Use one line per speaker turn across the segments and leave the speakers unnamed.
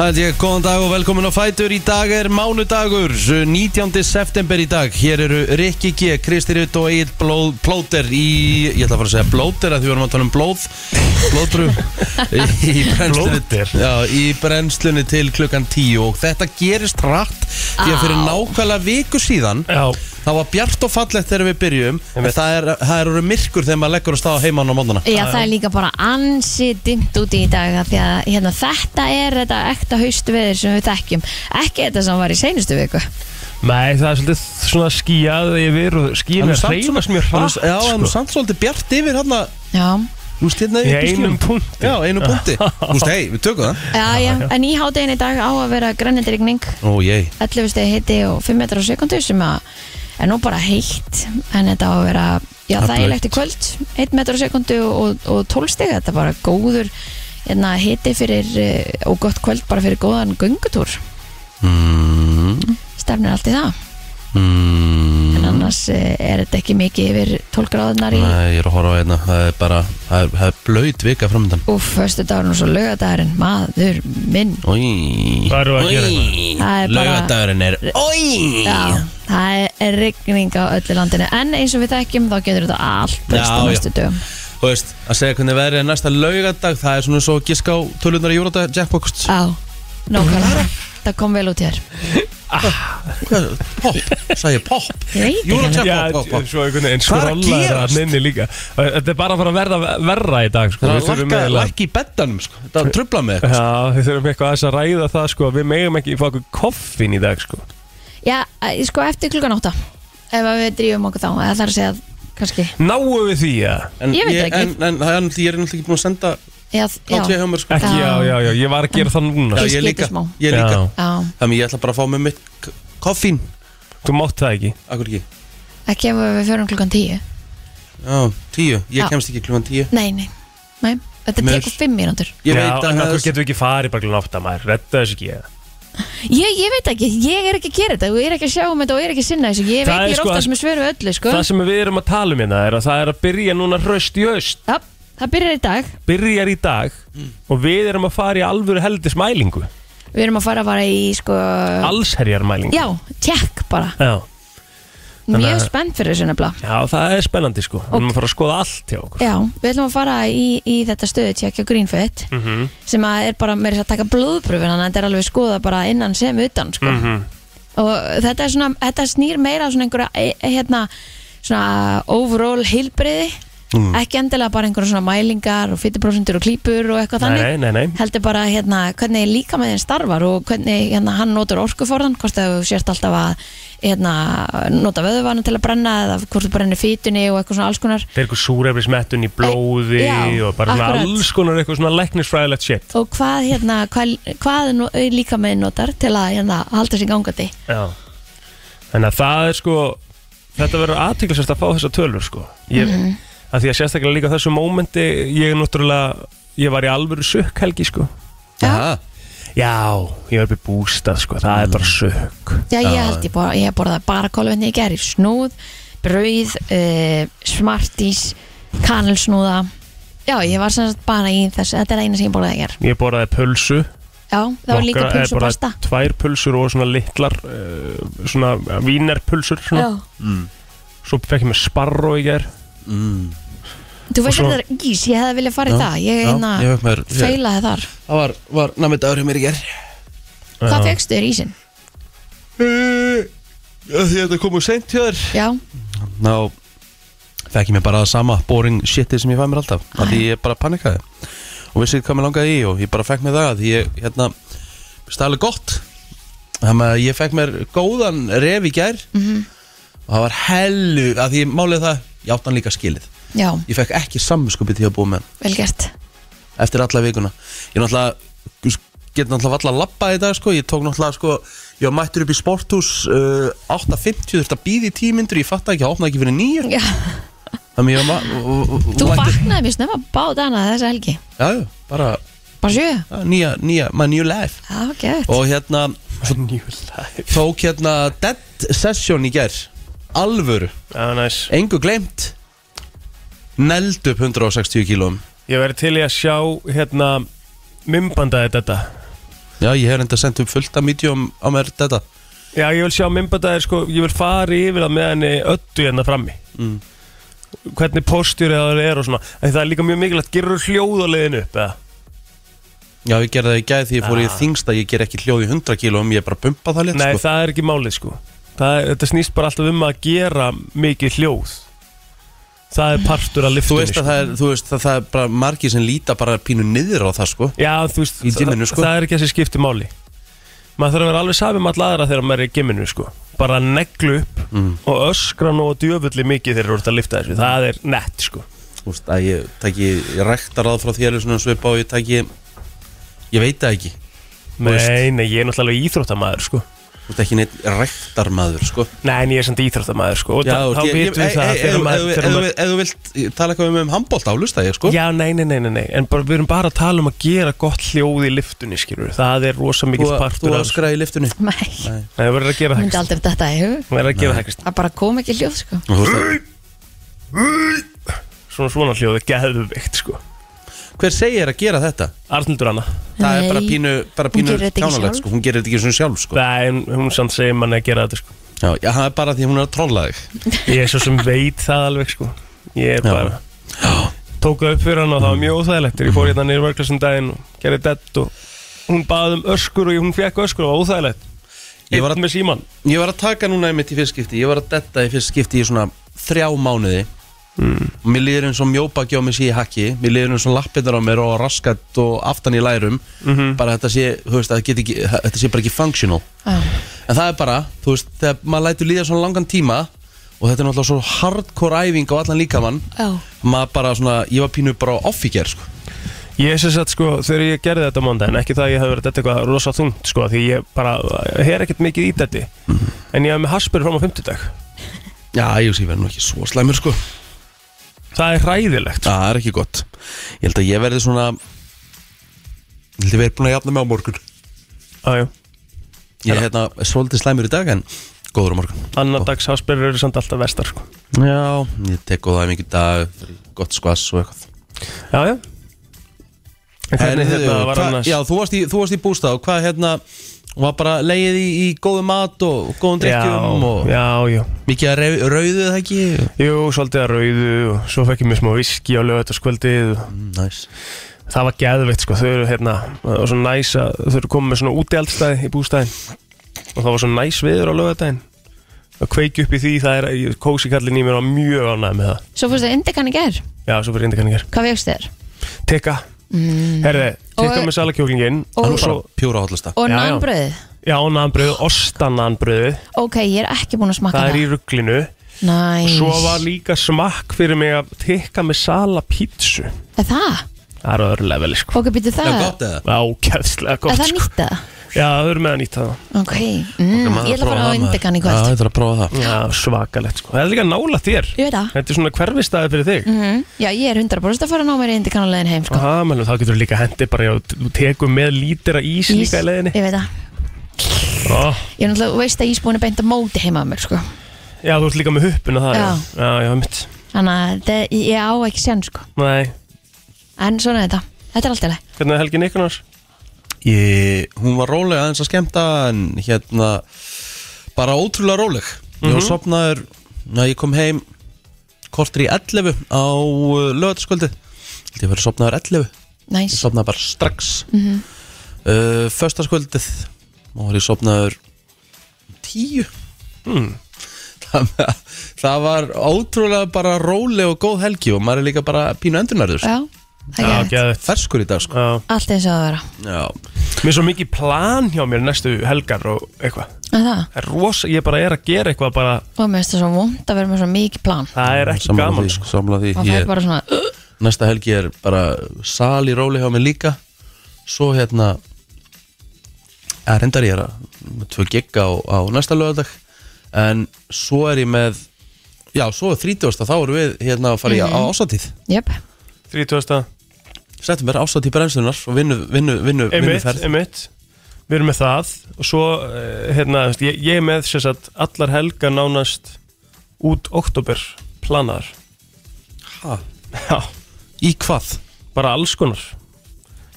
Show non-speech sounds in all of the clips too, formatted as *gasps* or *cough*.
Það held ég, góðan dag og velkomin á Fætur Í dag er mánudagur, 19. september í dag Hér eru Rikki G, Kristi Rutt og Egil Blóð, Blóter í Ég ætla að fara að segja Blóter að því við erum að tala um blóð
*laughs*
Blóðbru Í, í brennslunni,
Blóter.
já, í brennslunni til klukkan 10 Og þetta gerist rætt Því að fyrir
Á.
nákvæmlega viku síðan
Já,
Það var bjart og fallegt þegar við byrjum En
Einmitt.
það er, það er orðið myrkur þegar maður leggur að staða heimann á mótana
Já, það er líka bara ansi dimt úti í dag af því að hérna, þetta er þetta ekta haustu veður sem við þekkjum ekki þetta sem var í seinustu viku
nei, það er svolítið svona skíjað yfir og
Hann
skíjað
er
er
samt
hreinast mjög
svona-
hratt
Já, en
sko.
samt svolítið bjart yfir hérna
Já,
Þú veist, hérna upp
Í
í
einum
skjum
punkti
Já, einum punkti Þú veist, hei, við tökum það
já, já, en í hádegin í dag á að vera grænindrykning
Ó, ég
11 stegi hitti og 5 metrar á sekundu sem að er nú bara heitt en þetta á að vera,
Það
já,
er
þægilegt í kvöld 1 metrar á sekundu og, og 12 stegi þetta er bara góður hérna, hitti fyrir eh, og gott kvöld bara fyrir góðan göngutúr Mm-hmm.
mm,
stefnir allt í það
mm,
en annars eh, er þetta ekki mikið yfir 12 gráðunar í
Nei, ég er að horfa á hérna Það er bara, það er, það er blöyt vika framöndan
Úf, föstu dagurinn og svo lögadagurinn, maður minn
Ói
Hvað erum við að gera hérna?
Það er bara-
Laugardagurinn er Ói
Já, það er rigning á öllu landinu En eins og við þekkjum þá getur þetta allt breyst á
Já, já.
næstu dögum
Þú veist, að segja hvernig verið er næsta laugardag Það er svona svo gisk á tölunar í júradag Jackbox
Á, nákvæmlega Það kom vel út hér
Hvað- Popp, sagði ég popp
Ég veit ekki
Júradag,
Já,
popp, popp, popp
svo einhvern veginn
Hvað er að
skrolla
gerast?
það nynni líka Þetta er bara að fara að verða verra í dag sko.
Það
Við
er
þurfum
að
eiginlega-
lakka í beddanum sko. Það er að trubla með eitthvað
Já, við þurfum eitthvað aðeins að ræða það sko að Við megum ekki fá okkur koffin í dag sko
Já, eh, sko eftir klukkan átta Ef að við drífum okkur þá eða Það er að segja, kannski
Náum við því að
En
Ég veit
ég-
ekki.
En en það er náttúrulega ég er náttúrulega ekki búin að senda
Já,
Hátíð
já,
hjá mér sko
Ekki, já,
Já.
já, já, ég var að gera það núna
Já,
Ég
ég
skipti
líka,
smá.
ég líka.
Já.
já
Þannig ég ætla bara að fá með mitt k- koffín
Þú mátt það ekki
Akkur ekki
Ekki ef við förum klukkan tíu
Já, tíu, ég
Já.
kemst ekki klúan tíu
Nei, nei, nei Þetta
Mér-
tekur fimm mínútur
Ég
Já,
veit að
en
það
okkur getum við ekki farið bara glun átta maður Redda þessu ekki eða
ég, ég veit ekki, ég er ekki að gera þetta og Ég er ekki að sjá um þetta og ég er ekki að sinna þessu Ég veit,
Það er
ég er
sko
ofta
að-
sem er svöru öllu, sko
Það sem við erum að tala um hérna er að það er að byrja núna röst í öst
Já, það byrjar í dag
Byrjar í dag og við erum að fara í alvöru heldismælingu
Við erum að fara að fara í sko
Allsherjarmælingu
Já, tjekk bara
já, Þannig
Mjög
að-
spennt fyrir þessu nefnilega
Já, það er spennandi sko Við erum að fara að skoða allt hjá okkur
Já, við ætlum að fara í, í þetta stöðu tjekk á Greenfit
mm -hmm.
sem að er bara meira þess að taka blóðpröfin þannig að þetta er alveg skoða bara innan sem utan sko.
Mhm.
og þetta, er svona, þetta snýr meira að svona einhverja e- e- hérna, svona overall hilbriði
Mhm.
ekki endilega bara einhverja svona mælingar og fytuprósendur og klípur og eitthvað þannig
Nei, nei, nei
heldur bara hérna, hvernig líka með þeim starfar og hvernig hérna, hann notur orkuforðan hvort að þú sért alltaf að hérna, nota vöðuvana til að brenna eða hvort þú brennir fytunni og eitthvað svona alls konar
Það er eitthvað súrefnismettun í blóði
Já,
og bara svona
akkurat.
alls konar eitthvað svona læknisfræðilegt shit
og hvað, hérna, hvað, hvað no, líka með notar til að hérna, halda sér gangandi
Já Þannig að það er sko Þetta verður aðtiklisvægt að fá þessa tölur sko ég, mm
Mhm.
Því að sérstaklega líka á þessu mómenti Ég er náttúrulega Ég var í alvöru sökk helgi sko
Já,
Já, ég var upp í bústað sko Það er bara
Mhm.
sökk
já ég held ég, bor, ég borðaði bara kólvenni í gerð snúð, brauð uh, smartís, kanelsnúða já, ég var sem sagt bara í þess þetta er eina sem ég borðaði í gerð
Ég borðaði pulsu
já, það var líka
nokkra- eh,
pulsu
borðaði
pasta
Tvær pulsur og svona litlar uh, Svona vínerpulsur svona.
já
Svo fekk ég með sparro í gær
mm.
Þú veist
Og svo-
þetta er ís, ég hefði viljað fara í
Já,
það Ég
já,
hérna
ég fékk mér-
feilaði þar
það var, var námið dagur hjá mér í ger
Hvað
Já.
fegstu þér ísinn?
Eh, Því að þetta komu seint hjá þér
Já,
Ná, fekk ég mér bara það sama boring shitið sem ég fæði mér alltaf Æ. Því ég bara panikaði Og vissi hvað mér langaði í og ég bara fekk mér það Því ég, hérna, stæli gott Þannig að ég fekk mér góðan ref í ger Og það var hellu, að því ég málið það Ég átt hann líka skilið
já,
Ég fekk ekki samvinskupið því að búa með hann
vel gert
eftir alla vikuna ég náttúrulega get náttúrulega valla að labba í dag sko. ég tók náttúrulega sko, ég var mættur upp í sporthús uh, 8.50 þurfti að bíða í tímyndur ég fatt ekki, það opnaði ekki fyrir nýju
já.
þannig ég var ma- og- og-
Þú
og- mættur-
vaknaði mér snemma báð hana þessa helgi
já, já, bara
Bara sjö, já,
já, nýja, nýja, my new life
gett
og hérna,
Svo njú life
tók hérna dead session í gær alvöru,
Já, næs
engu glemt neld upp 160 kílóum
Ég verði til í að sjá hérna mymbanda þetta
Já, ég hef reynda sendt upp fullt af medium á mér þetta
Já, ég vil sjá mymbandæðir sko, ég vil fara yfir það með henni öllu hérna frammi
mm.
Hvernig postjur það er og svona en Það er líka mjög mikilvægt, gerur hljóð á leiðinu upp eða?
Já, ég gerði það í gæð því ég fór í
Ah.
þingsta Ég ger ekki hljóð í 100 kílóum, ég er bara að bumpa það létt
Nei,
sko.
það er ekki málið sko það, er- Þetta snýst bara alltaf um að gera mikið hljóð Það er partur af sko.
Þú
liftunni
veist að það er, þú veist að það er bara margir sem líta bara pínu niður á það sko
Já, þú veist,
Í gymminu, sko.
það, það er ekki þessi skipti máli Maður þarf að vera alveg sami með allra aðra þegar maður er í gimminu sko Bara neglu upp
mm.
og öskra nú og djöfulli mikið þegar þú ert að lifta þessu Það er nett sko
Þú veist að ég tæki rektarað frá þér svona svipa og ég tæki Ég veit það ekki veist.
Nei, nei, ég er náttúrulega alveg íþróttamæður sko
Þú veist ekki neitt rektarmaður sko
Nei, en ég er samt íþróttamæður sko og
Já,
þá-
þú
þá
veist, ég- ég-
vitum við
ey,
það að
ey,
þegar
ef-
maður-
ef-
þegar
ef-
maður
Ef þú vilt tala eitthvað um handbólta á lusta ég sko
Já, nei, nei, nei, nei, nei, en bara, við erum bara að tala um að gera gott hljóð í liftunni, skilur Það er rosa
Þú
mikill partur
þú
af þessu.
öskraði í liftunni
Nei,
Nei, það verður að gera það
myndi aldrei þetta í hug
Það verður að gera það
Það bara kom ekki hljóð sko
Og þú veist
Svona svona hljóð er geðveikt, sko
að- Hver segir að gera þetta?
Arnildur Anna
Það er bara
Nei.
pínu, bara
Hún
pínu
gerir þetta ekki
kjánalegt
sjálf.
sko Hún gerir þetta ekki svona sjálf sko
Nei, en hún samt segir manni að gera þetta, sko
Já, já, það er bara því hún er að trolla þig
Ég er svo sem veit það alveg, sko Ég er
Já.
bara Tók það upp fyrir hann og það var mjög óþægilegt Þegar Ég fór hérna niður vörklassum daginn og gerði dett og hún baði um öskur og ég- hún fekk öskur og það var óþægilegt
Ég var að-
Eitt með síman
Ég var að taka núna einmitt í fyrst skipti Ég var að detta í fyrst skipti í svona þrjá mánuði og Mér líður eins og mjóbaki á mig sé í hakki Mér líður eins og lappinnar á mér og raskat og aftan í lærum Bara þetta sé, þú veist, að þetta geti ekki, þetta sé bara ekki functional
ah.
En það er bara, þú veist, þegar maður lætur líða svona langan tíma Og þetta er náttúrulega svo hardcore æfing á allan líkamann
Já,
Maður bara svona, ég var pínu bara off í ger, sko
Ég sem sagt sko, þegar ég gerði þetta á mándaginn, ekki það að ég hef verið þetta eitthvað rosa þungt sko, því ég bara, ég er ekkert mikið í þetta
Mhm.
en ég hef með haspur fram á 50 dag
Já, ég sé, ég verð nú ekki svo slæmur, sko
það er
Já,
hræðilegt
það er ekki gott Ég held að ég verði svona Ég held að ég verði búin að jafna mig á morgun
ah,
Ég er hérna svolítið slæmur í dag en góður á morgun
annar dags haspur eru samt alltaf vestar sko.
Já, ég tek góða mikið dag, gott skvass og eitthvað
já, já en hvernig
Herðu,
hérna var
eh, hva-
annars
Já, þú varst í, þú varst í bústað og hvað hérna og var bara leið í, í góðu mat og góðum drikkjum og
já, já,
mikið að rau- rauðu það ekki
jú, svolítið að rauðu og svo fekk ég mér smá viski á lögataskvöldið og
Næs
það var geðveikt sko, þau eru hérna og svo næs að þau eru komið með svona útjaldstæði í bústæðin og það var svo næs viður á lögadaginn að kveiki upp í því, það er kósi kallin í mér og mjög ánægð með það
svo fórstu indikan í gær
já, svo fyrir indikaningar,
Hvað fegst þér?
tikka
Mm.
herði, tikka
Og-
með salakjólingin
og-
Það
og
er
svo,
bara pjúra hotlusta
Og
Já, já.
nánbröð
já, nanbröð, ostananbröð
Ok, ég er ekki búin að smakka
það
það
er í rugglinu
Næs
svo var líka smakk fyrir mig að tikka með salapítsu
Er það?
það er á öðru leveli sko
Ok, býtu
Það
það
er gott eða
ákjæðslega
Er
gott
það
sko
nýtt það?
já, þau eru með að nýta það
Ok, mm,
maður
ég
prófa
ætla að fara á
það, maður.
indikan í
Já,
kvöld
ég þarf að prófa það
Já, svakalegt sko. Það er líka nála þér
Ég veit það
Þetta er svona hverfistæði fyrir þig
Mhm. Já, ég er 100% að fara að ná mér í indikan á leiðin heim sko.
Aha, mennum, þá getur þú líka hendi bara já, Þú tekur með lítera ís,
Ís,
líka í leiðinni Ah,
Ég veit það
Ó,
Ég er náttúrulega, þú veist að ísbúin er beint að móti heima að mér sko.
Já, þú ert líka með huppuna það
Já.
já, já mitt
Þannig að þetta- ég á ekki sen sko.
Nei,
En svona er þetta Þetta er alltaf leið
hvernig er helgin ykkur annars?
ég, Hún var róleg aðeins að skemmta en hérna bara ótrúlega róleg Ég
Mhm.
var sopnaður Ná, ég kom heim kortur í 11 á lögataskvöldi Ég var sopnaður 11 Ég
Næs
sopnaði bara strax mm -hmm. uh, Föstaskvöldið og var ég sopnaður tíu
Hmm.
það, það var ótrúlega bara róleg og góð helgi og maður er líka bara pínu endurnarður
Já, það
Já,
er gett
geðvægt
ferskur í dag sko
Já.
Allt eins og það að vera
Já.
Mér er svo mikið plan hjá mér næstu helgar og eitthvað
En það
Það er rosa, Ég bara er að gera eitthvað bara
Og mér finnst það svo vond að vera með svo mikið plan
Það er ekki
Sammála
gaman
því,
sko.
sammála því.
Og það
Ég,
er bara svona uh,
næsta helgi er bara sal í róleg hjá mér líka svo hérna að reyndar ég er að með tvö gigga á, á næsta lögadag en svo er ég með já, svo er 30. þá erum við hérna að fara í
Mhm.
á ásatíð
Jöp
sko. 30.
settum bara ástætt í brennstunar og vinnu, vinnu, vinnu,
einmitt,
vinnuferð
einmitt við erum með það og svo eh, hérna, þú veist, ég, ég er með sem sagt, allar helgar nánast út oktober planar
Ha?
já,
Í hvað?
bara alls konar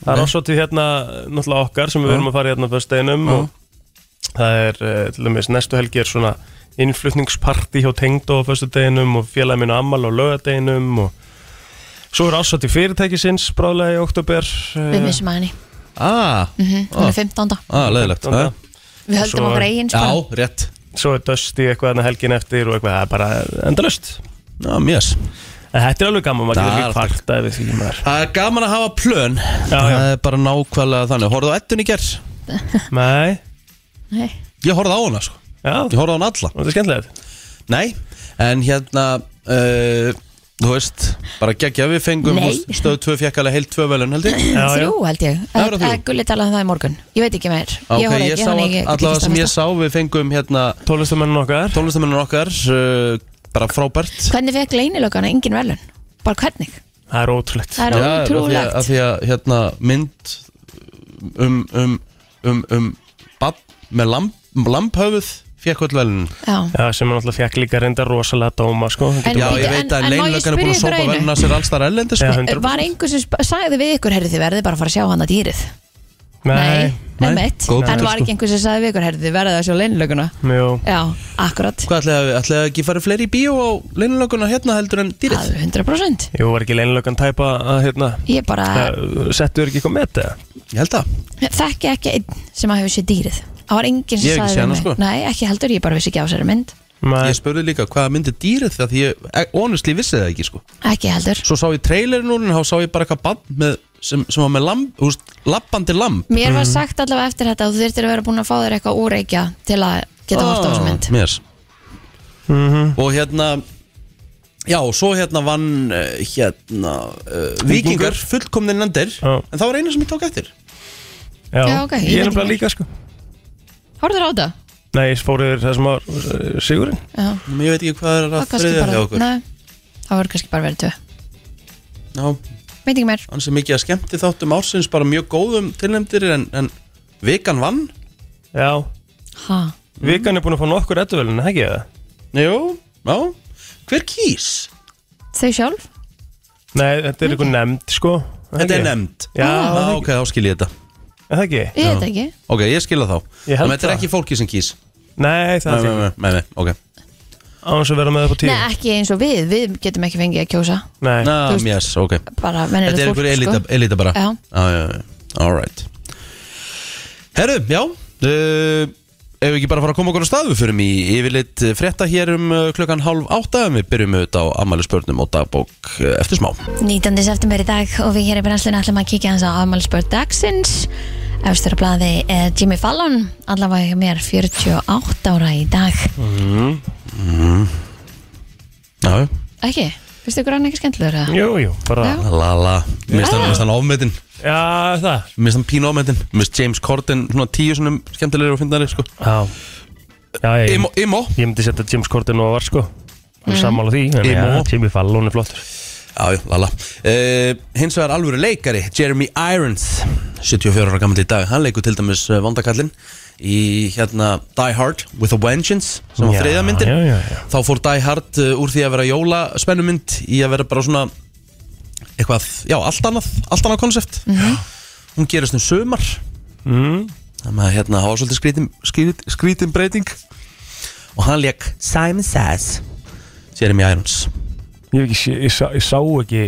Það er ásótið hérna náttúrulega okkar sem við verum að fara hérna fyrir steinum og það er eh, til dæmis næstu helgi er svona innflutningsparti hjá tengdó á fyrstu deginum og félagi minn á ammal á lögadeginum og svo er ásótið fyrirtækisins bráðlega í eh, oktober
Við missum að henni,
Ah,
Mhm.
hún er 15.
ah leðilegt
Þannig að-
Við höldum
Svo-
okkur eigin sko.
Já,
spara
rétt
Svo er dösti eitthvað hérna helgin eftir og eitthvað, það er bara endalust
Já, mjöss
En þetta er alveg gaman, maður
Það er
getur líka
alltaf-
kvartað við því maður
Það er gaman að hafa plön
já.
Það er bara nákvæmlega þannig Horfðu á ettun í gerð
Nei,
Nei.
Ég horfði á hana sko
já,
Ég horfði á hana alla
þetta er skemmtilegt
Nei, en hérna uh, Þú veist, bara geggja við fengum
Nei.
Stöð 2 fekk alveg heilt 2 velun held ég
Já, já.
Þrjú held ég
Það eru þrjú.
Eh, Gulli talaði um það í morgun, ég veit ekki meir
Ah, Ok,
Ég horfði
ég
ekki,
sá
hann ekki
allavega sem ég sá Við fengum hérna
Tólestamennin okkar
tónlistamennin okkar uh, Bara frábært
Hvernig fekk leynilögana engin velun? Bara hvernig?
Það er ótrúlegt
Það
Já, af
er
því að- Af
ótrúlegt
því að hérna mynd um, um, um, um bann með lamp, lamphöfuð fekk öll velun
Já.
Já, sem hann alltaf fekk líka reynda rosalega dóma, sko Það
En
getur-
Já,
bíddu,
ég veit
en-
að
en má ég
leinlökan er
spyrja
búin að
ykkur
sópa
einu?
velun að sér allstar erlendi sko.
Já, 100%.
Var einhver sem sp- sagði við ykkur herrið þið verðið bara að fara að sjá hana dýrið
Nei,
nei,
emitt
góð
En
punktur,
var
sko.
ekki einhver sem sagði við ykkur herrið þið verðið að sjá leynilöguna?
mjó
Já, akkurat
Hvað ætlaði að ætlaði að ekki fara fleiri í bíó á leinlökunna hérna heldur en dýrið?
Alveg 100%
Jú, var ekki leinlökan tæpa að, hérna
Ég bara
að Settu þér ekki eitthvað með þetta?
Ég held að
þekki ekki einn sem að hefur séð dýrið Það var enginn
Ég
sem
hef ekki
sagði
séð
við
hana,
mig
sko.
Nei, ekki heldur, ég bara vissi ekki á sér mynd
Nei,
Ég spurði líka hvaða myndi dýrið það því ég e- honestly vissi það ekki sko
Ekki heldur
Svo sá ég trailerin úr en þá sá ég bara eitthvað bann með sem, sem var með lamb, þú veist, lappandi lamb
Mér var sagt allavega eftir þetta að þú þyrftir að vera búin að fá þér eitthvað úreikja til að geta hort á
Oh.
þessu mynd
Ah. Mér Og hérna Já, og svo hérna vann eh, hérna uh, Víkingar fullkomnir nandir
Já.
En það var eina sem ég tók eftir
já,
Já, ok,
ég er
ég veit ekki
nefnilega
meir.
líka, sko
Horður á það?
Nei, ég fór yfir það sem var uh, Sigurinn
Já,
Ég veit ekki hvað er
það
að
var kannski
þriðja hjá
bara
okkur
Nei, það voru kannski bara verið tvö
Já,
Veit ekki mér
hans er mikið að skemmti þáttum ársins bara mjög góðum tilnæmdir en, en vikan vann
Já,
ha.
vikan er búin að fá nokkur edduvelin, ekki það?
Jú, já, hver kýs?
Þau sjálf?
Nei, þetta er eitthvað nefnd, sko
Þetta er nefnd
Já,
ah,
ah,
ok, þá skil ég þetta
er það ekki?
Ég veit ekki
Ok, ég skil það þá
Ég held
Þannig að þetta er
það.
ekki fólki sem kýs Nei,
Nei, það er
nei, nei,
ekki
nei, nei, ok
Án þess að vera með það på tíu
Nei, ekki eins og við, við getum ekki fengið að kjósa
Nei,
Ná,
Þú veist-
yes, ok
Bara sko. mennir
Þetta er einhver elita, elita bara
Já.
Já, já, já, alright Herru, já uh, Ef við ekki bara fara að koma okkur á stað Við förum í yfirleitt frétta hér um uh, klukkan hálf átta en Við byrjum auðvitað á ammæli og dagbók uh, eftir smá
19. september í dag og við hér í brennslinu ætlum að kíkja hans á afmælspörð dagsins Efstur á blaði er Jimmy Fallon allavega hjá mér 48 ára í dag
Já, já.
Ekki? Fyrstu ykkur hann ekki skemmtilegur eða?
jú, jú, bara
Já.
la la Mér finnst hann- mér finnst hann ofmetinn
Já, það
Mér finnst hann pínu ofmetinn Mér finnst James Corden svona tíu svona skemmtilegri og fyndari sko.
Já, já ég,
Imo, Imo
ég myndi setja James Corden og var, sko mm. Sammála því, en
Imo.
já, Jimmy Fallon er flottur
Já, já, lala uh, Hins vegar alvöru leikari, Jeremy Irons 74 ára gammal í dag Hann leikur til dæmis uh, vandakallin Í hérna Die Hard with a Vengeance Sem var
Já,
þriða myndin
já, já, já.
Þá fór Die Hard uh, úr því að vera jóla spennumynd Í að vera bara svona Eitthvað, já, allt annað Allt annað konsept Hún gerist um sumar
mm.
Þannig að hérna hafa svolítið skrítin, skrít, skrítin breyting Og hann leik Simon Says Jeremy Irons
Ég, hef ekki, sé- ég, sá, ég sá ekki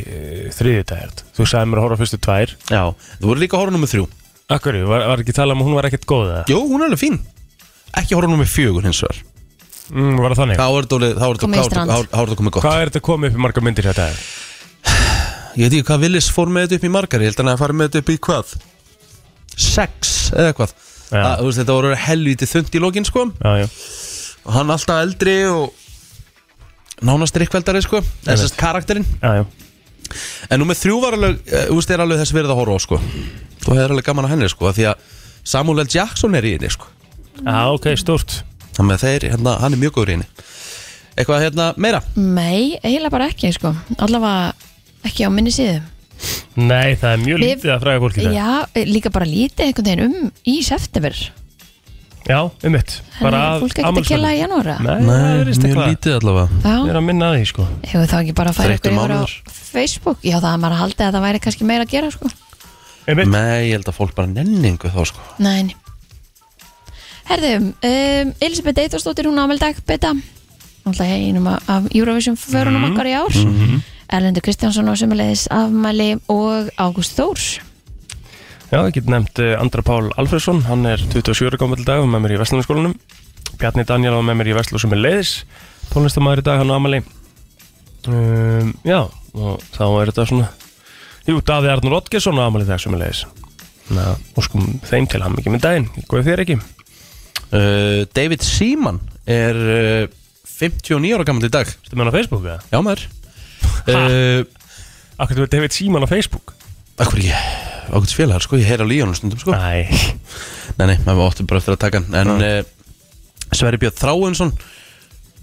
þriðið dagert Þú sagði mér að horfa á fyrstu tvær
Já, þú voru líka að horfa nummer þrjú
Akkur, var, var ekki talað um að hún var ekkert góð eða?
Jú, hún er alveg fín Ekki horfa nummer fjögur hins vegar
Mm, var það þannig?
Þá er þetta þá er þetta-
Komið í
þá er
strand.
þetta- þá er þetta komið gott
Hvað er þetta komið upp í marga myndir þetta? er?
Ég veit ekki hvað Willis fór með þetta upp í margar Ég held hann að fara með þetta upp í hvað Sex eða eitthvað
Já.
að, þú veist, Þetta voru helvítið þund í lokin sko
Já, já,
Og hann alltaf eldri og Nánast rikkveldari sko Þessast karakterinn
já, já.
En nummer þrjú var alveg eh, Þú veist, er alveg þess verið að horfa á sko Þú hefur alveg gaman að henni sko af Því að Samuel L. Jackson er í henni sko
Mm.
Já, ok, stórt
Þannig að þeir, hérna, hann er mjög góður í henni Eitthvað hérna meira
Nei, eiginlega bara ekki sko Allavega ekki á minni síðu
Nei, það er mjög
Við-
lítið að fræga fólki þetta
Já, líka bara lítið einhvern veginn um í september
Já, um mitt
Þannig að fólk ekki að killa í janúara
Nei, það er
mjög
eitthvað
lítið allavega
Ég
Já,
er að minna að því, sko
hefur þá ekki bara að færa
Þreyttur
ykkur yfir á
mánuður.
Facebook Já, það er maður að haldi að það væri kannski meira að gera sko
Einmitt.
Nei, ég held að fólk bara nenningu þá sko
Nein Herðu, um, Elisabeth Eithorsdóttir hún ámæl dag beta Alltaf einum af- af Eurovision förunum
Mhm.
okkar í ár Erlendur Kristjánsson á sömulegis afmæli og Ágúst Þórs
Já, ég get nefnt eh, Andra Pál Alfredsson, hann er 27 gammal dag og með mér í Vestlunarskólanum. Bjarni Daniel var með mér í Vestlun sem er leiðis, tónlistamæður í dag, hann á Amali. Um, já, og þá er þetta svona, jú, Davi Arnur Ottgesson á Amali í dag sem er leiðis. Na, og sko, þeim til hann ekki með daginn, góði þér ekki.
uh, David Seaman er uh, 59 ára gammal í dag
Ertu með hann á Facebook eða?
Já maður
Ha?
uh,
Akkur þú er David Seaman á Facebook?
Akkur ekki, ákveðs félagar sko Ég heyr á Líónu stundum sko
Æ,
Nei, nei, maður óttum bara eftir að taka hann En uh, Sverri Björn Þráinsson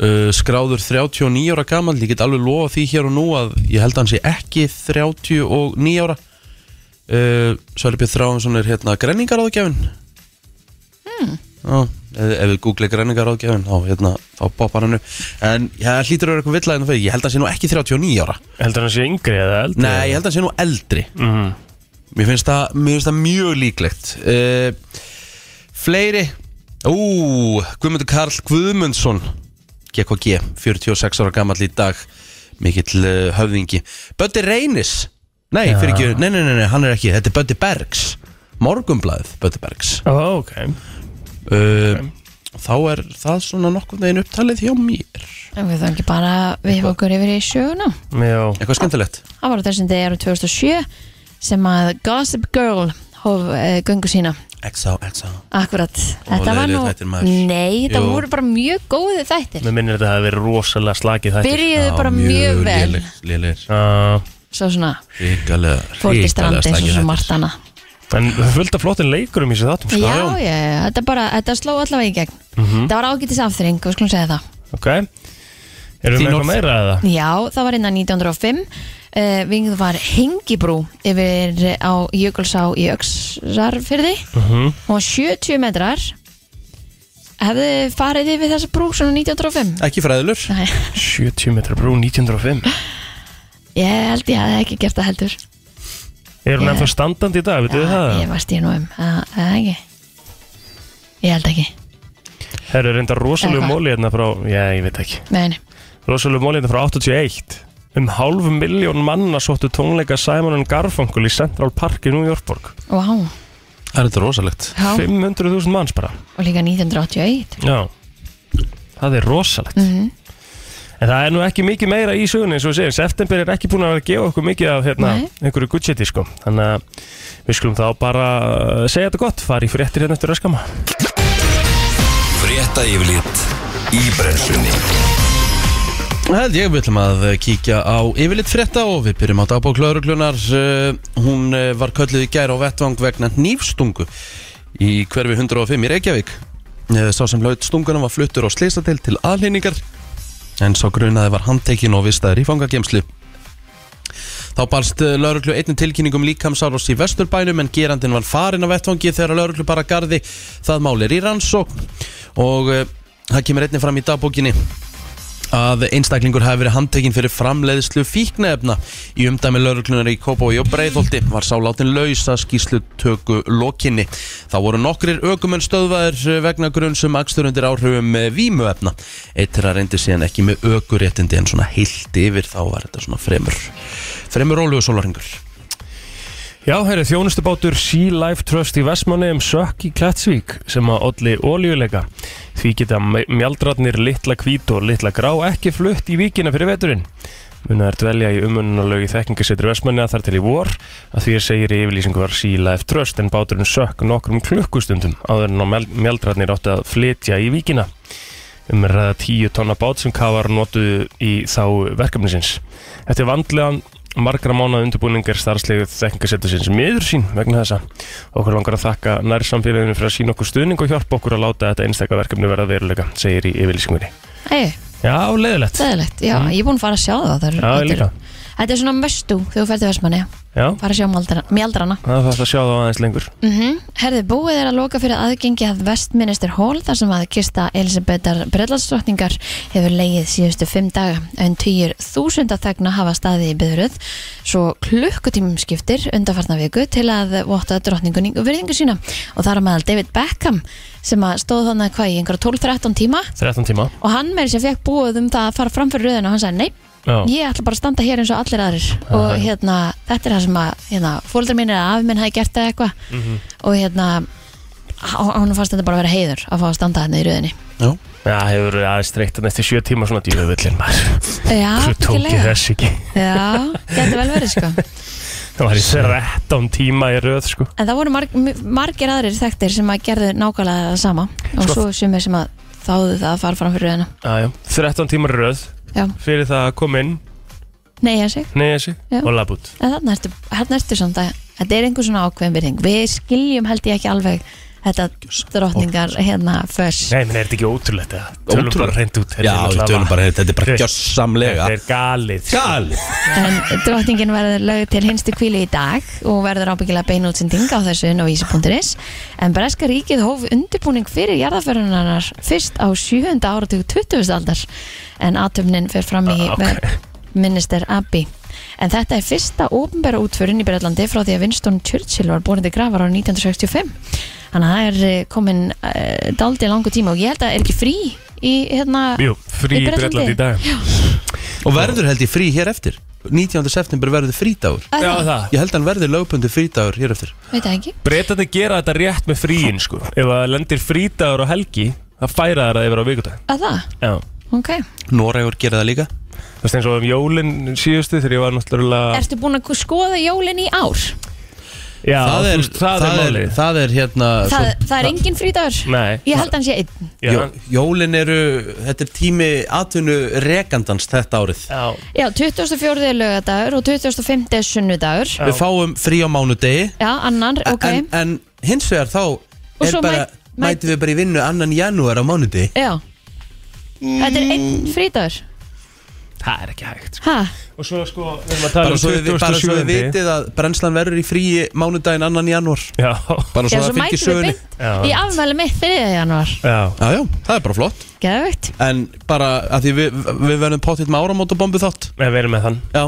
uh, Skráður 39 ára gammal Ég get alveg lofa því hér og nú að Ég held að hann sé ekki 39 ára uh, Sverri Björn Þráinsson er hérna Grenningaráðgjafin Já, ef, ef við googlið græningaráðgjafin þá, hérna, þá poppar hann upp En ég hlýtur að vera eitthvað villæðin fyrir Ég held að hann sé nú ekki 39 ára
heldur hann sé yngri eða eldri?
Nei, ég held að hann sé nú eldri
Mhm.
Mér finnst það, mér finnst það mjög líklegt uh, Fleiri Ú, Guðmundur Karl Guðmundsson GKG, 46 ára gamall í dag Mikill uh, höfðingi Böddi Reynis Nei,
Já.
fyrir ekki, nei, nei, nei, nei, hann er ekki Þetta er Böddi Bergs Morgumblaðið Böddi Bergs
Ó, ok.
uh, Þá er það svona nokkurn veginn upptalið hjá mér
En við þá ekki bara við okkur yfir í sjöuna
Já,
Eitthvað skemmtilegt
Það var á þessum degi ára 2007 sem að Gossip Girl hóf uh, göngu sína
XO, XO
Akkurat, þetta var
leiðilegir
nú
þættir, maður.
Nei, þetta
Jú.
voru bara mjög góði þættir
mér minnir þetta að það verið rosalega slakið þetta.
Byrjuðu bara mjög vel
Lélir,
Já,
Svo svona
ríkalega
fór til strandi eins og svo margt annað
en það er fullt af flottin leikurum í þessu þáttum, sko.
Já, já, já, þetta bara, þetta sló allavega í gegn
Mhm.
Þetta var ágætis afþreng, við skulum segja það
Ok.
Þín
Erum við með
orð.
eitthvað meira eða?
Já, það var innan 1905 uh, Vingð var hengibrú yfir á Jökulsá í Öxarfyrði
Mhm.
og 70 metrar hefði farið yfir þessa brú svona 1905
Ekki fræðilur
Nei,
70 metra brú 1905.
Ég held ég hafði ekki gert það heldur
Er hún
Já.
ennþá standandi í dag, veitu þið
Já,
það?
Ég varst ég nú um, það það ekki Ég held ekki,
Það eru reynda rosalegu
Eða hvað?
móli hérna frá, já, ég veit ekki.
nei, nei
Rosalegu móli hérna frá 81. Um hálf miljón manna sóttu tónleika Simon and Garfunkel í Central Park í New Yorkborg.
Vá,
Það er þetta rosalegt
já,
500.000 manns bara.
og líka 1981
Já. Það er rosalegt.
mm -hmm.
En það er nú ekki mikið meira í sögunni eins og við segjum, september er ekki búin að vera að gefa okkur mikið af hérna,
Nei.
einhverju gudgeti sko þannig að við skulum þá bara uh, segja þetta gott, fara í fréttir hérna eftir öskama
Frétta yfirlit í brennslunni
Það held ég við ætlum að kíkja á yfirleitt frétta og við byrjum á dagbók lauruglunar Eh, hún eh, var kölluð í gær á vettvang vegna nýfstungu í hverfi 105 í Reykjavík Eh, sá sem laut stungunum var fluttur á slisadel til aðlýningar en sá grunaði var handtekinn og vistaður í fangagemslu Þá barst eh, lauruglu einni tilkynningum líkamsárós í vesturbænum en gerandin var farin af vettvangi þegar lauruglu bara gardi það mál er í rannsókn og eh, það kemur einni fram í dagbókinni að einstaklingur hafi verið handtekinn fyrir framleiðslu fíknefna í umdæmi lauruglunar í Kópói og Breiðholti var sá látin laus að skýslu tökku lokinni. Þá voru nokkrir ökumenn stöðvaðir vegna grunn sem akstur undir áhrifum eh, vímuefna eittir að reyndi síðan ekki með ökuréttindi en svona heilt yfir þá var þetta svona fremur fremur ólugu sólaringur.
Já, herri, þjónustubátur Sea Life Trust í Vestmanneum sökk í Klettsvík sem að olli ólíuleika. Því geta me- mjaldrarnir litla hvít og litla grá ekki flutt í víkina fyrir veturinn. Muna er dvelja í umununalögi þekkingasettur Vestmanneia þar til í vor að því er segir í yfirlýsingu var Sea Life Trust en báturinn sökk nokkrum klukkustundum áður en á mjal- mjaldrarnir áttu að flytja í víkina. Um er að ræða tíu tonna bát sem kafar notuðu í þá verkefnisins. Eftir vandlegan margra mánuða undirbúning er starfslegu þekkingasettusins miður sín vegna þessa. Okkur langar að þakka nærsamfélaginu fyrir að sína okkur stuðning og hjálpa okkur að láta þetta einstaka verkefni verða að veruleika, segir í yfirlýsingunni.
Æ,
Já, leiðilegt.
Sæðilegt, Mm. já, ég er búin að fara að sjá það, það er,
Já, ég
þetta er-
líka.
Þetta er svona möstu þegar þú ferð til Vestmanni
Já,
Fara að sjá mjaldra- mjaldrana
það þarf að sjá það aðeins lengur
mm Herði, búið er að loka fyrir aðgengi að Vestminister Hall þar sem að kista Elisabetar Bredlandsdrottningar hefur leið síðustu fimm daga en týjir þúsunda þegna hafa staði í byðruð svo klukkutímum skiptir undarfarna viku til að votta drottningunni virðingu sína og þar á meðal David Beckham sem að stóð þannig hvað í einhverja 12-13 tíma
13 tíma
og hann meiri sem fekk búið um það að fara fram fyrir röðina og hann sagði nei
Já,
ég ætla bara að standa hér eins og allir aðrir og hérna, þetta er það sem að hérna, fólkdrar mínir að afi minn hafi gert það eitthvað
Mhm.
og hérna hann fannst þetta bara að vera heiður að fá að standa hérna í röðinni
Já hefur verið aðeins streikt þannig eftir 7 tíma svona djöfullin maður
Já,
Svo tók ég
virkilega.
þess ekki
Já, getur vel verið sko
Það var í 13 tíma í röð sko
En það voru marg, margir aðrir þekktir sem að gerðu nákvæmlega það sama og
Sko-
svo sumir sem að þáðu það að fara fram fyrir röðina
Já, já 13 tíma í röð
Já.
Fyrir það að koma inn,
Nei, ég seg,
neyja sig
Já.
og labb út
en þarna ertu, hérna ertu samt að þetta er einhver svona ákveðin virðing Við skiljum held ég ekki alveg þetta drottningar hérna förs
Nei, menn er þetta ekki ótrúlegt eða? Tölum bara
Ótrúlegt.
reynd út þetta
Já,
er
við
náttúrulega-
tölum bara, þetta er bara gjössamlega
Þetta er galið sko.
Gal
En drottningin verður lögð til hinstu kvíli í dag og verður ábyggilega beinútsending á þessu inn á vísi.is en Breska ríkið hóf undirbúning fyrir jarðaförunarnar fyrst á 7. áratug 20. aldar en aðtöfnin fer fram í
Ah, ok.
okay. minister Abbi En þetta er fyrsta ofnbæra útförin í Breitlandi frá því að Winston Churchill var borin til grafar á 1965 Þannig að það er eh, komin uh, daldi langu tíma og ég held að er ekki frí í hérna
Jú, frí
Í
í
Bretlandi.
Bretlandi í dag Já,
Og verður held ég frí hér eftir 19. september verður frídagur
að það,
það
Ég held að hann verður lögbundu frídagur hér eftir
veit það ekki
Bretlandi gera þetta rétt með fríin sko Ef það lendir frídagur og helgi Það færa það yfir á vikudag
að það,
Já
ok
Noregur gera það líka
Það er eins og um jólinn síðustu þegar ég var náttúrulega
Ertu búin að skoða jólin í ár?
Já,
það, er,
þú- það er málið
það er hérna
Það, það er engin frídagur
Nei
Ég held að hann sé einn
Já,
Jó, Jólin eru, þetta er tími atvinnu rekandans þetta árið
já,
Já, 24. er lögadagur og 25. er sunnudagur
Já.
Við fáum frí á mánudegi
Já, annar, ok
en, en hins vegar þá
Og
er
svo
bara,
mæt-
mætum við bara í vinnu annan janúar á mánudegi
Já Þetta er einn
Mm.
frídagur
það er ekki hægt sko.
Ha,
Og svo sko, við erum að tala
bara
um
svo, við, bara svo við
27.
vitið að brennslan verður í fríi mánudaginn annan janúar
Já,
bara svo
já, svo
það fylgir
mætum við
sögunni
beint
Já.
Í afmæli mitt 3. januar
já
Já, já, það er bara flott
Geðvögt
En bara að því við, við verðum pottitt með áramótabombu þátt
Nei, við erum með þann
Já,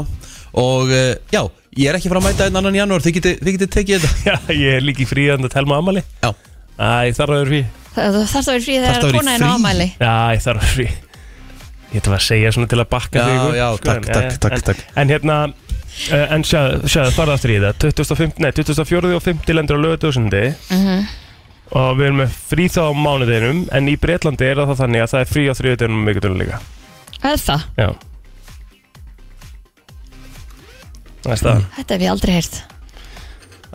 og uh, já, ég er ekki frá að mæta einn annan janúar, þið getið geti tekið þetta
*laughs* Já, ég er líka í frí að telma amali
Já,
Æ, þarf að vera frí
Það þarf það að vera frí
Þarftu að vera
þegar
í
konaðin á
frí?
afmæli
Já, ég þarf að frí Ég ætla bara að segja svona til að bakka
Já,
þig upp,
já, takk,
en-
takk,
en-
takk,
en,
takk.
En hérna, eh, en sjáðu, sjá, farðu aftur í það 25, nei, 24. og 50 lendur á lögutusundi
Mhm.
Og við erum með frí þá á mánudeginum En í Bretlandi er það þá þannig að það er frí á þriðudeginum og mikutunum líka
Það er það,
Já Það er staðan
þetta hef ég aldrei heyrt
Það er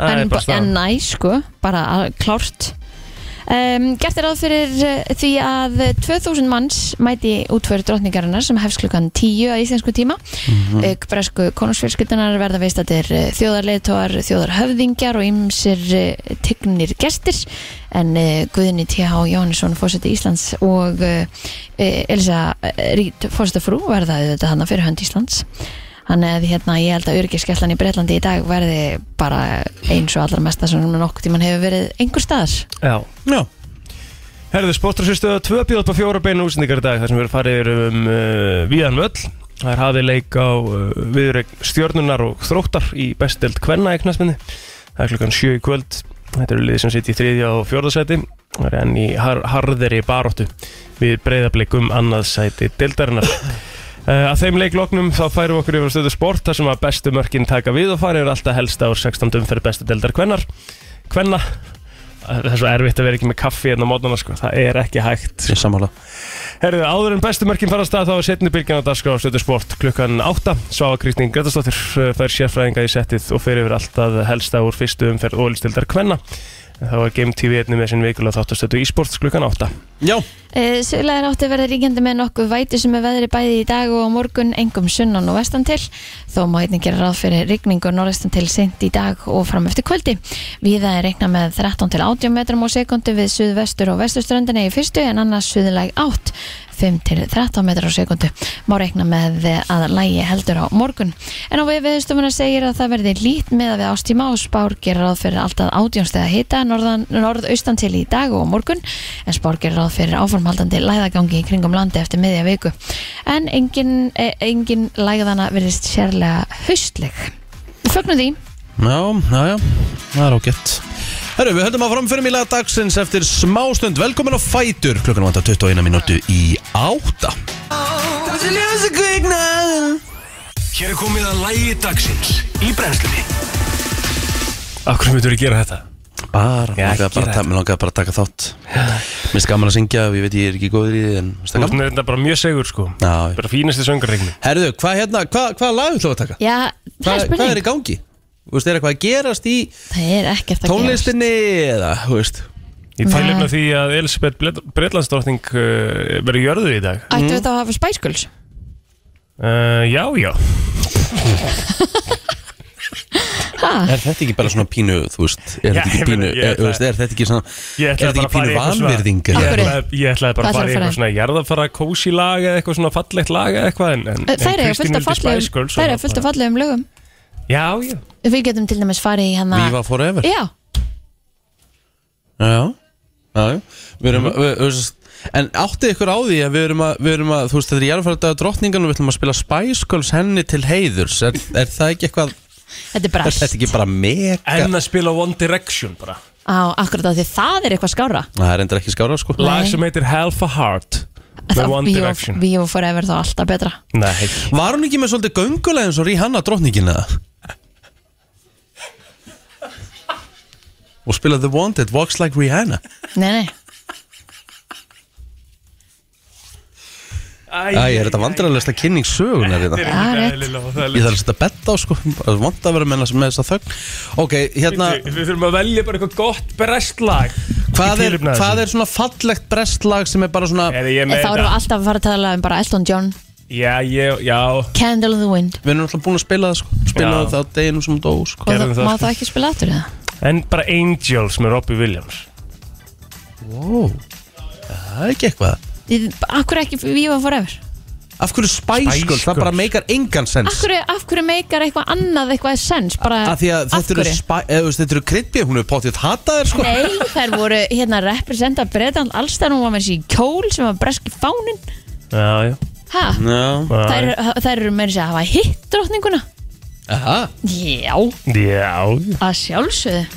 Mm. en,
bara
en
staðan
næ, sko, bara al- klárt um, Gert er ráð fyrir uh, því að 2000 manns mæti útföru drottningarinnar sem hefst klukkan 10 að íslensku tíma
Mhm.
auk bresku konungsfjölskyldunar verða veistatir eh, þjóðarleiðtogar, þjóðarhöfðingjar og ymsir eh, tignir gestir en eh, Guðni T.H. Jónsson fórseti Íslands og eh, eh, Elsa eh, Rít fórseti frú verða auðvitað hann fyrir hönd Íslands Þannig að hérna, ég held að öryggiskeslan í Breitlandi í dag verði bara eins og allra mesta sem nokkuð tíman hefur verið einhver staðar.
Já
já,
Herðu, sportrasistuða 2 bjóð upp á fjóra beina útsendingar í dag þar sem við erum farið yfir um uh, Víðan Völl Það er hafið leik á uh, viðreik stjörnunar og þróttar í bestdelt kvenna í knastminni Það er klukkan 7 í kvöld Þetta eru liðið sem sitt í þriðja og fjórðasæti Það er enn í har harðeri baróttu við breyðablik um annað sæti deildarinnar Uh, að þeim leikloknum þá færum við okkur yfir á stöðu sport þar sem að bestu mörkin taka við og farið er alltaf helst ár 16 umferð bestu deildar kvennar kvenna það er svo erfitt að vera ekki með kaffi hérna á mótnana sko. það er ekki hægt
ég sammála
Herðu, áður en bestu mörkin fara að stað þá er setni bylgjan á dagskrá á stöðu sport klukkan 8 Svava Kristín Gretarsdóttir uh, fær sérfræðinga í settið og fyrir yfir alltaf helsta úr fyrstu umferð ólistildar kvenna þá er Game TV einnig með sinn vikulega þáttastötu í sport klukkan 8
Já,
Eh, Suðlæðar átti verði ríkjandi með nokkuð væti sem er veðri bæði í dag og á morgun engum sunnan og vestan til þó má einnig gera ráð fyrir rigningu norðestan til sent í dag og fram eftir kvöldi Víða er reikna með 13 til 80 metrum á sekundu við suðvestur og vesturströndinni í fyrstu en annars suðlæg átt 5 til 13 metrar á sekundu. Má reikna með að lægi heldur á morgun. En á við viðstofuna segir að það verði lít með að við ástíma og spár gerir ráð fyrir alltaf átjónstega hita norðan, norðaustan til í dag og á morgun en spár gerir ráð fyrir áformhaldandi læðagangi í kringum landi eftir miðja viku. En engin, eh, engin læðana verðist sérlega haustleg. Við Fögnum því.
Já, já, já, það er ágætt Herru, við höldum að framförum í lagdagsins eftir smástund Velkomin á Fætur, klukkan vantar 21 minútu í átta
Hér er komið að lægi dagsins Í brennslunni
Akkur myndur við gera þetta?
Bara, mér
Já,
langaði
ekki
bara, að
rætt.
ta- mig langaði bara að taka þátt Mér finnst gaman að syngja, ég veit ég er ekki góður í því en finnst
Þú
það
veist,
gaman
þetta er bara mjög segur sko
Já, já.
Bara fínasti söngarregnum
Herðu, hvað hérna, hvað, hvað lag ætlum við að taka?
Já, það er
Hvað, hvað er
spurning.
í gangi? Þú veist, er eitthvað að gerast í
Það er ekkert að gerast.
tónlistinni eða, þú veist
Ég
Nei.
tilefna því að Elisabeth Breitlandsdrottning uh, verður jörðu í dag
Ættu þetta að hafa spæskuls?
uh, Já, já
Er þetta ekki bara svona pínu, þú veist Er
Já,
þetta ekki
ég
pínu,
meina, ég
er, þú veist, er þetta ekki svona
Ég
Er
ætlaði
þetta
bara
ekki
að fara í
pínu
eitthvað svona-
vanvirðing?
Ég
eða?
Af hverju?
ætlaði, ég ætlaði bara
Hvað
að fara í
ætlarðu að fara
eitthvað
í?
svona jarðafara kósi lag eða eitthvað svona fallegt lag eða eitthvað en, en, en
Þær eru
Kristín
fullt
vildi
af fallegum,
Spice Girls og
þær
það
eru fullt af
bara-
fallegum lögum
Já, já
Við getum til dæmis farið í hana
Viva Forever
Já,
Já, já, já Við erum, við, við, við, en áttið ykkur á því að við erum að, við erum að þú veist, þetta er jarðfærdað drottningan og við ætlum að spila Spice Girls henni til heiðurs Er, er það ekki eitthvað,
þetta er
er
*laughs*
brast
þetta ekki bara mega?
En að spila One Direction bara
Á, akkurat á því það er eitthvað skára
Það er endur ekki skára, sko
Lag sem heitir Half a Heart með
Það-
One
Viva-
Direction
Viva Forever þá alltaf betra
Nei,
Var hún ekki með svolítið göngulega eins og Rihanna drottningin eða? Og spila The Wanted, Walks Like Rihanna
Nei, nei,
Æ, er þetta vandrarlegasta kynning sögunar í það?
Já, rétt.
Ég þarf að setja bett á sko, bara vant að vera með þessa- með þessa þögn Ok, hérna,
Við þurfum að velja bara eitthvað gott brestlag
hvað er, hvað er svona fallegt brestlag sem er bara svona
hérna, Er ég
þá
með
erum við
þetta?
alltaf að fara að tala um bara Elton John
Já, ég, já
Candle in the Wind
Við erum alltaf búin að spila það sko, spila
Já.
það á deginum sem hún dó sko
Og
Gerðum
það,
það,
má
sko.
það ekki spila aftur eða?
En bara Angels með Robbie Williams
wow. Það er ekki eitthvað
Ég- Akkur ekki Viva Forever
Af hverju Spice
Spice
Girls, það bara
Girls.
meikar engan sens
Akkur, akkur meikar eitthvað annað eitthvað sens bara
Af því að
af
þetta eru,
hverju?
spa, eða, þú veist, þetta eru krippi, hún er potið hataðir sko
Nei, þær voru hérna representa Bretland allstæðan, hún var með sér í kjól sem var breski fáninn
Já, já
Hæ?
Já,
Þær, þær eru meira sér að hafa hitt drottninguna
aha
Já,
Já,
að sjálfsögðu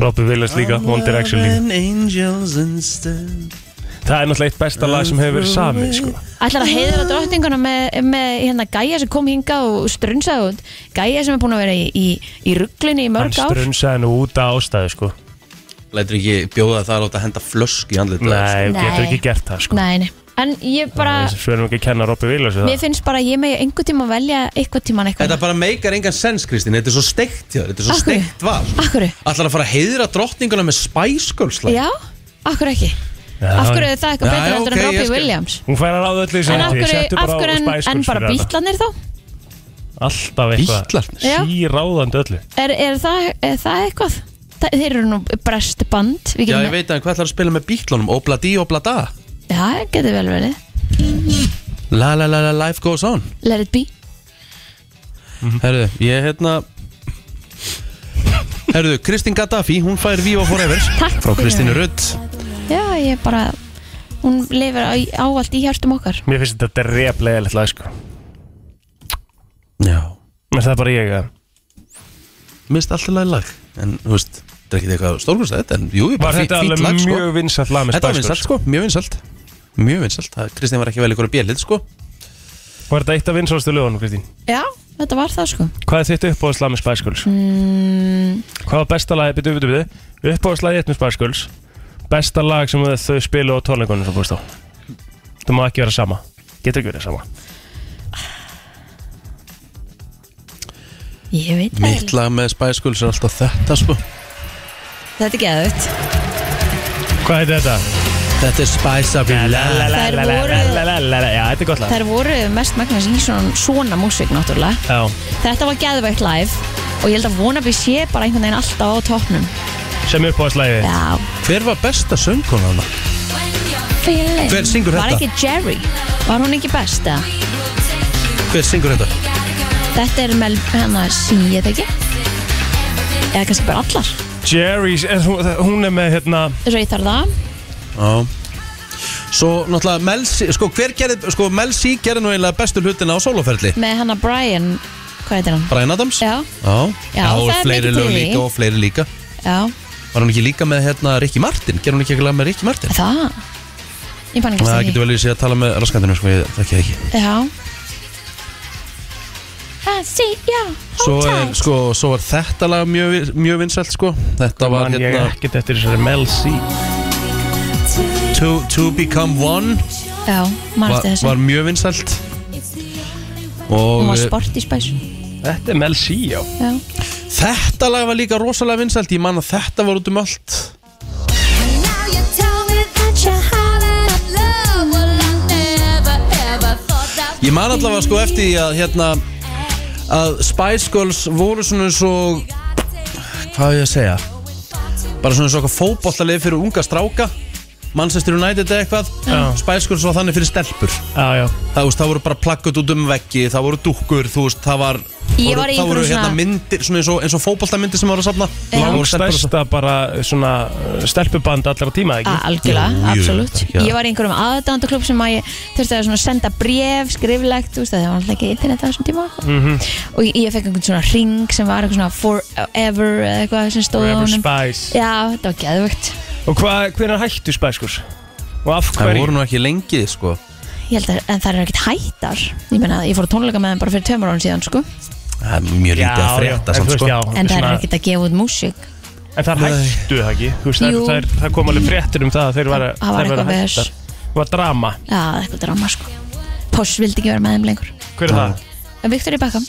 Robbie Williams líka, One Direction líka
Angels instead
Það er náttúrulega eitt besta lag sem hefur verið samið sko.
Ætlar að heiðra drottninguna með, með hérna gæja sem kom hingað og strunsaði út Gæja sem er búin að vera í, í, í rugglinni í
Hann
mörg ár
strunsaði nú út að ástæðu sko.
Lætur ekki bjóða það að láta henda flösk í andlitið á þér, sko.
Nei,
Nei.
getur ekki gert það sko.
Nei, nei, en ég bara
Svo erum við ekki að kenna Robbie Williams við
Mér
það.
finnst bara að ég megi einhvern tíma velja einhvern tíman
Þetta
eitthvað
bara meikar engan sens, Kristín Þetta er svo steikt hjá þér, þetta er svo
Af hverju?
steikt val sko.
Akkur,
Ætlar að fara að heiðra drottninguna með Spice Girls lag?
já, akkur ekki
Já, já.
Af hverju er það
Já,
eitthvað betra
já, ok,
heldur en
ég
Robbie
skil.
Williams
Hún fær að ráða öllu í
En af
sinni
hverju,
Settu
af
bara á
hverju en,
Spice
en
Girls
bara
fyrir þetta.
bítlanir þá?
Alltaf eitthvað
Bítlarnir?
Já.
Síráðandi öllu
Er, er, það, er það eitthvað? Það, þeir eru nú brest band við
Já,
getum-
ég veit að hvað ætlar að spila með bítlunum Obla di, obla da
Já, getur vel verið
La la la la, life goes on
Let it be
Mhm.
Herðu, ég hérna Herðu, Kristín Gaddafi, hún fær Viva Forever
Takk
Frá
fyrir.
Kristínu Rutt
Já, ég bara Hún lifir á, ávallt í hjartum okkar
Mér finnst þetta replega leitt lag sko.
Já,
Mér finnst það bara ég að
mist alltaf lag lag En, þú veist, þetta er ekki eitthvað stórkvæmstætt En jú, ég
Var
bara fí-
þetta
fínt
alveg
lag, sko
mjög vinsalt lag með
Þetta var
Spice
vinsalt,
Girls
sko, mjög vinsalt Mjög vinsalt, Það- Kristín var ekki vel ykkur að bjölið, sko
Var þetta eitt af vinsalstu lögunum Kristín?
Já, þetta var það sko
Hvað er þitt uppáðslag með Spice Girls?
mm,
Hvað var besta lag, bitu, bitu, bitu Uppáðslagið eitt með Spice Girls Besta lag sem þau- þau spilu á tónleikunum sem fórst á Það má ekki vera sama Getur ekki verið sama
Ég veit það
Mitt
ekki.
lag með Spice Girls er alltaf þetta, sko
Þetta er geðut
Hvað heitir þetta?
Þetta er Spice Up Your Love
Þær voru-
voru Já, þetta er gott lag
Þær voru mest magnas í svona, svona músík náttúrulega
Já,
Þetta var geðveikt live Og ég held að vona við sé bara einhvern veginn alltaf á toppnum
sem uppáðslagið þitt.
Já,
Hver var besta söngkona hana?
feeling
Hver syngur
Var
þetta?
ekki Jerry Var hún ekki best eða?
Hver syngur þetta?
Þetta er með hennar sí, ég þekki Eða kannski bara allar
Jerry, en hún, hún er með hérna
Þess að ég þarf það
Já Svo náttúrulega Mel C, sko hver gerði, sko Mel C gerði nú eiginlega bestu hlutina á sóloferli
Með hennar Brian, hvað heitir hann?
Brian Adams
Já,
Já,
Já, það
og
er
fleiri
mikið til
lög
í.
líka og fleiri líka
já,
Var hún ekki líka með hérna Ricky Martin? Gerði hún ekki ekki lag með Ricky Martin?
það Ég fann ekki
Það
eftir
getur
því
vel í sig að tala með raskandinu, sko, ég þekki það ekki
Já Það sí, já,
Svo er,
tight.
sko, svo er þetta lag mjög, vi- mjög vinsælt, sko Þetta var
Man ég
hérna
ekkert eftir þessari Mel C
To, to Become One
Já,
var,
mannstu þessu
var mjög vinsælt Og
Hún var
eh,
sport í spæs
Þetta er Mel C, já
Já,
þetta lag var líka rosalega vinsælt Ég man að þetta var út um allt Ég man allavega sko eftir því að hérna að Spice Girls voru svona eins og hvað á ég að segja bara svona eins og fótbollalið fyrir unga stráka Manchester United eða eitthvað
Já.
Spice Girls var þannig fyrir stelpur
Já, já
það, þú veist, það voru bara plakkuð út um veggi það voru dúkkur, þú veist, það var
Ég var í
það voru
einhverjum
hérna
svona-
myndir, svona eins og, eins og fótbollamyndir sem voru að safna
Já.
Það voru stelpur að-
Stærsta bara svona uh, stelpuband allra tíma, ekki?
a- Ah, algjörlega,
Jú, jú,
absolutt
ekki að-
Ég var í einhverjum aðdændaklubb sem að ég þurfti að svona senda bref, skriflegt þú veist, það var alltaf ekki internet á þessum tíma
Mhm.
og ég, ég fekk einhvern svona ring sem var einhvern svona forever eða eitthvað sem stóð á
Forever
honum
Spice
Já, þetta var geðvögt
Og hvað, hvernig hættu Spice Girls? Og af
það
hverju?
voru nú ekki lengi sko
Ég held að en það er ekkert hættar Ég meina, ég fór að tónleika með þeim bara fyrir tveimur árum síðan sko.
það er mjög lítið að frétta
en,
samt,
þú veist,
sko.
já,
en það er
svona-
ekkert að gefa út músík
En það
Nei.
hættu það ekki, þú veist,
Jú.
það, það, það kom alveg fréttir um það að þeir var,
Það var eitthvað við þess.
Það var drama,
Já, það er eitthvað drama sko. Posh vildi ekki vera með þeim lengur
hver er það?
En Victoria Beckham,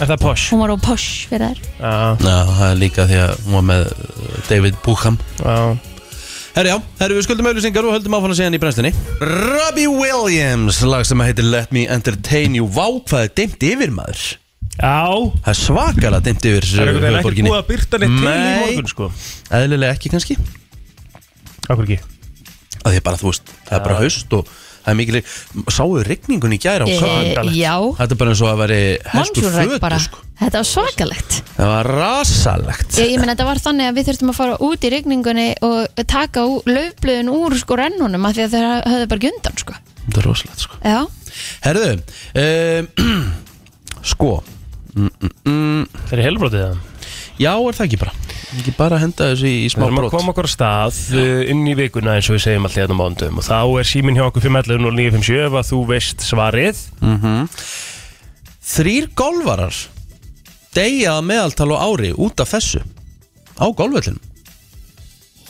Er það posh?
hún var á Posh fyrir þær
Já,
Já, það er líka því að hún var með uh, David Bucham
já
Herri já, herri við skuldum auðlýsingar og höldum áfann að síðan í brenslinni Robbie Williams, lag sem heitir Let Me Entertain You Vá, hvað er dimmt yfir maður?
Já,
Það er svakalega dimmt yfir
það er eitthvað ekki
höfuborginni
búið að byrta neitt til í
Nei.
morgun, sko
Eðlilega ekki kannski
Akkur ekki
að Því bara þú veist, það er bara haust og það er mikil Sáuðu rigningun í gæra á köfnum?
skandalegt.
Eh, Já,
Þetta er bara eins og að veri hestur
Monsunregn
fötu
bara
sko.
Þetta var svakalegt
Það var rasalegt
Ég, ég menn þetta var þannig að við þurftum að fara út í rigningunni og taka ú- laufblöðin úr sko rennunum af því að þeir höfðu bara ekki undan sko.
Þetta er rosalegt sko
Já,
Herðu, *clears throat* um, sko
Það er helbrótið það
Já, er það ekki bara Ekki bara að henda þessu í, í
Við
smá
erum að
brot
koma okkur á stað uh, inn í vikuna eins og við segjum alltaf hérna á mándum og þá er síminn hjá okkur 511 0957 ef að þú veist svarið
Þrýr golvarar Deyja að meðaltal á ári út af þessu Á golvöllin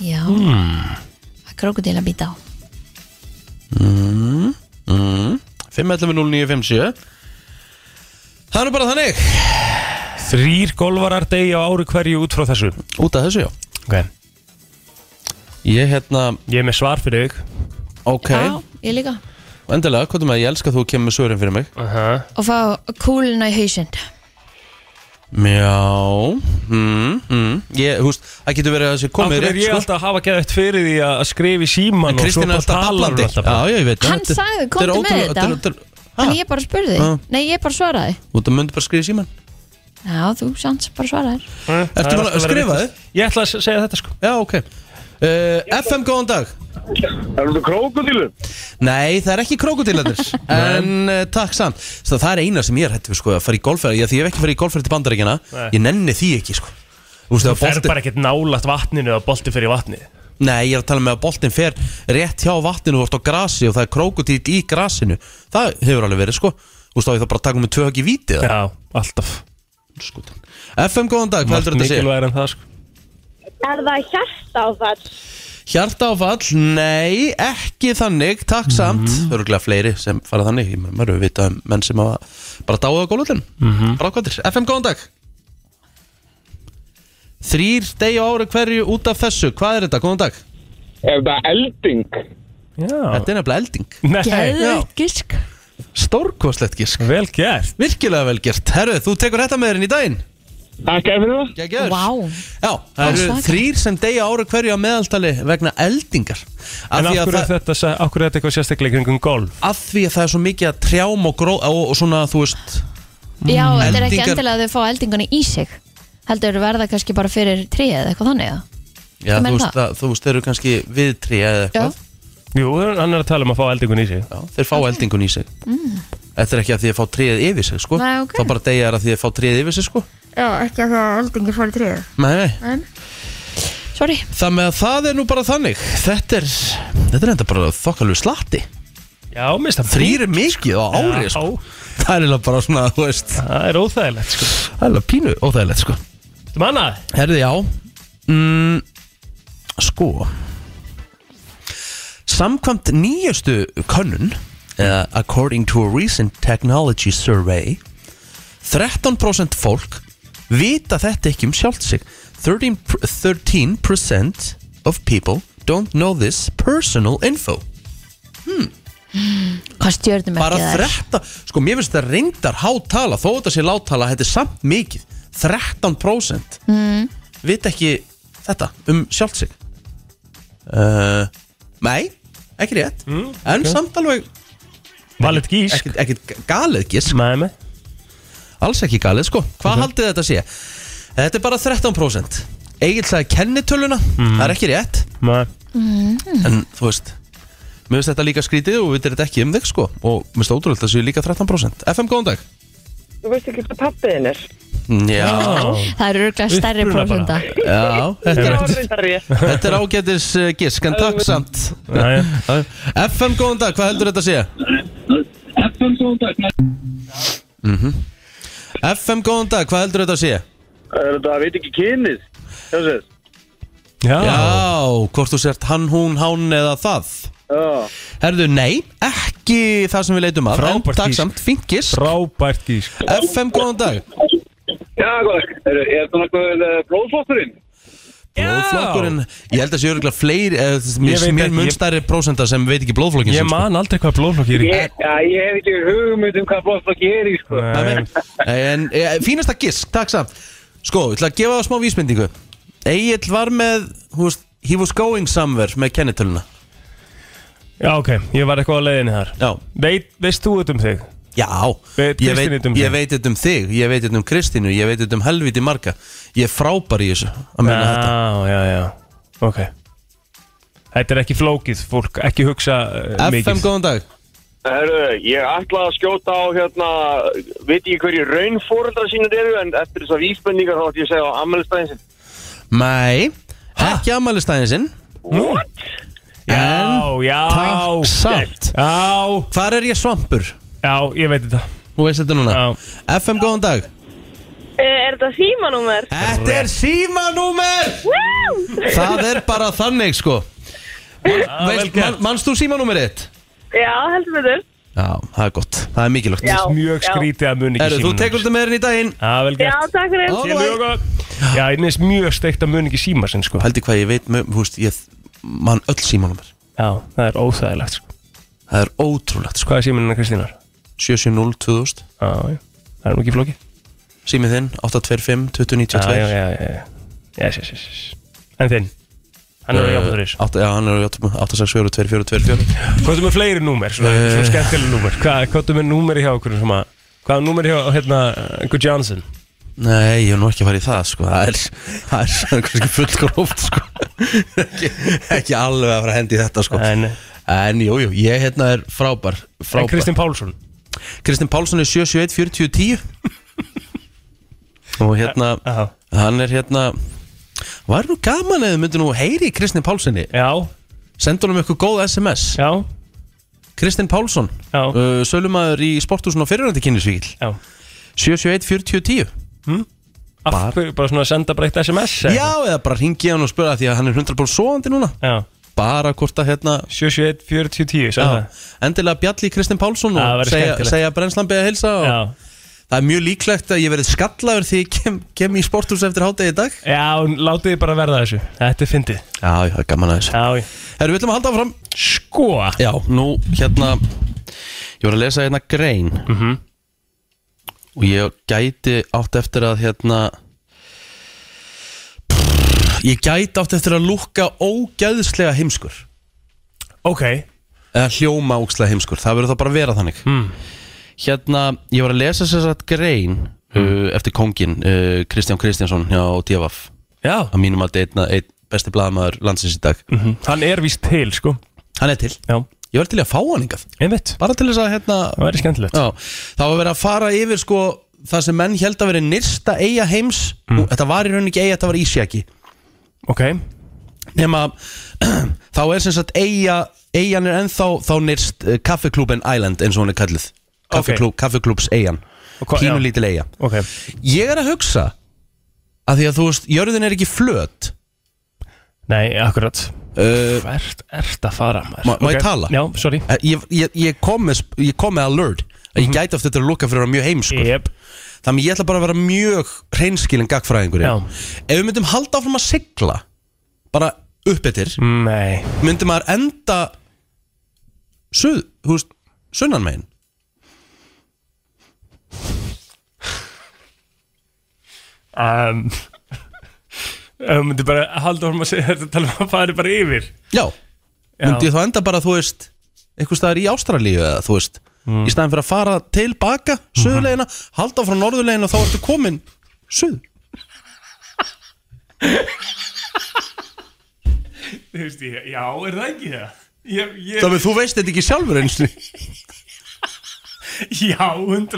já mm.
Hmm.
Krokodila býta á
511-0957 Það er nú bara þannig
Þrýr golvarar degi á ári hverju út frá þessu
Út af þessu, já
okay.
Ég hérna,
Ég er með svar fyrir þig
ok
Já, ég líka
Endilega, hvað er maður, ég elska að þú kemur með svörin fyrir mig
uh -huh.
Og fá kúluna í hausinn
Já mm, mm. Ég, húst, það getur verið að þessi komið
Akkur er
rétt
ég
sko.
alltaf að hafa gæðið fyrir því að að skrifa í síman og svo
Kristín er
bara
alltaf
talar hún
hablandi
alltaf bara.
Já, já, ég veit
Hann
þetta-
sagði,
þetta er
komdu með
ótrúlega-
þetta.
þetta er- þetta
En
er- Ha?
ég bara spurði
Ah.
Nei, ég bara svaraði
Þú þetta myndi bara skrifa í síman
Já, þú sjans bara svaraði
Það
búin
er
að
alltaf verið
skrifa
vitlaust. Ég ætla að segja þetta sko
Já, ok uh, FM, góðan dag
Er þetta krókudílu?
Nei, það er ekki krokodillandir En uh, takk samt Svo Það er eina sem ég er hættu sko að fara í golfferð Því ég hef ekki farið í golfferð til bandaríkjana
Nei.
Ég nenni því ekki sko Þú veist,
Það er
bolti...
bara ekkert nálægt vatninu að bolti fyrir vatni
Nei, ég er að tala með að boltin fer rétt hjá vatninu Vort á grasi og það er krokodil í grasinu Það hefur alveg verið sko Þú veist, þá ég það bara að taka með tvö högg í víti eða?
Já, alltaf
Skotin. FM, góðan dag, hvað heldur þetta að segja?
Mikilvægir en það sko
Er það hjartáfall?
Hjartáfall, nei, ekki þannig, takk samt
Mhm.
Það eru glæða fleiri sem fara þannig Ég meina, maður eru vita um menn sem hafa bara dáið á gólvöldin mm
Mhm.
-hmm. FM, góðan dag Þrýr degi á ári hverju út af þessu Hvað er þetta, góðan dag?
Er þetta elding?
Já
Þetta er nefnilega elding
Nei,
Geðveikt gisk
Stórkostlegt gísk
vel gert
Virkilega vel gert Herru, þú tekur þetta með þér inn í daginn
Takk fyrir það
Gekkjör
Vá.
Já, það
Það er
eru
svaka.
þrýr sem deyja ára hverju á meðaltali vegna eldingar
En
því
af
að
hverju
það-
er þetta, sa- af hverju er þetta eitthvað sérstaklega í kringum golf?
að því að það er svo mikið að trjám og gró og, og svona þú veist
Já,
Mm.
þetta er ekki
Eldingar-
endilega að þau fá eldingana í sig heldur verða kannski bara fyrir tríið eða eitthvað þannig eða?
já,
Hvað
þú,
meinar
veist,
það?
að, þú veist þeir eru kannski viðtrí eða
Já,
eitthvað já.
Jú, hann er að tala um að fá eldingun í sig
þeir fá eldingun í sig þetta er ekki að því að fá tríð yfir sig sko.
Mm. Nei, ok.
þá bara deyja þær að því að fá tríð yfir sig sko.
Já ekki að það eldingi fór í tríið
nei, nei.
Sorry,
það með að það er nú bara þannig þetta er, þetta er enda bara þokkalveg slatti
Já, mista
þrýr er mikið á ári sko. það er eiginlega bara svona þú veist,
Það er óþægilegt sko
það er eiginlega pínu óþægilegt sko.
Þú mannað?
Herði, já mm, Sko Samkvæmt nýjastu könnun eða According to a recent technology survey 13% fólk vita þetta ekki um sjálft sig 13, 13% of people don't know this personal info
hvað stjörnum
bara
ekki það er
13, sko mér finnst þetta reyndar hátala, þó þetta sé láttala þetta er samt mikið, 13% mm. vita ekki þetta um sjálft sig uh, nei ekki rétt, en samt alveg
Valit gísk
ekkit, ekkit galið gís,
Mæmi
alls ekki galið sko hvað haldið þetta sé? Þetta er bara 13% Egil sagði kennitöluna, það er ekki rétt
Mæ
en þú veist mér finnst þetta líka skrítið og við þetta ekki um þig sko og mér finnst ótrúlega þetta séu líka 13% FM góðan dag
Þú veist ekki hvað pappiðin er.
Já,
Það eru örglega stærri
Uppruna
prófunda
bara.
já, þetta
Það
er,
var reyndar rétt.
þetta er ágætis uh, gisk, en takk samt
Jæja.
FM, góðan dag, hvað heldur þetta að segja? FM, Mhm. góðan dag Hvað heldur þetta að segja?
Er þetta að veit ekki kynið? Sjáðsins?
Já
Já, hvort þú sért hann, hún, hán eða það
Já.
Herðu, nei, ekki það sem við leitum að En
Frábært
takk
gisk.
samt, fínt gisk
Frábært gísk
FM, góðan dag
Já, góð. Er, er það nokkuð uh, blóðflokkurinn?
Blóðflokkurinn, ég held að sé örgulega fleiri eh,
Ég veit
Mér
ekki,
mun
ég-
stærri prósenda sem veit ekki blóðflokkin
Ég
sinn, sko.
man aldrei hvað blóðflokki er í
Ég, já, ég hef ekki hugmynd um hvað blóðflokki er í, sko.
Það er
Nei.
mér. En e, fínasta gisk, takk samt Sko, ég ætla að gefa það smá vísmyndingu Egil var með, hú veist He was going somewhere með kennitöluna
Já, ok Ég var eitthvað á leiðinni þar
Já,
Veit, veist þú þetta um þig?
já
Veit
Ég
Kristín
veit
þetta um
ég
þig?
veit þetta um þig, ég veit þetta um Kristínu Ég veit þetta um helviti marga Ég er frábær í þessu að meina þetta
Já, já, já Ok Þetta er ekki flókið, fólk ekki hugsa uh,
FM,
mikið
góðan dag
Herru, ég ætla að skjóta á, hérna, veit ekki hverju raunfóreldra sínir eru, en eftir þessar vísbendingar þá ætti ég að segja á ammælstæðinsinn.
Nei, ekki ammælistæðin sinn
What? Já,
En-
já
Takk samt
Já,
Hvar er ég svampur?
já, ég veit þetta
Þú veist þetta núna
Já.
FM, góðan dag
Eh, Er þetta símanúmer?
Þetta er símanúmer Það er bara þannig sko
vel
Veist,
gert.
man, Manst þú símanúmerið þitt?
Já, heldur betur.
Já, það er gott, það er mikilvægt
Já.
Mjög skrítið að muni ekki
Herru, þú
símanúmer.
tekur þetta með þér í daginn
Já, vel
Já,
gert
takk fyrir.
Ó.
Ég er mjög góð Já, ég minnst mjög steikt að muni ekki síma sinn sko
Haldi hvað ég veit, mö- þú veist, ég mann öll símanúmer
Já, það er óþægilegt sko
Það er ótrúlegt sko
Hvað er síminina Kristínar?
770 2000
Já, já, það er nú ekki flókið
Símið þinn 825
Já, já,
2092
já, já, já Yes, yes, yes, yes. En þinn? Hann er á jáfnþurís
Átta- Já, hann er 864 2424
Hvað er með fleiri númer? Svona, svona skemmtileg númer Hvað hvað er með númeri hjá okkur sem að Hvað er númeri hjá hérna Gu Johnson?
Nei, ég er nú ekki að fara í það sko Það er, það er, það er kannski fullgróft sko ekki, ekki alveg að fara að hendi í þetta sko
En,
En jú, jú, ég hérna er frábær
en
Frábær
Kristinn Pálsson
Kristinn Pálsson er 771 40 10 Og hérna
Já,
Hann er hérna Var nú gaman eða myndi nú heyri í Kristinn Pálssoni
já,
Sendu honum eitthvað góð SMS
já,
Kristinn Pálsson
Já.
uh, Sölumæður í sporthúsun á fyrirrandi kynnisvíkil
já.
771 40 10
Af
Bara-
hverju, bara svona að senda bara eitt SMS eða?
Já, eða bara ringi hann og spura því að hann er 100% svoandi núna
Já,
Bara hvort að hérna
771 40 10, sagði
Já,
það
endilega bjalli Kristinn Pálsson
Já,
og
það væri
segja,
skemmtilegt.
segja brennslambið að heilsa og
Já,
það er mjög líklegt að ég verið skallaður því ég kem, kem í sporthús eftir hátegi í dag
Já, látið þið bara verða þessu Þetta er fyndið
Já, já, það er gaman aðeins
Já, já.
Herru, við ætlum að halda áfram
sko
Já, nú hérna Ég var að lesa hérna
Mhm.
grein -hmm. Og ég gæti átt eftir að hérna Ég gæti átt eftir að lúkka ógæðslega heimskur
Ok,
eða hljóma ógæðslega heimskur það verður þá bara að vera þannig mm. Hérna, ég var að lesa sér satt grein uh, eftir kongin uh, Kristján Kristjánsson hjá DFF
já
að mínum að einna einn besti blaðamaður landsins í dag
Hann er víst til, sko
Hann er til
Já,
Ég var til í að fá hann yngað
einmitt
bara til þess að hérna,
Það væri skemmtilegt
Já, það var verið að fara yfir sko það sem menn held að verið nyrsta eiga heims mm. þetta var í rauninni ekki eiga, þetta var ísjaki
Ok,
nema *clears throat* þá er sem sagt eiga eigan er ennþá þá nyrst uh, kaffiklúben Island eins og hún er kalluð Kaffiklú, kaffiklúbs eigan
Og hva-
pínu
já.
lítil eiga
ok
ég er að hugsa að því að þú veist, jörðin er ekki flöt
Nei, akkurat
uh,
Hvert ert að fara, maður?
Má- má ég
Ok.
tala?
Já, sorry
Eh, ég, ég, ég kom með, sp- ég kom með alert að
Mhm.
ég gæti aftur þetta að lúka fyrir að vera mjög heimskur
Jep,
Þannig ég ætla bara að vera mjög hreinskilin gagfræðingur hérna.
Já.
Ef við myndum halda áfram að sigla bara uppbyttir mm.
nei
myndum maður enda suð, húst, sunnan megin
um, *laughs* Ef myndi bara halda orðum að segja þetta tala um að fara bara yfir
Já, myndi ég þá enda bara þú veist, einhvers staðar í Ástralíu eða þú veist, í staðan fyrir að fara til baka suðulegina, halda áfram norðulegina og þá ertu komin suð
Þú veist ég, já, er það ekki það? Ég, ég,
Þannig þú veist þetta ekki sjálfur eins
já, 100%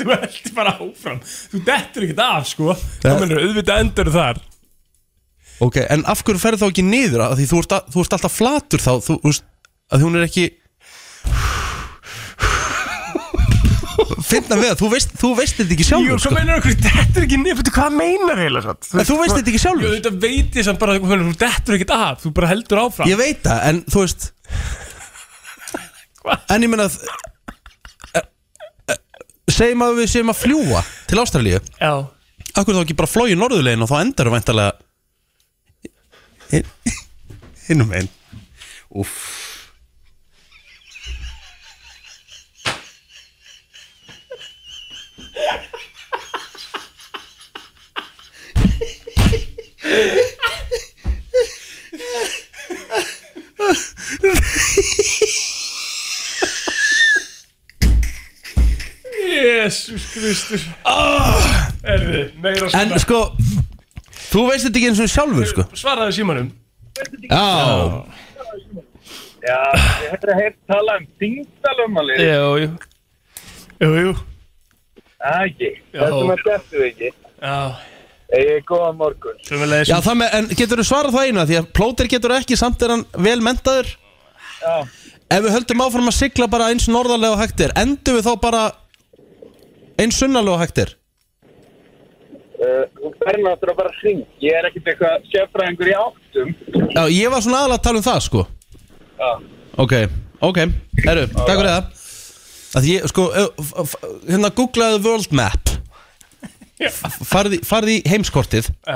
Þú ert bara áfram Þú dettur ekkert af, sko
Eh.
Þú mennur auðvitað endur þar
Ok, en af hverju ferð þá ekki niður að því þú ert, að, þú ert alltaf flatur þá þú, þú veist, að því hún er ekki finna við að þú veist, þú veist þetta ekki
Jú,
sjálfur
hvað
sko.
meinar okkur, dettur ekki niður, veitu hvað meinar heila satt?
en þú veist þetta ekki
Jú,
sjálfur
þetta veit ég samt bara, þú meinar, þú dettur ekkert af, þú bara heldur áfram
ég veit það, en þú veist
Hva?
en ég meina að Eh, segjum að við séum að fljúa til Ástralíu,
Já,
af hverju þá ekki bara flói í norðulegin og þá endar við væntalega hinnum einn
Jésús Kristur oh, Erði, meira
en
svona
sko, þú veist þetta ekki eins og sjálfur sko
Svaraði símanum
já,
Ég hefði heilt tala um þingdalumali
Jú, jú Jú, jú
Ægir,
Já.
þessum að deftu ekki
Já,
Egið góða morgun
sömulegis
Já, það með, en getur þú svarað það eina því að plóter getur ekki, samt er hann vel mentaður
Já.
Ef við höldum áfram að sigla bara eins norðarlega og hægt er Endum við þá bara eins sunnalega og hægt er
Uh, Þú færði náttúrulega bara hring Ég er ekkert eitthvað sjöfræðingur í áttum
Já, ég var svona aðalega að tala um það, sko
Já.
Ok, ok, herru, takk fyrir það Að ég, sko, ö, f- f- hérna googlaði World Map
Já.
Farði, farði heimskortið
Já,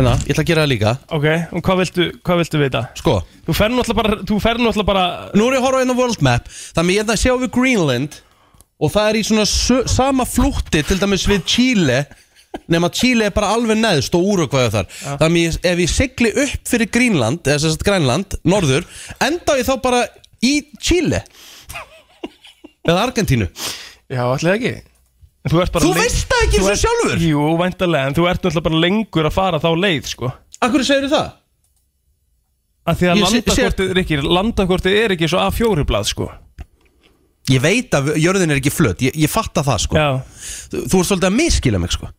Hérna, ég ætla að gera það líka
ok, og hvað viltu, hvað viltu vita?
Sko,
Þú ferð náttúrulega bara, þú ferð náttúrulega bara
nú er ég að horfa inn á hérna World Map Þannig ég ætla að sjá við Greenland Og það er í svona sö- sama flútti Til dæmis við Chile Nefn að Chile er bara alveg neðst og úrugvæðu þar Þannig ég, ef ég sigli upp fyrir Greenland Eða sérst Grænland, norður Enda ég þá bara í Chile Eða Argentínu
Já, allir ekki Þú, ert bara
Þú
leng-
veist það ekki eins
Þú
og
ert-
sjálfur?
Jú, væntalega, en þú ert náttúrulega bara lengur að fara þá leið, sko
Akkur segirðu það?
Af því að
Ég sé-
landakortið er ekki, landakortið er ekki svo A4 blað, sko
Ég veit að jörðin er ekki flöt Ég, ég fatta það sko
Já,
þú, þú ert svolítið að miskila mig sko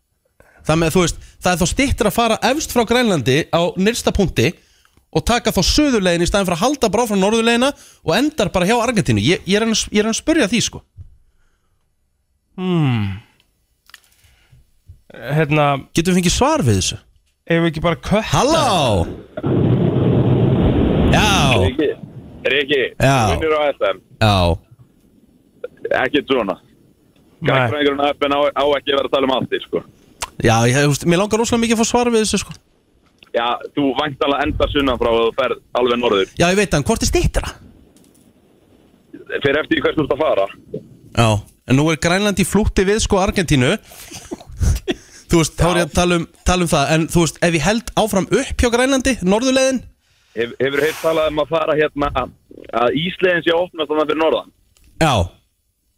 Það með þú veist, það er þá stittir að fara efst frá Grænlandi á nyrsta punkti og taka þá söðurlegin í staðin fyrir að halda bara frá norðurlegina og endar bara hjá Argentínu Ég, ég, er, að, ég er að spurja því sko
hérna,
Getum við fengið svar við þessu?
ef við ekki bara kött
Halló! Já,
Riki, Riki,
Já.
vinnur á FM
já
Ekki svona
Nei,
Gagfræðingurinn á FM á, á ekki að vera að tala um áttir sko
Já, ég, þú veist, mér langar rosalega mikið að fá svar við þessu sko
Já, þú væntalega endar sunnan frá að þú ferð alveg norður
Já, ég veit það, en hvort er stittra?
Fyrir eftir í hvers þú ert að fara
Já, en nú er Grænland í flútti við sko Argentínu Þú þú veist, þá er ég að tala um, tala um það En þú veist, ef ég held áfram upp hjá Grænlandi, norðurleiðin
Hef, hefur heilt talað um að fara hérna að Ísleiðin sé opnast þannig fyrir norðan
Já,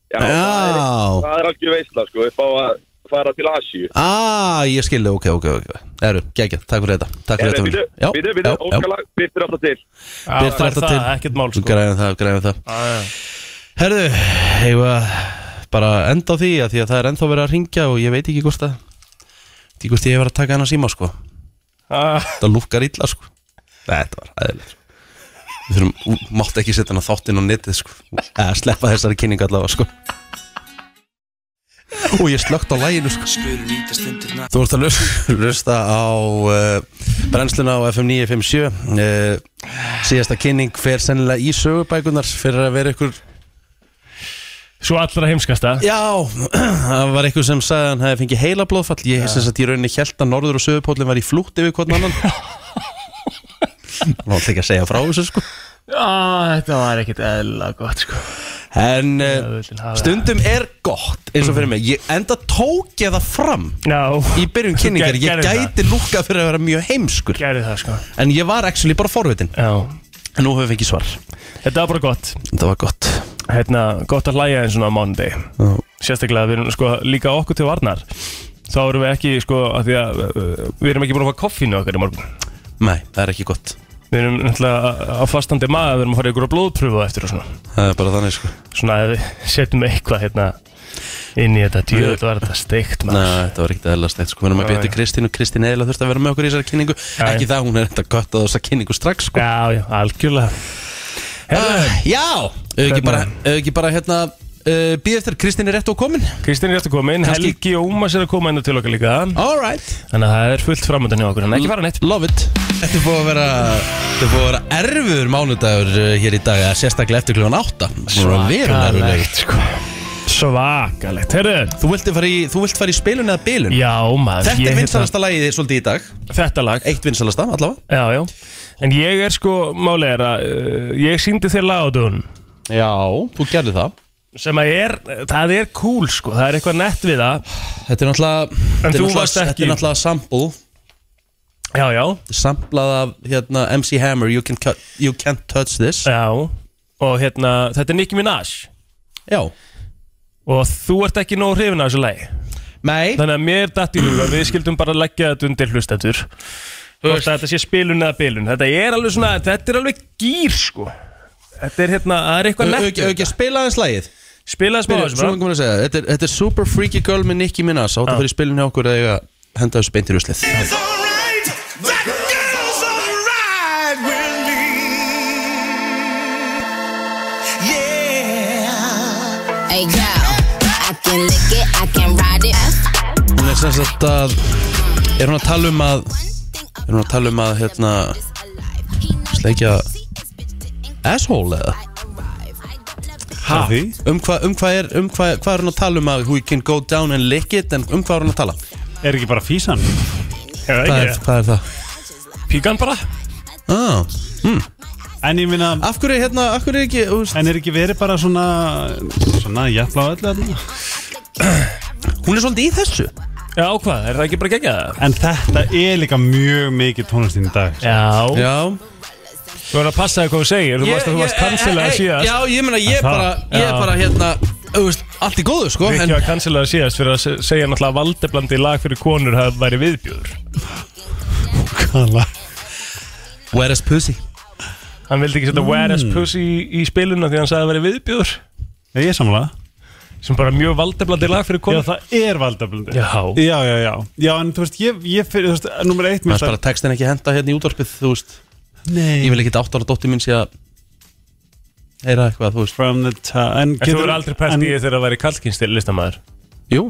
Já,
Já.
Það, er, það er algjör veisla sko, upp á að fara til Asíu
ah, ég skilði, ok, ok, ok Eru, geggjað, takk fyrir þetta Takk fyrir
Býtu,
þetta Já,
býtu,
já,
býtu,
já.
óskalag, byrtir alltaf til
Já,
Birta
það er
alltaf
það,
til.
ekkert mál
Þú
sko Ah,
græðum það, græðum það
Já, já.
Herðu, hefur að bara enda á því að því að það er ennþá verið að ringja og ég veit ekki hvort að veit ekki hvort ég hef verið að taka hennar síma sko
Ah,
Þetta lúkkar illa sko Þetta var aðeins sko. Við þurfum, ú, mátt ekki setja hennar þáttinn á netið sko eða sleppa þessari kynningu allavega sko Og ég slögt á læginu sko Þú ert að lus- lusta á uh, brennsluna á FM 957 uh, Síðasta kynning fer sennilega í sögubækunar fyrir að vera ykkur
Svo allra heimskasta
Já, *clears throat* það var eitthvað sem sagði að hann hefði fengið heila blóðfall Ég hef þess að ég rauninni held að norður og söðupólinn var í flútt yfir hvern annan Hann var alltaf ekki að segja frá þessu sko
Já, þetta var ekkert eðla gott sko
En uh,
vil hafa-
stundum er gott eins og fyrir mig Ég enda tók ég það fram
Já,
í byrjun kynningar
Ger-
Ég
gerðu það.
gæti lúkka fyrir að vera mjög heimskur
gerði það sko
En ég var actually bara forvitin
Já,
En nú hefur við fengið svar
þetta var bara gott
Það var gott
Hérna, gott að hlæja eins og á mándi Sérstaklega við erum sko líka okkur til varnar Þá erum við ekki sko að því að uh, Við erum ekki búin að fá koffínu okkar í morgun
Nei, það er ekki gott
Við erum náttúrulega á- á fastandi maður Við erum að fara í ykkur að blóðpröfu á eftir og svona
Það er bara þannig sko
Svona að við *laughs* setjum eitthvað hérna Inn í þetta djöð var þetta steikt
Nei,
maður
þetta var ekkert eðla steikt sko, við erum að
Já,
byrja til
já.
Kristín og Kristín eðla þurfti að vera með okkur í þessari kynningu
já.
ekki það, hún er þetta gött að þessa kynningu strax sko.
Já, já, algjörlega Herra,
uh, Já, auðvitað ekki
Hvernig?
bara, auðvitað ekki bara hérna, uh, býð eftir, Kristín er rétt og komin
Kristín er eftir komin,
Kannski-
Helgi og Úmas er að koma inn til okkar líka
Alright,
Þannig að það er fullt framöndan hjá okkur, en ekki fara neitt
love it Þetta er búið að vera, þetta er búið að vera erfiður mánudagur uh, hér í dag eða sérstaklega eftir klugan 8 Svakalegt
sko Svakalegt, herru
Þú vilt fara í, þú vilt fara í spilun eða bilun
Já maður
Þetta
ég
er
hérna-
vinsalasta lagið svolítið í dag
Þetta lag,
Eitt vinsalasta allavega
já já En ég er sko, málið er að uh, Ég síndi þér lagadun
Já, þú gerði það
Sem að er, það er cool sko Það er eitthvað nett við það
Þetta er náttúrulega þetta er
þú
náttúrulega-
varst
Þetta
ekki-
er náttúrulega sample
Já já,
samplað af hérna, MC Hammer you, can cut, you Can't Touch This
já Og hérna, þetta er Nicki Minaj
Já
Og þú ert ekki nóg hrifin af þessu lagi
Nei
Þannig að mér datt í huga, við skildum bara leggja þetta undir hlustendur Hvort að þetta sé spilun eða bilun Þetta er alveg svona, þetta er alveg gýr sko Þetta er hérna, það er eitthvað nett við
Auðvitað
þetta.
spila aðeins lagið
Spilaðu smá
Byrju,
þessu
Svo
bara
langar mér að segja Þetta er, þetta er Super Freaky Girl með Nicki Minaj Ah. Sátt að fyrir spilinu hjá okkur eða eiga að henda þessu beint í ruslið
Hey yo, I can lick it, I can ride it.
Hún er sem sagt að Er hún að tala um að Er hún að tala um að hérna Sleikja Asshole eða
Ha?
Um hvað um hva er, um hva, hva er hún að tala um að Who can go down and lick it En um hvað er hún að tala
Er ekki bara físan?
Já,
Hvað
ekki
er, hvað er það
Píkan bara
ah.
En ég minna,
Af hverju hérna Af hverju er ekki þú veist,
en er ekki verið bara svona Svona jafnla á öllu þarna?
Hún er svolítið í þessu
Já, hvað, er það ekki bara geggjað það?
En þetta er líka mjög mikið tónlistin í dag
Já,
Já
þú verður að passa þig hvað þú segir Þú varst að þú varst
eh,
kansilaði síðast
eh, Já, ég meina, ég
En það-
bara, ég
Já.
bara hérna Þú veist, allt í góðu, sko
Rikki
en,
var kansilaði síðast fyrir að se- segja náttúrulega að valdeblandi lag fyrir konur hafi væri viðbjóður
Kala.
Where is pussy?
Hann vildi
Mm.
ekki setja Where is Pussy í, í spiluna því hann sagði að væri viðbjóður
Er ég samlega?
sem bara mjög valdeblandi lag fyrir
Já,
konur
það er valdablindi
Já.
já, já, já Já, en þú veist, ég, ég fyrir, þú veist, nummer eitt
Það
mér
er bara textin ekki henda hérna í útvarpið, þú veist Ég
Nei
vil ekki átt ára dóttir minn sé að Heyra eitthvað, þú veist
From the top En
En þú verður aldrei pælt
en-
í því þegar það væri kallkynstil listamæður
Jú,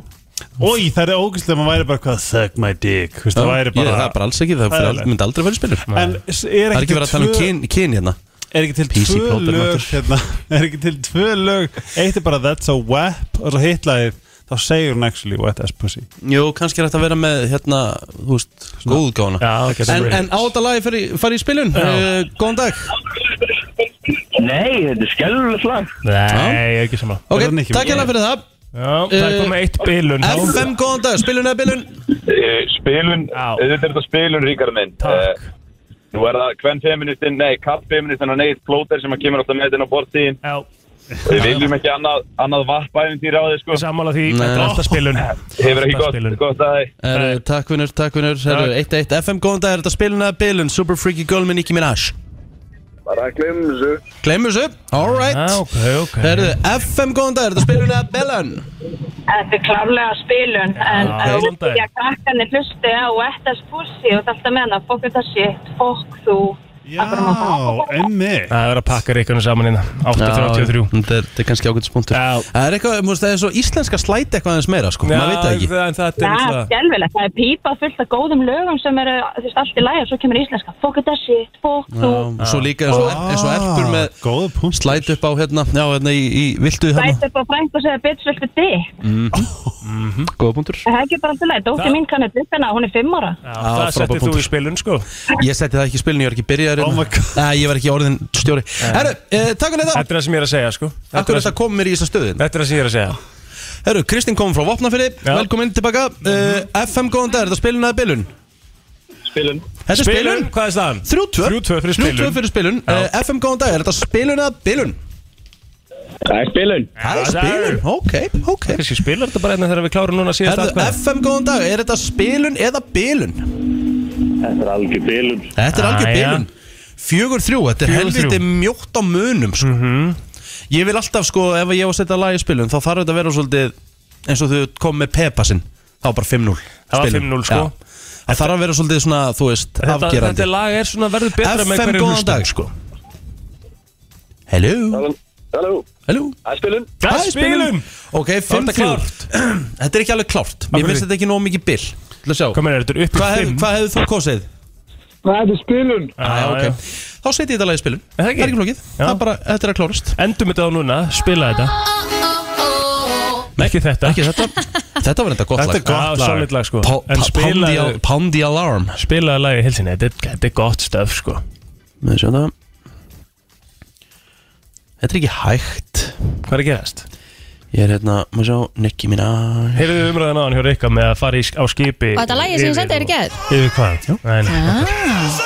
Ói, það er ógæslega að maður væri bara hvað Suck my dick Þú veist, það væri
ég,
bara
það er bara alls ekki, það fyrir,
Æðilegt.
myndi aldrei verið spilur Það
En s- er
er
ekki,
ekki verið að tala um
tvö-
kyn, kyn hérna
Er ekki til
PC
tvö
plóter,
lög
matur.
hérna, *laughs* Er ekki til tvö lög Eitt er bara That's a Wap Og svo hitlaðið Þá segir hún actually What is pussy
Jú, kannski er þetta að vera með, hérna, þú veist, góðgána
Já, ekki
En, en á þetta lagi fari, fari í spilun uh, Góðan dag
Nei, þetta er skelvulegt lag
Nei, ég er ekki sama
Ok,
Er það Nicki
takk hérna fyrir það
Já, það er
Eh,
komið eitt bilun þá.
FM, góðan dag, spilun eða bilun
Eh, Spilun,
Já.
auðvitað er þetta spilun, Ríkar minn
Takk.
Eh, Nú er það hvern feministinn, nei, kapp feministinn og neitt plóter sem að kemur alltaf með þetta á bortíðin
Já,
Við viljum ekki annað, annað varpæfintýr á þig, sko
sammála því,
Nei.
þetta er alltaf spilun.
Hefur ekki
Alltaf
gott, gott að þig
Herru, Eh, Takk vinnur, takk vinnur Herru, 1-1 FM, góðan dag, er þetta spilun eða bilun Super Freaky Girl með Nicki Minaj
Bara glemum þessu
Gleimu þessu, alright right.
Já, Ah, ok, ok.
Herru, FM, góðan dag, er þetta spilun eða bilun
Þetta er klálega spilun, en
Já,
en þú
góðan
veist ekki
daginn.
að krakkarnir hlusti á ettas pússi og þetta með hana, fokk þetta shit, fokk þú.
Já, emmi
Það er verið að pakka reikunum saman hérna, 8.33.
þetta er- þetta er kannski ágætis punktur
Já.
Það er eitthvað, múst, það er svo íslenska slæti eitthvað aðeins meira sko, maður veit það ekki
En þetta er
Það er
náttúrulega...
skjálfilegt, það er pípa fullt af góðum lögum sem eru, þú veist, allt í læg og svo kemur íslenska, fokk þetta shit, fokk þú.
Já, Svo líka eins og, eins og erpur með
Góða punkt
slæti upp á hérna, já, hérna í, í viltu hérna,
Sætt upp á frængu og segja bitch viltu dick.
góða Mhm. punktur
Það er ekki bara alltaf leið, dótti
Það-
mín kannir blippina, hún er fimm ára.
Já,
Já,
það
frábær
settir þú
punktur.
í spilun, sko.
Ég setti það ekki í spilinu, ég var ekki byrjaður
Oh
hérna.
my god.
Nei, ég var ekki orðin stjóri Herru, eh, takk fyrir þetta
Þetta er það sem ég er að segja, sko. Þetta
Akkur
er
þetta kom mér í þessa stöðin
þetta er það sem ég er að segja.
Herru, Kristinn kom frá Vopnafyrði,
Já.
velkomin tilbaka uh, FM góðan dag, er þetta spilun eða bilun?
Spilun
Þetta er spilun,
hvað er staðan?
3-2
3-2 fyrir
3-2
spilun.
fyrir spilun
Já.
Eh, FM góðan dag, er þetta spilun eða bilun?
Það er spilun
Það er spilun, ok, ok
Kanski spilar þetta bara einnig þegar við klárum núna síðast
Herðu,
atkvæði.
FM góðan dag, er þetta spilun eða bilun?
Þetta er algjör spilun
Þetta er
Ah,
algjör
já.
bilun Fjögur þrjú, þetta er
Fjögur Mhm.
helviti mjótt á munum sko. Ég vil alltaf sko, ef ég á að setja lag í spilun Þá þarf þetta að vera svolítið eins og þau kom með Peppa sinn Þá bara 5-0
Það var
spilun.
5-0, sko.
Já. Það þarf að vera svolítið svona, þú veist,
Þetta,
afgerandi
þetta lag er svona verður betra
FM
með hverju
góðan dag sko Hello,
Halló,
hello
það er spilun
Það er spilun!
Ok, 5-3
klárt.
*clears throat* Þetta er ekki alveg klárt Mér
hverju?
finnst þetta ekki nóg mikið bil Til að sjá
Hvað meina, þetta er upp í
Hvað hef,
5?
hvað hefðu þú kosið?
Já,
ok. Þá setjum ég þetta lag í spilun
Er það
Það
ekki?
er ekki flókið Það er bara, þetta er að klárast
Endum þetta á núna, spila þetta. Ekki þetta.
Ekki þetta Þetta var enda gott lag
Þetta er gott lag. Solid lag, sko.
Pa-
En
pa- Pound the al-
spilaðu-
Pound the alarm
spilaðu lagið hilsinni. Þetta þetta er gott stöf, sko.
Við sjáum það Þetta er ekki hægt
Hvað er að gerast?
Ég er hérna, maður sjá, Nicki Minaj
Heyrðu umræðan á hann hjá Rikka með að fara í, á skipi
Og þetta lagið sem ég sendi er ekki að
Yfir hvað? Nei, nei.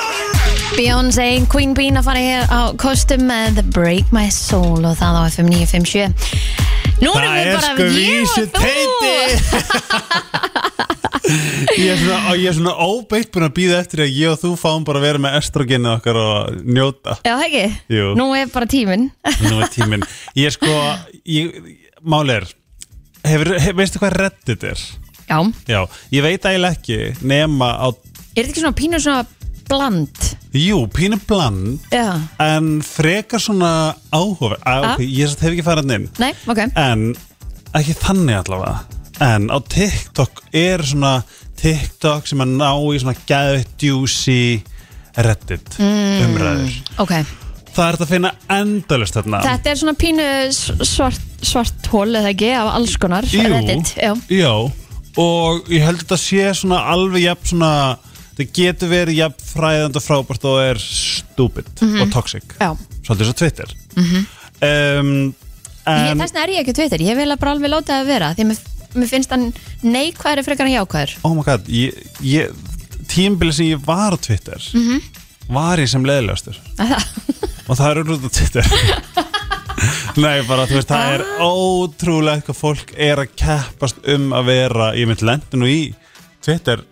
Beyoncé, Queen Bean að fara hér á kostum með The Break My Soul og það á FM 957 Nú erum við bara
sko
ég og
vísi
þú.
teiti *laughs* Ég er svona, og ég er svona óbeitt búin að býða eftir að ég og þú fáum bara að vera með estrogenu okkar og njóta
Já, ekki?
Jú.
Nú er bara tíminn
Nú er tíminn Ég er sko, ég, máli er hefur, hef, Veistu hvað reddit er?
*laughs* Já, er
Já, ég veit eiginlega ekki nema á,
þetta ekki svona pínur svona bland?
jú, pínu bland
Já,
en frekar svona áhuga ah,
Ah.
okay, Ég satt hef ekki farað inn
nei, ok
en ekki þannig allavega en á TikTok er svona TikTok sem að ná í svona geðveitt juicy reddit
Mm.
umræður
Ok,
það er þetta að finna endalust þarna
þetta er svona pínu s- svart, svart hól eða ekki af alls konar
Jú.
Reddit, já.
já og ég held að þetta sé svona alveg jafn svona þetta getur verið jafn fræðand og frábært og er stupid og toxic
Mhm. Já. Mhm.
svolítið svo Twitter um,
Ég,
en
þess vegna er ég ekki Twitter, ég vil að bara alveg láta það að vera því að mér, mér finnst hann neikværi frekar en jákvæður
oh my god ég, ég, tímbilið sem ég var á Twitter var ég sem leðilegastur og það er úrlut á Twitter Nei, bara þú veist, það er ótrúlegt hvað fólk er að keppast um að vera ég mynd lendi nú í Twitter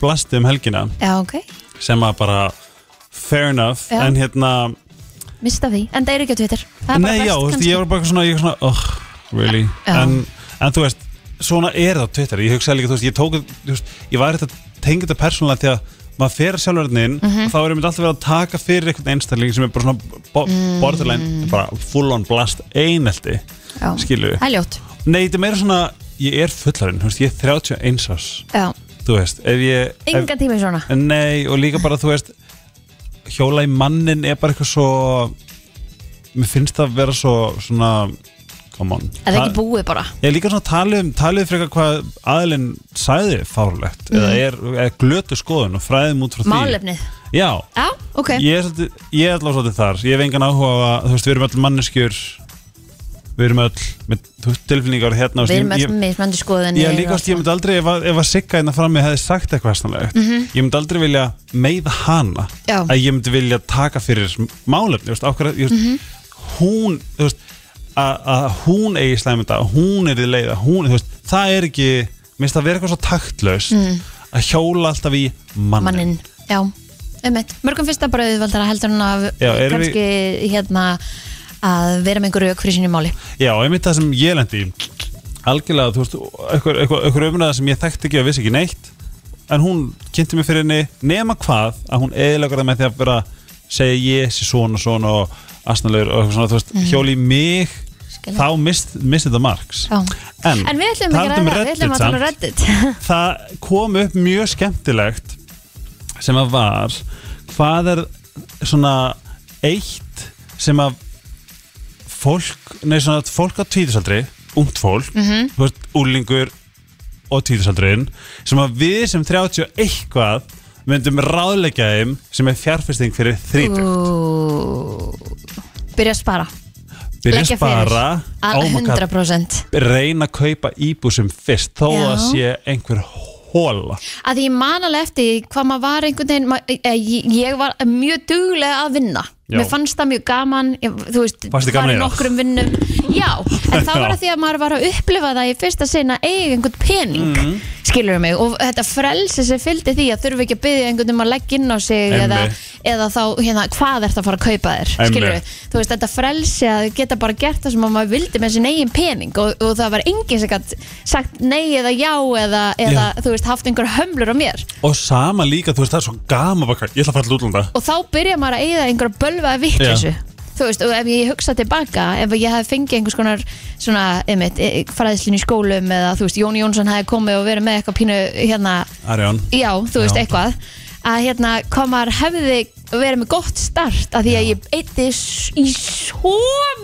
blasti um helgina
Já, ok,
sem að bara fair enough,
Já.
en hérna
mista því, en það er ekki á Twitter Það er bara
Nei,
best
já, þú veist,
kannski.
ég var bara svona, ég var svona, oh, really
Já.
en, en þú veist, svona er það á Twitter, ég hugsaði líka, þú veist, ég tók þú veist, ég var þetta, tengið þetta persónulega því að maður fer sjálfur hérna inn
Mhm.
og þá erum við alltaf verið að taka fyrir einhvern einstakling sem er bara svona bo
Mm.
borderline, bara full on blast einelti,
Já.
skilur við
Það er ljótt,
Nei, þetta er meira svona, ég er fullarinn, þú veist, ég er 31 árs,
já,
þú veist ef ég, ef,
enga tími svona
Nei, og líka bara, þú veist Hjóla í mannin er bara eitthvað svo Mér finnst það að vera svo Svona, come on
Er það ekki búið bara?
Ég er líka svona talið um, talið frekar hvað aðilinn sæði fárlegt
Mm.
eða er, er glötu skoðun og fræðum út frá því
Málefnið?
Já,
Já, ok
ég er, svolítið, ég er allavega svolítið þar Ég hef engan áhuga á að, þú veist, við erum allir manneskjur við erum öll með þú veist, tilfinningar hérna og
Við erum
ég-
öll mismandi skoðin
Já, líka ást, ég myndi aldrei, ef að, ef að Sigga hérna frammi hefði sagt eitthvað hessanlegt Ég myndi aldrei vilja meiða hana
Já.
Að ég myndi vilja taka fyrir málefni, þú veist, ákveð mm -hmm. Hún, þú veist, að að hún eigi slæmynda, hún er í leiða, hún, þú veist Það er ekki, minnst það vera eitthvað svo taktlaust Að hjóla alltaf í mannin,
Mannin, já, einmitt Mörgum finnst það bara auðvaldara heldur en að
Já, erum við-
kannski hérna að vera með einhverju fyrir sinni máli
Já, einmitt það sem ég lendi í Algjörlega, þú veist, einhver, einhver, einhver umræða sem ég þekkti ekki og vissi ekki neitt En hún kynnti mig fyrir henni nema hvað Að hún eðilegur það með því að vera segja ég sé svona svona og asnalegur og eitthvað svona, þú veist, hjóli í mig
Mhm. Skilja.
Þá mist, mist þetta marks
Já. En við ætlum ekki að
Mm. talandi um
ræða, við ætlum að
samt
tala um reddit
það kom upp mjög skemmtilegt sem að var hvað er svona eitt sem að fólk, nei svona að fólk á tvíðisaldri, ungt fólk mm
Mhm.
veist, úlingur og tvíðisaldurinn sem að við sem 30 og eitthvað myndum ráðleggja þeim sem er fjárfesting fyrir þrítugt
Byrja að spara
byrja
leggja
að
fyrir.
spara
Al-
oh my god,
100%
reyna að kaupa íbú sem fyrst þó
Já.
að sé einhver hóla
að ég man alveg eftir því hvað maður var einhvern veginn, ma- eh, ég, ég var mjög duglega að vinna
Já.
mér fannst það mjög gaman ég, þú veist,
Fannst þér gaman
farið
í það?
nokkrum vinnum já, en
*laughs*
það var að því að maður var að upplifa það í fyrsta sinna eiga einhvern pening
Mhm.
mm. skilur mig, og þetta frelsi sem fylgdi því að þurfi ekki að byggja einhvern um að leggja inn á sig eða,
Einmitt.
eða þá, hérna, hvað ert að fara að kaupa þér
Einmitt.
skilur við, þú veist, þetta frelsi að geta bara gert það sem að maður vildi með sin eigin pening og, og það var enginn sem gat sagt nei eða já eða, eða þú veist, haft einhver hömlur á mér
Og sama líka, þú veist, það er svo gaman bara, ég ætla að fara til útlanda
og þá byrja maður að eigða einhverja bölvaða vitleysu þú veist, og ef ég hugsa tilbaka ef ég hef fengið einhvers konar svona, einmitt, e- fræðslinn í skólum eða þú veist, Jón Jónsson hefði komið og verið með eitthvað pínu, hérna,
Arjón
já, þú veist,
Já.
eitthvað að hérna, hvað maður hefði verið með gott start, af því að ég eitti í svo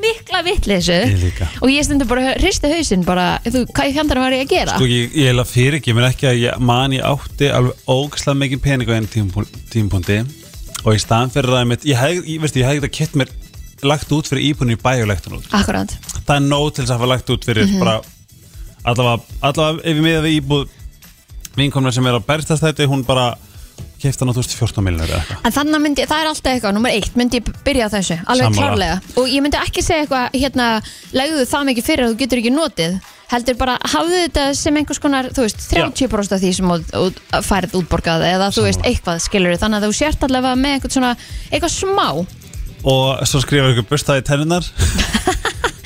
mikla vitleysu
Ég líka.
og ég stundur bara hristi hausinn bara, þú, hvað í fjandarum var ég að gera?
Sko ég, ég heila fyrir ekki, ég menn ekki að ég man ég átti alveg ógæslega mikið pening á einu tímpundi og í staðan fyrir það mitt, ég hef, ég, veistu, ég hef ekki kett mér lagt út fyrir íbúinu í bæ og lagt hún út.
Akkurát,
Það er nóg til þess að hafa lagt út
Mhm.
fyrir bara allavega, allavega ef ég miða við íbúð vinkomna sem er á berstastæti, hún bara kefti hann á 2014 millir eða eitthvað.
En þannig myndi, það er alltaf eitthvað, nummer eitt, myndi ég byrja á þessu, alveg
Sammála.
klárlega. Og ég myndi ekki segja eitthvað, hérna, legðu það mikið fyrir að þú getur ekki notið, heldur bara, hafðu þetta sem einhvers konar, þú veist, 30% af því sem út, út, færið útborgað eða þú veist, eitthvað skilur þannig að þú sért allavega með eitthvað svona, eitthvað smá.
Og svo skrifaði ykkur burstaði í
*laughs*
tenninar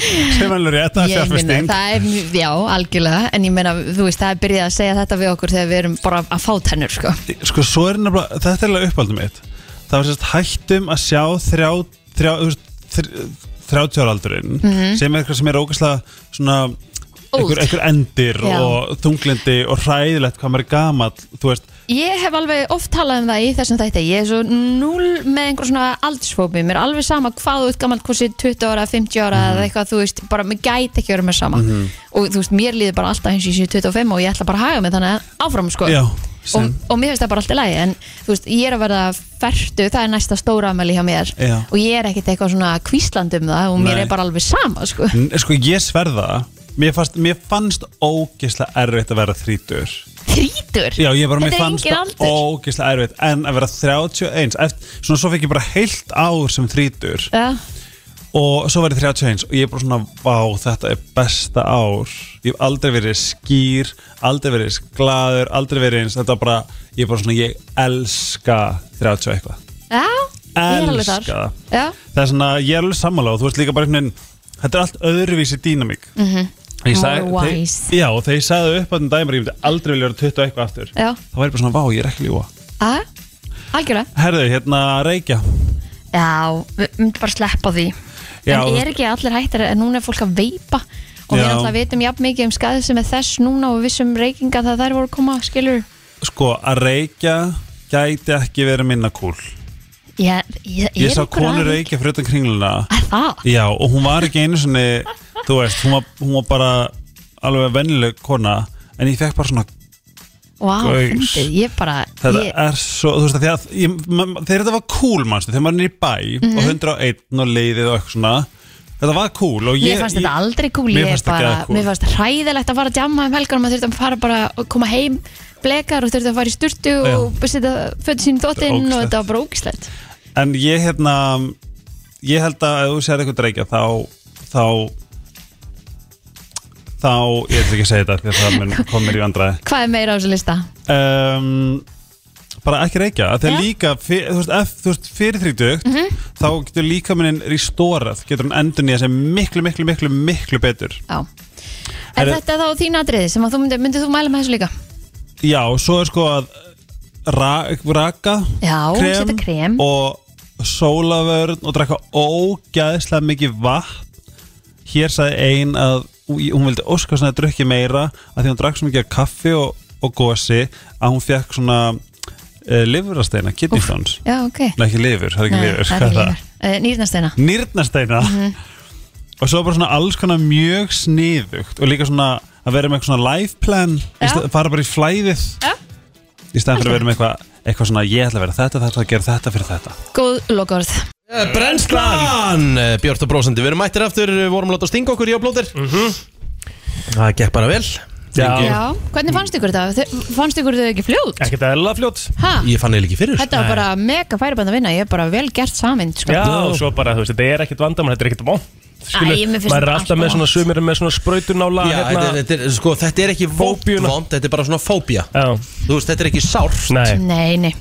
sem er alveg rétt að
Ég meina,
fjárfesting.
það er, mjög- já, algjörlega, en ég meina, þú veist, það er byrjað að segja þetta við okkur þegar við erum bara að fá tennur, sko.
sko svo er nefnilega, þetta er alveg uppáldum mitt það var sérst hættum að sjá þrjá, þrjá, þú veist, þr- 30 ára aldurinn
Mhm.
sem er eitthvað sem er ógæslega svona
Old.
einhver, einhver endir
Já.
og þunglindi og hræðilegt hvað maður er gamall þú veist,
Ég hef alveg oft talað um það í þessum þætti Ég er svo núl með einhver svona aldursfóbi Mér er alveg sama hvað þú ert gaman Hvorsi 20 ára, 50 ára
Mhm.
eða eitthvað Þú veist, bara mér gæti ekki verið mér sama Og þú veist, mér líður bara alltaf eins og ég sé 25 Og ég ætla bara að haga mig þannig áfram sko
já,
og,
sem
og mér finnst það bara alltaf lægi En þú veist, ég er að verða fertu Það er næsta stóra afmæli hjá mér
Já.
Og ég er ekkit eitthvað svona kvísland um það Og mér
Nei.
er bara alveg sama sko
N- sko ég sverða mér fannst, mér fannst ógæslega erfitt að vera þrítur
Þrítur,
já, ég bara, mér
þetta er
fannst
engin
það
aldur
ógæslega erfitt en að vera 31 eftir, svona svo fekk ég bara heilt ár sem þrítur
Já,
og svo var ég 31 og ég er bara svona vá, þetta er besta ár ég hef aldrei verið skýr aldrei verið eins glaður, aldrei verið eins þetta er bara, ég er bara svona, ég elska 30 og eitthvað
já, ég er alveg þar
elska það
Já,
það er svona, ég er alveg sammála og þú veist líka bara einhvern veginn, þetta er allt öðruvísi dýnamík mm -hmm.
More wise.
já, og þegar ég sagði upp að þetta dæmar, ég myndi aldrei vilja vera 20 og eitthvað aftur
já,
þá var ég bara svona, vá, ég er ekki ljúa
að, algjörlega
herðu, hérna, reykja
Já, við myndum bara sleppa því
Já.
En er ekki allir hættar En núna er fólk að veipa Og við
Já.
náttúrulega vitum jafn mikið um skæði sem er þess núna Og við vissum reykinga það þær voru að koma Skilur
sko, að reykja gæti ekki verið minna kúl
Ég, ég,
Ég sá
einhver
konu
að-
reykja fyrir utan kringluna
Er Það,
Já, og hún var ekki einu svona Þú veist, hún var, hún var bara Alveg vennileg kona En ég fekk bara svona
vá,
Gauks.
fyndið Ég bara,
Þetta
ég,
er svo, þú veist að því að
Mhm.
ég, ma- ma- Þegar þetta var cool, manstu, þegar maður er í bæ Og 101 og leiðið og eitthvað svona Þetta var cool og ég
Mér fannst þetta
ég-
aldrei cool
Mér
Ég
fannst þetta
bara,
geðveikt cool.
Mér fannst hræðilegt að fara að jamma um helgar og maður þurfti að fara bara að koma heim blekar og þurfti að fara í sturtu og setja fötu sín í þóttinn og
Ógeðslegt.
þetta var bara ógislegt
En ég hérna Ég held að ef þú sér eitthvað dreikja þá þá þá, ég ætla ekki að segja þetta því að það mun komir í vandræði
Hvað er meira á þessu lista?
um, bara ekki reykja að þegar
Já.
líka, fyr, þú veist, ef, þú veist fyrir 30
Mhm.
þá getur líkaminn restorað, getur hann endur nýja sem miklu, miklu, miklu, miklu betur
Já Er
Herru-
þetta þá þín atriði sem að þú myndir, myndir þú mæla með þessu líka?
Já, og svo er sko að ra raka
Já, setja krem.
og sólavörn og drakka ógæðslega mikið vatn Hér sagði ein að hún vildi óska svona að drukki meira að því hún drakk svo mikið af kaffi og, og gosi að hún fekk svona uh, livurasteina, kidney stones
Já, ok
Nei, ekki lifur, það er ekki
Nei,
lifur
það
hvað
er ekki
er
Mhm.
það?
lífur uh, Nýrnasteina
*laughs* nýrnasteina og svo bara svona alls konar mjög sniðugt og líka svona að vera með eitthvað svona life plan í
Já.
stað- fara bara í flæðið
Já.
í stæðan fyrir að vera með eitthvað eitthvað svona ég ætla að vera þetta, þetta að gera þetta fyrir þetta
Góð lokaorð
Eh,
Brennslan, Eh, Björt og brósandi Við erum mættir aftur, við vorum að láta stinga okkur í áblóðir Það gekk bara vel
Mhm. Já, Eh,
Já, hvernig fannst ykkur þetta? Þau- Fannst ykkur þau ekki fljót?
ekkert eðla fljótt
Ha?
Ég fann eiginlega ekki fyrir
Þetta var bara mega færiband að vinna Ég er bara vel gert samin sko.
Já, og svo bara, þú veist, þetta er ekkert vandamál, þetta er ekkert vond Skilur,
Æ, mér finnst
maður er
þetta
alltaf
allt
með svona
vont.
sumir er með svona sprautunála
Já, þetta,
hérna,
þetta, er, sko, þetta er ekki
Fóbíuna.
vond, þetta er bara svona fóbía
já,
Þú veist, þetta er ekki sárt
nei,
Nei, nei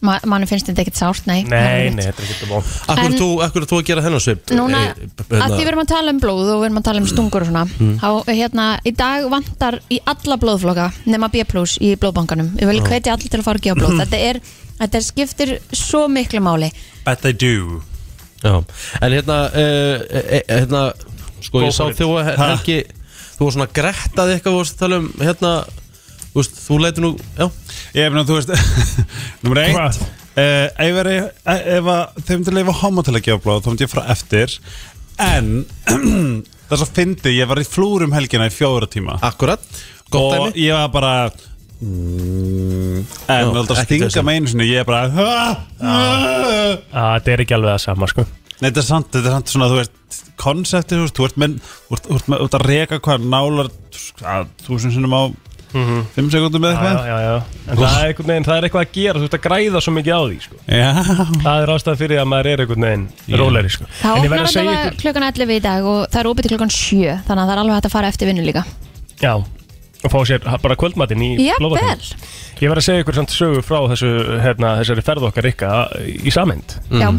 Ma, Manu finnst þetta ekkert sárt, nei
nei, nei, þetta er ekkert vond
Akkur
En-
þú, akkur þú að gera þennan svip Eh, hérna-
Núna, að því við erum að tala um blóð og við erum að tala um stungur og svona
Mm.
þá, hérna, í dag vantar í alla blóðfloka nema B plus í blóðbankanum ég vil hvetja allir til að fara að gefa
*clears throat*
blóð þetta, er, þetta er skiptir svo miklu máli
But they do
Já, en hérna, uh, e, e, hérna Sko,
Go
ég sá
for it.
þú að
Ha?
helgi Þú var svona grettað eitthvað, þú varst að tala um Hérna, þú veist, þú leitur nú Já,
Ég hef nú, þú veist, *laughs* nummer eitt
Hvað?
uh, Ef, er, ef að þau myndi leifa homo til að gefa blóð þá myndi ég frá eftir en *clears throat* það er svo fyndi, ég var í flúrum helgina í fjóra tíma
akkurat, gott
og
dæmi
ég var bara mm, en
Já, ekki
það
þessu.
stinga með einu sinni ég er bara ah, ah.
að þetta er ekki alveg það sama, sko
Nei, þetta er sant, þetta er sant svona, þú veist, konseptið, þú veist, þú ert með, þú ert, þú ert með, þú ert að reka hvað nálar, hvað, þúsund sinnum á fimm sekundum eða
já, já,
eitthvað.
já, já. en það er einhvern veginn, það er eitthvað að gera þú ert að græða svo mikið á því, sko
Já,
það er ástæð fyrir að maður er einhvern veginn róleri, sko
þá
en ég verð
opnar
að segja
þetta
ykkur,
klukkan 11 í dag og það er opið til klukkan 7 þannig að það er alveg hægt að fara eftir vinnu líka
já, og fá sér ha- bara kvöldmatinn í blóðvatninu.
jafnvel,
Ég verð að segja ykkur samt sögu frá þessu, hérna, þessari ferð okkar ykkar í samind.
já,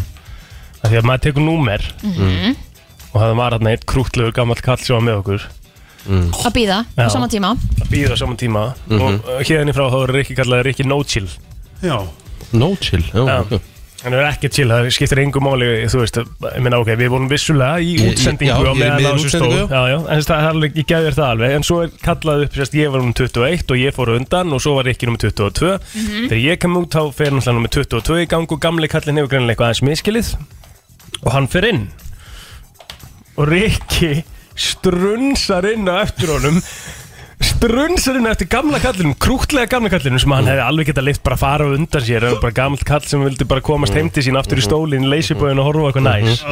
Af því að maður tekur númer
Mhm.
og það var hérna eitt krútlegur gammal kall sem var með okkur
að býða á
Já.
sama tíma
að býða á saman tíma og uh, hérna í frá þá er Rikki kallaði Rikki no chill.
já,
No chill, já,
Já.
ok.
Hann er ekki chill, það skiptir engu máli, þú veist, ég meina ok, við vorum vissulega í
Ég- ég-
útsendingu
já,
á
ég er
meðan
með
á þessu stóð,
útsendingu, já.
já, já, en þess, það er alveg, ég gæði þér það alveg, en svo er kallað upp, sérst, ég var um 21 og ég fór á undan og svo var Rikki nummer 22, þegar ég kem út þá fer náttúrulega nummer 22 í gang og gamli kallin hefur greinilega eitthvað aðeins miskilið og hann fer inn og Rikki strunsar inn á eftir honum strunsarinn eftir gamla kallinum krútlega gamla kallinum sem hann
Mm.
hefði alveg getað leift bara að fara á undan sér en bara gamalt kall sem vildi bara komast heim til sín aftur í
Mm-hmm.
stólinn, leysiböðin og horfa á eitthvað næs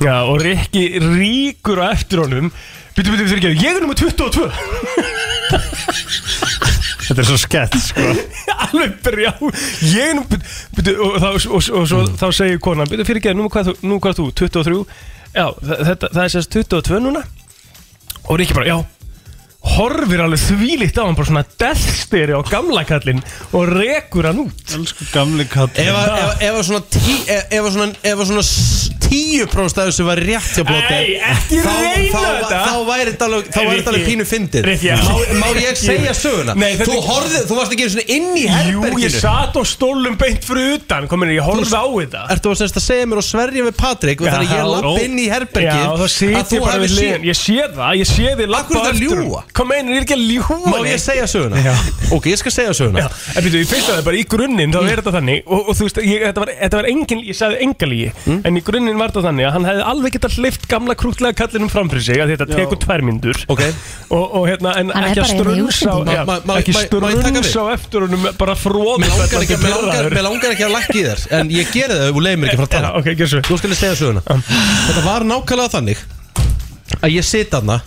Já, og Rikki ríkur á eftir honum Býtu, býtu, fyrir ekki, ég er nummer 22
*laughs* þetta er svo skett, sko.
*laughs* Alveg brjá Ég er nummer, býtu, og, þá- og, og, og svo,
Mm.
þá segir konan Býtu, fyrir ekki, nú hvað, þú- nú hvað þú, 23 Já, þa- þetta, það er sérst 22 núna Og Rikki bara, já Horfir alveg þvílíkt á hann Bara svona deathsteri á gamla kallinn Og rekur hann út
Elsku gamli katt.
Ef að- ef- ef að svona tí- e- ef- ef að svona- ef að svona tíu prófst að þessu var rétt hjá blóti
Nei, ekki
þá,
reyna
þá,
þetta.
Þá væri þetta alveg, þá væri þetta alveg
Rikki,
pínu fyndið
Rikki, já.
má, má ég segja söguna?
Nei, þetta-
þú, horfði, þú varst ekki einu sinni inn í
Jú,
herberginu
ég satt á stólum beint fyrir utan Komin, ég horfði á þetta
Ertu að semst að segja mér og sverja við Patrik og þannig að ég
Já,
lapp
ó.
inn í
Já, og þá
herbergin
sit
að þú
ég bara
hafi
við liðin
séð
Ég sé það, ég sé þið
Akkur
lappa
er þetta að
eftir
ljúga?
honum. Hvað meinar, ég er ekki að ljúa
Má ég segja söguna? Ok, ég skal segja söguna
Já, en byrju, ég
Mm.
fyrst að það bara í grunninn þá er þetta þannig og, og þú veist, ég, þetta, var, þetta var engin, ég sagði engalíi en í grunninn var þetta þannig að hann hefði alveg getað hlift gamla krútlega kallinum framfyrir sig að þetta
Já.
tekur tvær myndur
Ok.
og, og hérna, en
Hann er
ekki að
bara hérna í
strunsa
útlöndum.
já,
Ma- ma-
ekki
ma- ma- má ég taka við?
strunsa á eftir honum bara fróð
Mér langar ekki, mér langar, mér langar ekki að lækki þér En ég geri það ef þú leiðir mér ekki að fara að tala
ok, gjör svo
Nú skal ég segja söguna Þetta var nákvæmlega þannig Að ég sit aðna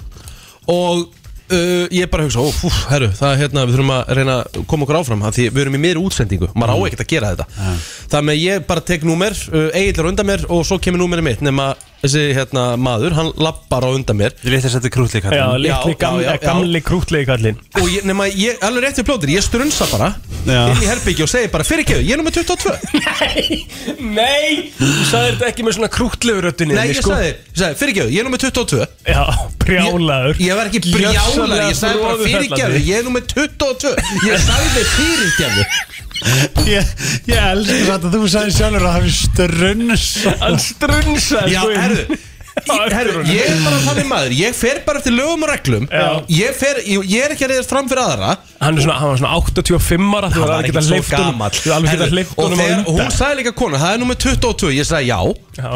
Og uh, ég bara hugsa Ó, fú, herru, það er hérna Við þurfum að reyna að koma okkur áfram af Því við erum í meiri útsendingu Maður
Mm.
á ekkert að gera þetta Þannig að ég bara tek númer uh, Egil er á undan mér Og svo kemur númerið mitt Nefna þessi hérna maður Hann lappar á undan mér
Ég veit að þetta er krútlík
já,
Já,
litli
já, já, já.
gamli, gamli krútlegi kallin
Og ég, nema, ég alveg rétti plótir Ég strunsa bara
Já.
Inn í herbyggju og segi bara Fyrir ekki, ég er nummer 22
nei, þú sagði þetta ekki með svona krútlegu röttinni
Nei, ég
sko.
sagði, ég sagði fyrirgjöðu, ég er nummer 22 Ég-
já, brjálaður
Ég var ekki brjálar, ég sagði bara
Gjörsamlega
fyrirgjöðu Ég er nummer 22
*laughs*
Ég sagði fyrirgjöðu
Ég, ég elsku þetta að þú sagði sjálfur að það hefði strunns
hann strunsaði
Já,
sko inn.
herðu
Á eftir
Herru,
honum.
ég er bara þannig maður Ég fer bara eftir lögum og reglum
Já.
ég, fer, ég, ég er ekki að reyðast fram fyrir aðra
hann er svona, hann var svona 85 ára þú
Það
var alveg geta hleyft honum þú var alveg geta
Herðu,
hleyft
Og
honum á
þegar og hún
undan.
sagði líka kona, það er nummer 22 Ég sagði já,
Já.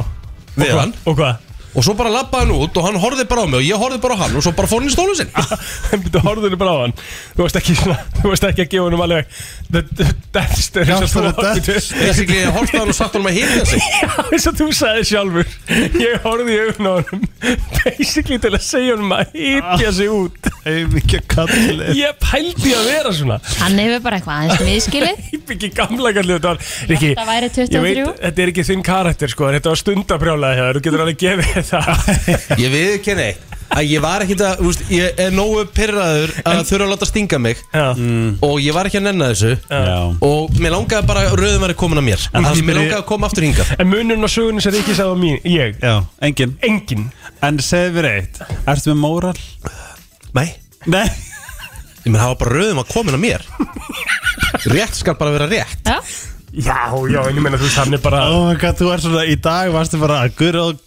við hann
og hvað *laughs*
Og svo bara labbaði hann út og hann horfði bara á mig Og ég horfði bara á hann og svo bara fór hann í stólu
*laughs*
sinn
en byrju horðinu bara á hann þú varst ekki svona þú varst ekki að gefa honum alveg the, the death stare eins og þú
Gangstar og
átti
death
til-
Þessi ég horfði á hann og sagt honum að hýrja sig
*laughs* eins og þú sagði sjálfur ég horfði í augun á honum *laughs* basically til að segja honum að hýtja sig út
Heimikja kallið
ég pældi að vera svona
Hann hefur bara eitthvað aðeins
*laughs*
miskilið
ég byggi gamla kallu þetta var Riki
Þetta væri
ég veit
23
þetta er ekki þinn karakter sko þetta var stundabrjálega hjá þér þú getur alveg gefið þér það *laughs*
Ég við ekki að ég var ekki að, úst, ég er nógu pyrraður að þurfa að láta stinga mig Mm.
Já.
og ég var ekki að nenna þessu
Já
og mér langaði bara að rauðum væri komin að mér
En hann
því mér
spyr-
langaði að koma aftur hingað
en munurinn á sögunum sem Riki sagði á mín ég
Já, engin
engin
En segðu mér eitt Ertu með móral?
Nei,
Nei
ég mér hafa bara rauðum að komin að mér Rétt skal bara vera rétt
Já,
já já en ég menna þú veist hann er bara
Oh my god, þú ert svona Í dag varstu bara að good old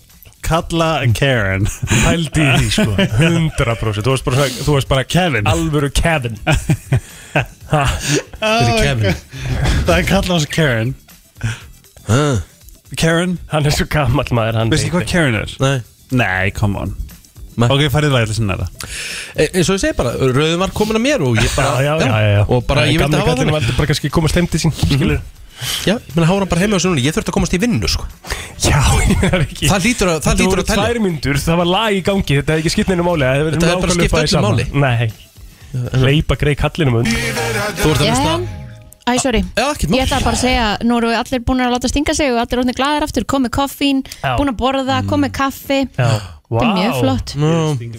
kalla Karen
pældi í því sko
*laughs*
*laughs* 100% þú varst bara, svona- þú varst bara
Kevin. *laughs*
alvöru Kevin Ha,
Þetta er
oh
Kevin
Það er kalla hans Karen
Ah,
Karen,
hann er svo gammal maður hann
veistu
veit
hvað
ekki.
Karen er?
Nei
Nei, come on
Nei.
Ok, farið lægið sinna það
E- eins og ég segi bara, rauðum var komin að mér og ég bara,
Já, já, já, já, já.
og bara ég vildi
Gamli
hafa
kallinn
það
valdi bara kannski komast heim til sín skilur
já, ég meina hára bara heima á þessu núna, ég þurfti að komast í vinnu sko.
Já, ég er ekki
það lítur að, það
Þetta
lítur
voru
að tella
tvær myndur, það var lag í gangi Þetta hefði ekki skipt neina máli Þetta
Þetta hefði bara skipt öllu máli.
Nei, leipa grei kallinum und
þú ert að
já
hlusta
Æ, sorry
Já, ekkert mál.
Ég ætla bara að segja, nú eru allir búin að láta stinga sig og allir orðin glæðir aftur, komið koffín
Já.
búin að borða,
Mm.
komið kaffi
Já, vá
þetta er mjög flott
Nú,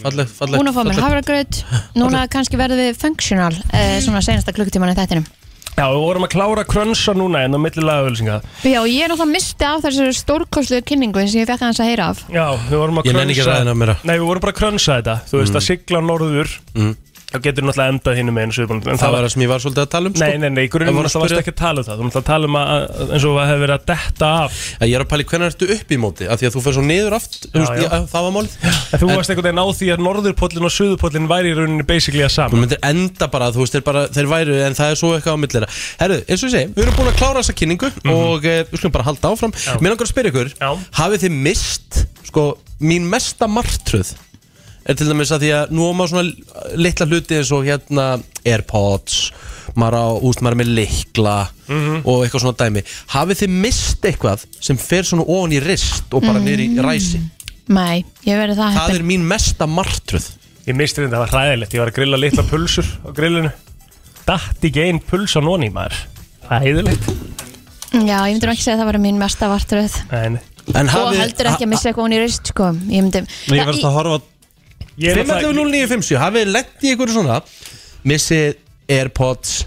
falleg, falleg,
búin að fá mér
falleg.
hafragraut núna kannski verðum við functional eh,
Mm.
svona senasta klukkutíman í þættinum
Já, við vorum að klára krönsa núna en á milli lagauðlýsinga
já, og ég er náttúrulega misti af þessari stórkostluðu kynningu sem ég fekk aðeins að heyra af
Já, við vorum að
Ég
krönsa
nenni ekki að ræða hana meira. Mm.
Nei, við vorum bara að krönsa þetta Þú veist, að sigla norður þá getur náttúrulega endað hinn um einu suðbúnd En
Það var það sem ég var svolítið að tala um
Nei, nei, nei, í
Það
grunnum
voru að
það varst
spyrja-
ekki að tala um það Þú varst að tala um að, að- eins og að hefur verið að detta af
Að Ég er að pæli hvernig ertu upp í móti af Því að þú fer svo niður aft já,
já.
já. Það var málið
En þú varst einhvern veginn á því að norðurpóllin og suðurpóllin væri í rauninni basically að
Þú
saman
myndir enda bara, þú veist, þeir, bara, þeir væru En það er svo eitthvað á millera Herru, eins og ég segi, við erum búin að klára þessa kynningu Og eh, við skulum bara halda áfram Mér langar að spyrja ykkur
Mhm. Já.
Hafið þið mist, sko, mín mesta martröð Er til dæmis að því að nú á maður svona litla hluti eins og hérna Airpods maður á, úst, maður er með likla
Mhm.
og eitthvað svona dæmi hafið þið mist eitthvað sem fer svona ofan í rist og bara mm í ræsi
nei, ég verði það
það er
heppin
mín mesta martröð
Ég misti þetta, það var hræðilegt, ég var að grilla litla pulsur á grillinu Datt ekki einn puls á noni maður Hræðilegt
já, ég myndi nú ekki segja að það var mín mesta vartröð
En
En
og Sko, heldur ekki að missa eitthvað hún í rist sko. ég myndi
Ég verðist að horfa á
ég er náttúrulega-
512957 hafið lett í einhverju svona missið Airpods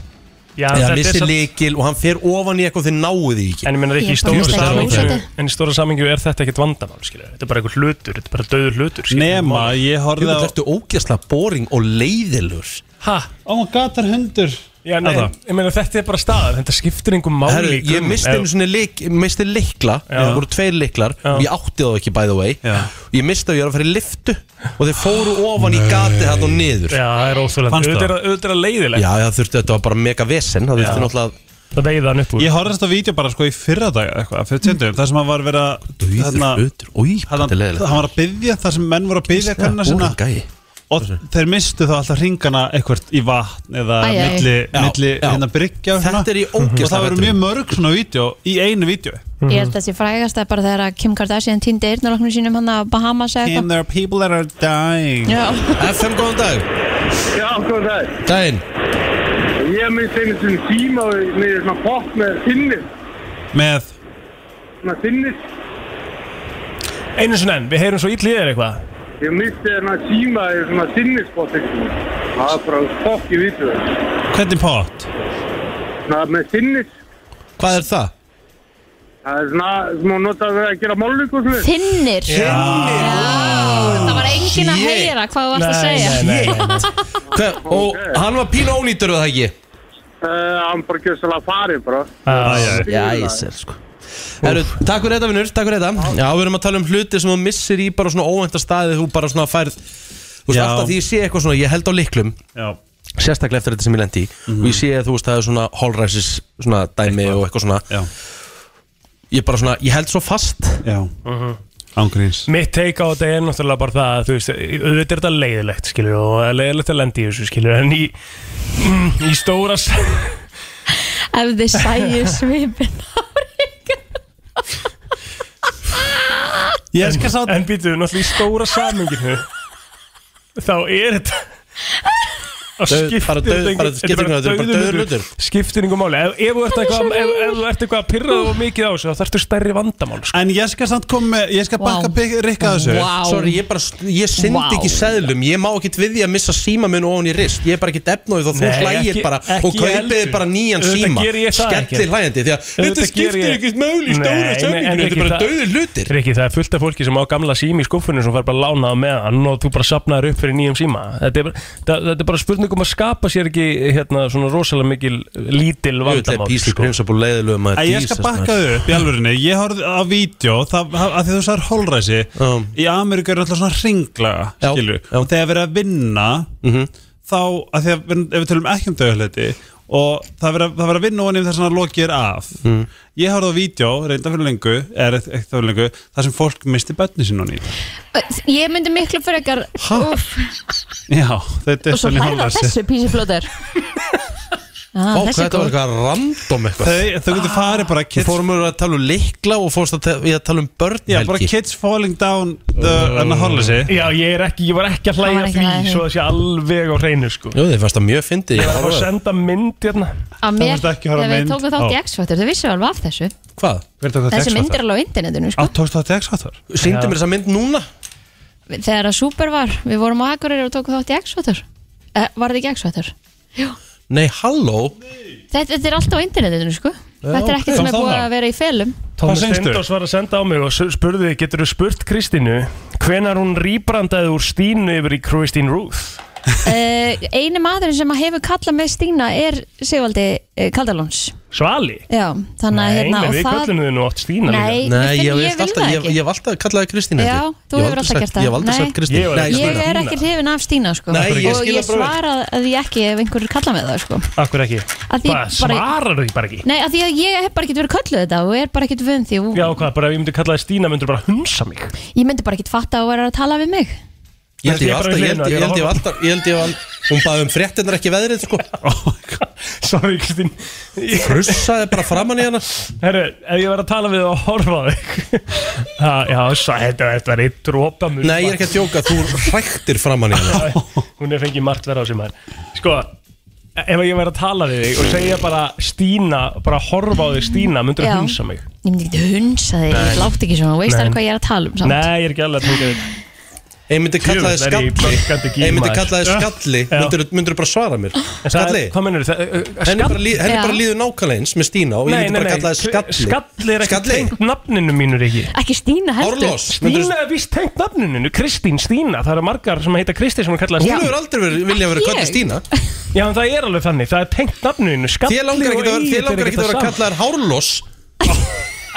Já,
eða
þetta er
missið
samt-
lykil og hann fer ofan í eitthvað þegar náðu því ekki
En ég meina ekki
Ég
í stóra
fannst þetta
samingju
klósettið.
En í stóra samingju er þetta ekkit vandamál skilja. Þetta er bara eitthvað hlutur, þetta er bara döður hlutur skilurðu.
Nema, ég
Þú
horfði á
veit, ertu ógjastlega boring og leiðilur
Ha?
Oh my god, það er hundur
Já, nei,
Þetta.
ég meina þetta er bara staðan Þetta skiptir einhver
Herru,
máli í
ég
grunninn.
misti einu svona lik, misti likla það voru tveir liklar, ég átti þá ekki by the way
Já.
ég misti að ég var að fara í liftu og þeir fóru ofan í gati þarna og niður
Já, það er óþúlega
Fannstu
Þetta
það?
er, þetta er leiðilegt
Já, það þurfti, þetta var bara mega vesen Það þurfti
Já.
náttúrulega að
Það veiða hann upp úr
Ég horfðist á vídeo bara sko í fyrra dag eitthvað, fyrir tjöndum, þar sem hann var verið að þarna-
Dauður hlutur, ói,
hann,
þetta er leðilegt
hann var að byggja þar sem menn voru að byggja kannina
Búin
sinna
gæi
og þeir mistu þá alltaf ringana eitthvað í vatn eða
Æ, æ, æ.
milli,
Já,
milli
já.
hérna bryggja og svona.
Þetta er í
og
ógeðslega
það voru
hræddur.
mjög mörg svona vídeo í einu vídeo
Ég held að þessi frægast að bara þegar að Kim Kardashian týndi eyrnaroknum sínum hann að Bahamas eða eitthvað
there are people that are dying
Já,
FM, góðan dag
Já, góðan dag.
Daginn
Ég myndi einu svona síma með svona pop með þinnir.
með
Svona þinnir.
Einu svona enn, við heyrum svo illa í þér eitthvað
Ég myndi einu síma með svona þinnir spott eitthvað. Það er bara fokk í vitu.
hvernig pott
Svona með þinnir.
Hvað er það?
Það er svona, sem hún notaði að gera málug og svona.
Þinnir Já, það var engin að
Shit.
heyra hvað þú varst að segja
nei,
Hver, og hann var pínu ónýtur við það ekki
Uh, hann bara gjör svolítið að fari bara.
nei
Jæsir sko Heru, Takk fyrir þetta vinnur, takk fyrir þetta Já, við erum að tala um hluti sem þú missir í bara svona óvænta staði þú bara svona færð Þú veist,
Já.
alltaf því ég sé eitthvað svona, ég held á liklum
já,
sérstaklega eftir þetta sem ég lendi í og ég sé að þú veist, það er svona holræsis svona dæmi og eitthvað svona
já,
ég bara svona, ég held svo fast
já ángríns
Mitt take á þetta er náttúrulega bara það að þú veist, auðvitað er þetta leiðilegt skilur og það er leiðilegt að lendi í þessu skilur en í, í stóra s-
*laughs*
Ef þið sæju svipin
ég skal sátt
en býtu, náttúrulega í stóra saminginu þá er þetta að
Dauð-
skiptir
bara dauð-
þetta engu-
bara skiptir
þetta er
engu- þetta er bara
dauður
dauður
hlutur.
hlutur.
skiptir yngur máli ef, ef, þú ert eitthvað- ef, ef þú ert eitthvað að pyrra og mikið á þessu þá þarftu stærri vandamál sko.
en ég skal samt koma með, ég skal
Vá.
bakka wow. rikka þessu
Vá.
Sorry, ég bara, ég syndi
Vá.
ekki seðlum ég má ekki við því að missa síma minn ofan í rist ég er bara ekki defnóið og þú
Nei,
hlægir
ekki-
bara
ekki
og kaupið
heldur.
bara nýjan
Auðvitað
síma
geri ég það ekki.
skellir hlægjandi því að þetta
Auðvitað geri
skiptir
ég-
ekkert máli í stóra
Nei, nei, en
saminginu, þetta
ekki
er bara
það-
döður hlutir
Riki, það er fullt af fólki sem á gamla sími í skuffunni sem fær bara lánað með hann og þú bara sapnaður upp fyrir nýjum síma þetta er, bara- það, þetta er bara spurningum að skapa sér ekki hérna, svona rosalega mikil lítil
Þetta er
vandamál
písli
sko.
prinsabúl leiðilegu maður
að ég skal
Jesus, maður.
bakka þau upp í alvörinu ég horfði á vídeo, það, að því þú sagðir holræsi
Já.
í Ameríku er alltaf svona ringlaga
Já,
skilju,
já. Mhm.
og þegar verið að vinna þá, að því að við, ef við tölum ekki um döðhleiti og það verið að, það verið að vinna ofan yfir þess að lokið er af
Mhm.
ég horfði á vídeo, reynda fyrir lengu eða ekkert fyrir lengu, þar sem fólk misti bönni sín og nýta
Ég myndi miklu frekar Úff,
já,
og
þetta er
svo
svona
hlæða
holræsi
þessu písi flóter
Ó,
ah,
hvað
Þessi er
þetta var
góð
eitthvað random eitthvað
þau, þau getur farið bara
Við
kids,
fórum úr að tala um likla og fórst að, te- í að tala um börn
já, bara
Helgi.
kids falling down the, uh, holræsi
Já, ég, er ekki, ég var ekki að
Hann
hlæja
var ekki
því
að hlæja því.
svo það sé alveg á hreinu sko.
Jú, þið fannst það mjög fyndið
Ég
ég
var að fá
horfði á það.
að senda mynd hérna
Að
Það
mér,
varst ekki að horfa
þegar
mynd.
við tókum þátt í
Ó.
X-Factor, þau vissu alveg af þessu
Hvað?
hver tók þetta
Þessi
X-Factor?
mynd er alveg á internetinu sko.
Á, tókstu þetta X-Factor?
Sýndi
Já.
mér þessa mynd núna?
Þegar að Super var, við vorum á Akureyri og tókum þátt í X-Factor eh, Var þetta ekki X-Factor? Jú
Nei, halló
Þetta, þetta er alltaf á internetinu sko Þetta er
ok.
ekkert sem er
Þá
búið
það.
að vera í felum
Tómas
seinnstu?
Steindors var að senda á mig og s- spurði Getur þú spurt Kristínu hvenar hún rýbrandaði úr Stínu yfir í Kristín Ruth
uh, Einu maðurinn sem að hefur kallað með Stína er Sigvaldi uh, Kaldalóns
Svali?
Já, þannig að
Nei,
hérna
menn
og
við
það
köllum þau nú oft Stína líka.
Nei,
Nei, ég,
vil
veist alltaf,
það
ég,
ekki
ég hef alltaf kallaði Kristín
Já, þú hefur alltaf gert það.
Ég hef aldrei
Nei.
sagt Kristín
Ég hef
Nei,
aldrei
Ég
Stína.
er ekkert hrifin af Stína sko.
Nei, ég
og
skil
ég
það bara vel.
svara því ekki ef einhver kallar með það sko.
Akkur ekki
Að því
Hvað,
bara-
svarar þau bara ekki?
Nei, af því að ég hef bara ekkert verið kölluð þetta og er bara ekkert vun því og
Já, hvað, bara ef ég myndi kalla það Stína myndur bara hunsa mig *laughs*
ég myndi bara ekkert fatta að vera að tala við mig
Ég held ég hef
Ég er bara
alltaf,
í
ég held ég held ég hef alltaf Ég held
hliðinu, ég er að
ég hef alltaf Hún baði um fréttinnar ekki veðrið sko
Oh Sorry Kristín
Krussaði bara framann í hana
Herru, ef ég var að tala við þau og horfa á þig *laughs* Ha, Já, sæ, þetta þetta var eitt dropa mun
Nei, ég er ekki að djóka Þú hræktir framann í hana
Hún er fengið margt verða á sem maður Sko, ef ég var að tala við þig og segja bara Stína, bara horfa á þig Stína myndur
Já.
hunsa mig
Ég myndi ekkert hunsa því, ég látt ekki svona veist
Nei.
það hvað ég er að tala um samt
Nei, ég er ekki alveg að tunga þig
Ég myndi kalla þið
Djöfull er ég í böggandi
skalli
gír,
Ég myndi
maður.
kalla þið
Já.
skalli
Já.
Myndirðu- Myndirðu bara svara mér
En það uh, er-
Skalli
Hvað mennur
Henni
þið?
bara, líð, henni
Já.
bara líður nákvæmlega eins með Stína og ég myndi bara kalla það skalli
Skalli er ekki tengt nafninu mínu, Riki
Ekki Stína heldur
Orlós myndirðu-
Stína er víst tengt nafninu, Kristín Stína Það eru margar sem heita Kristi sem er kallað
Hún
Stína
hefur aldrei verið, vilja verið
Ég?
kallið Stína
Já, en það er alveg þannig, það er tengt nafninu Skalli
Þér langar
og
ekki að vera, þér
Egill
langar
er
ekki að vera
það sama.
kallaðar hárlós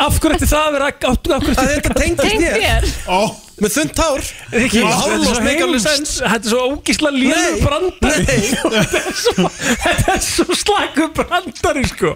Af hverju ætti það að vera af- af hverju ætti
Það er þetta tengist
Tengt
þér
þér
Ó,
með þund tár
Riki,
og hálflost make alveg sens
Þetta er svo ógísla
Nei,
lélur brandari
nei.
*laughs* Þetta er svo, þetta er svo slaku brandari sko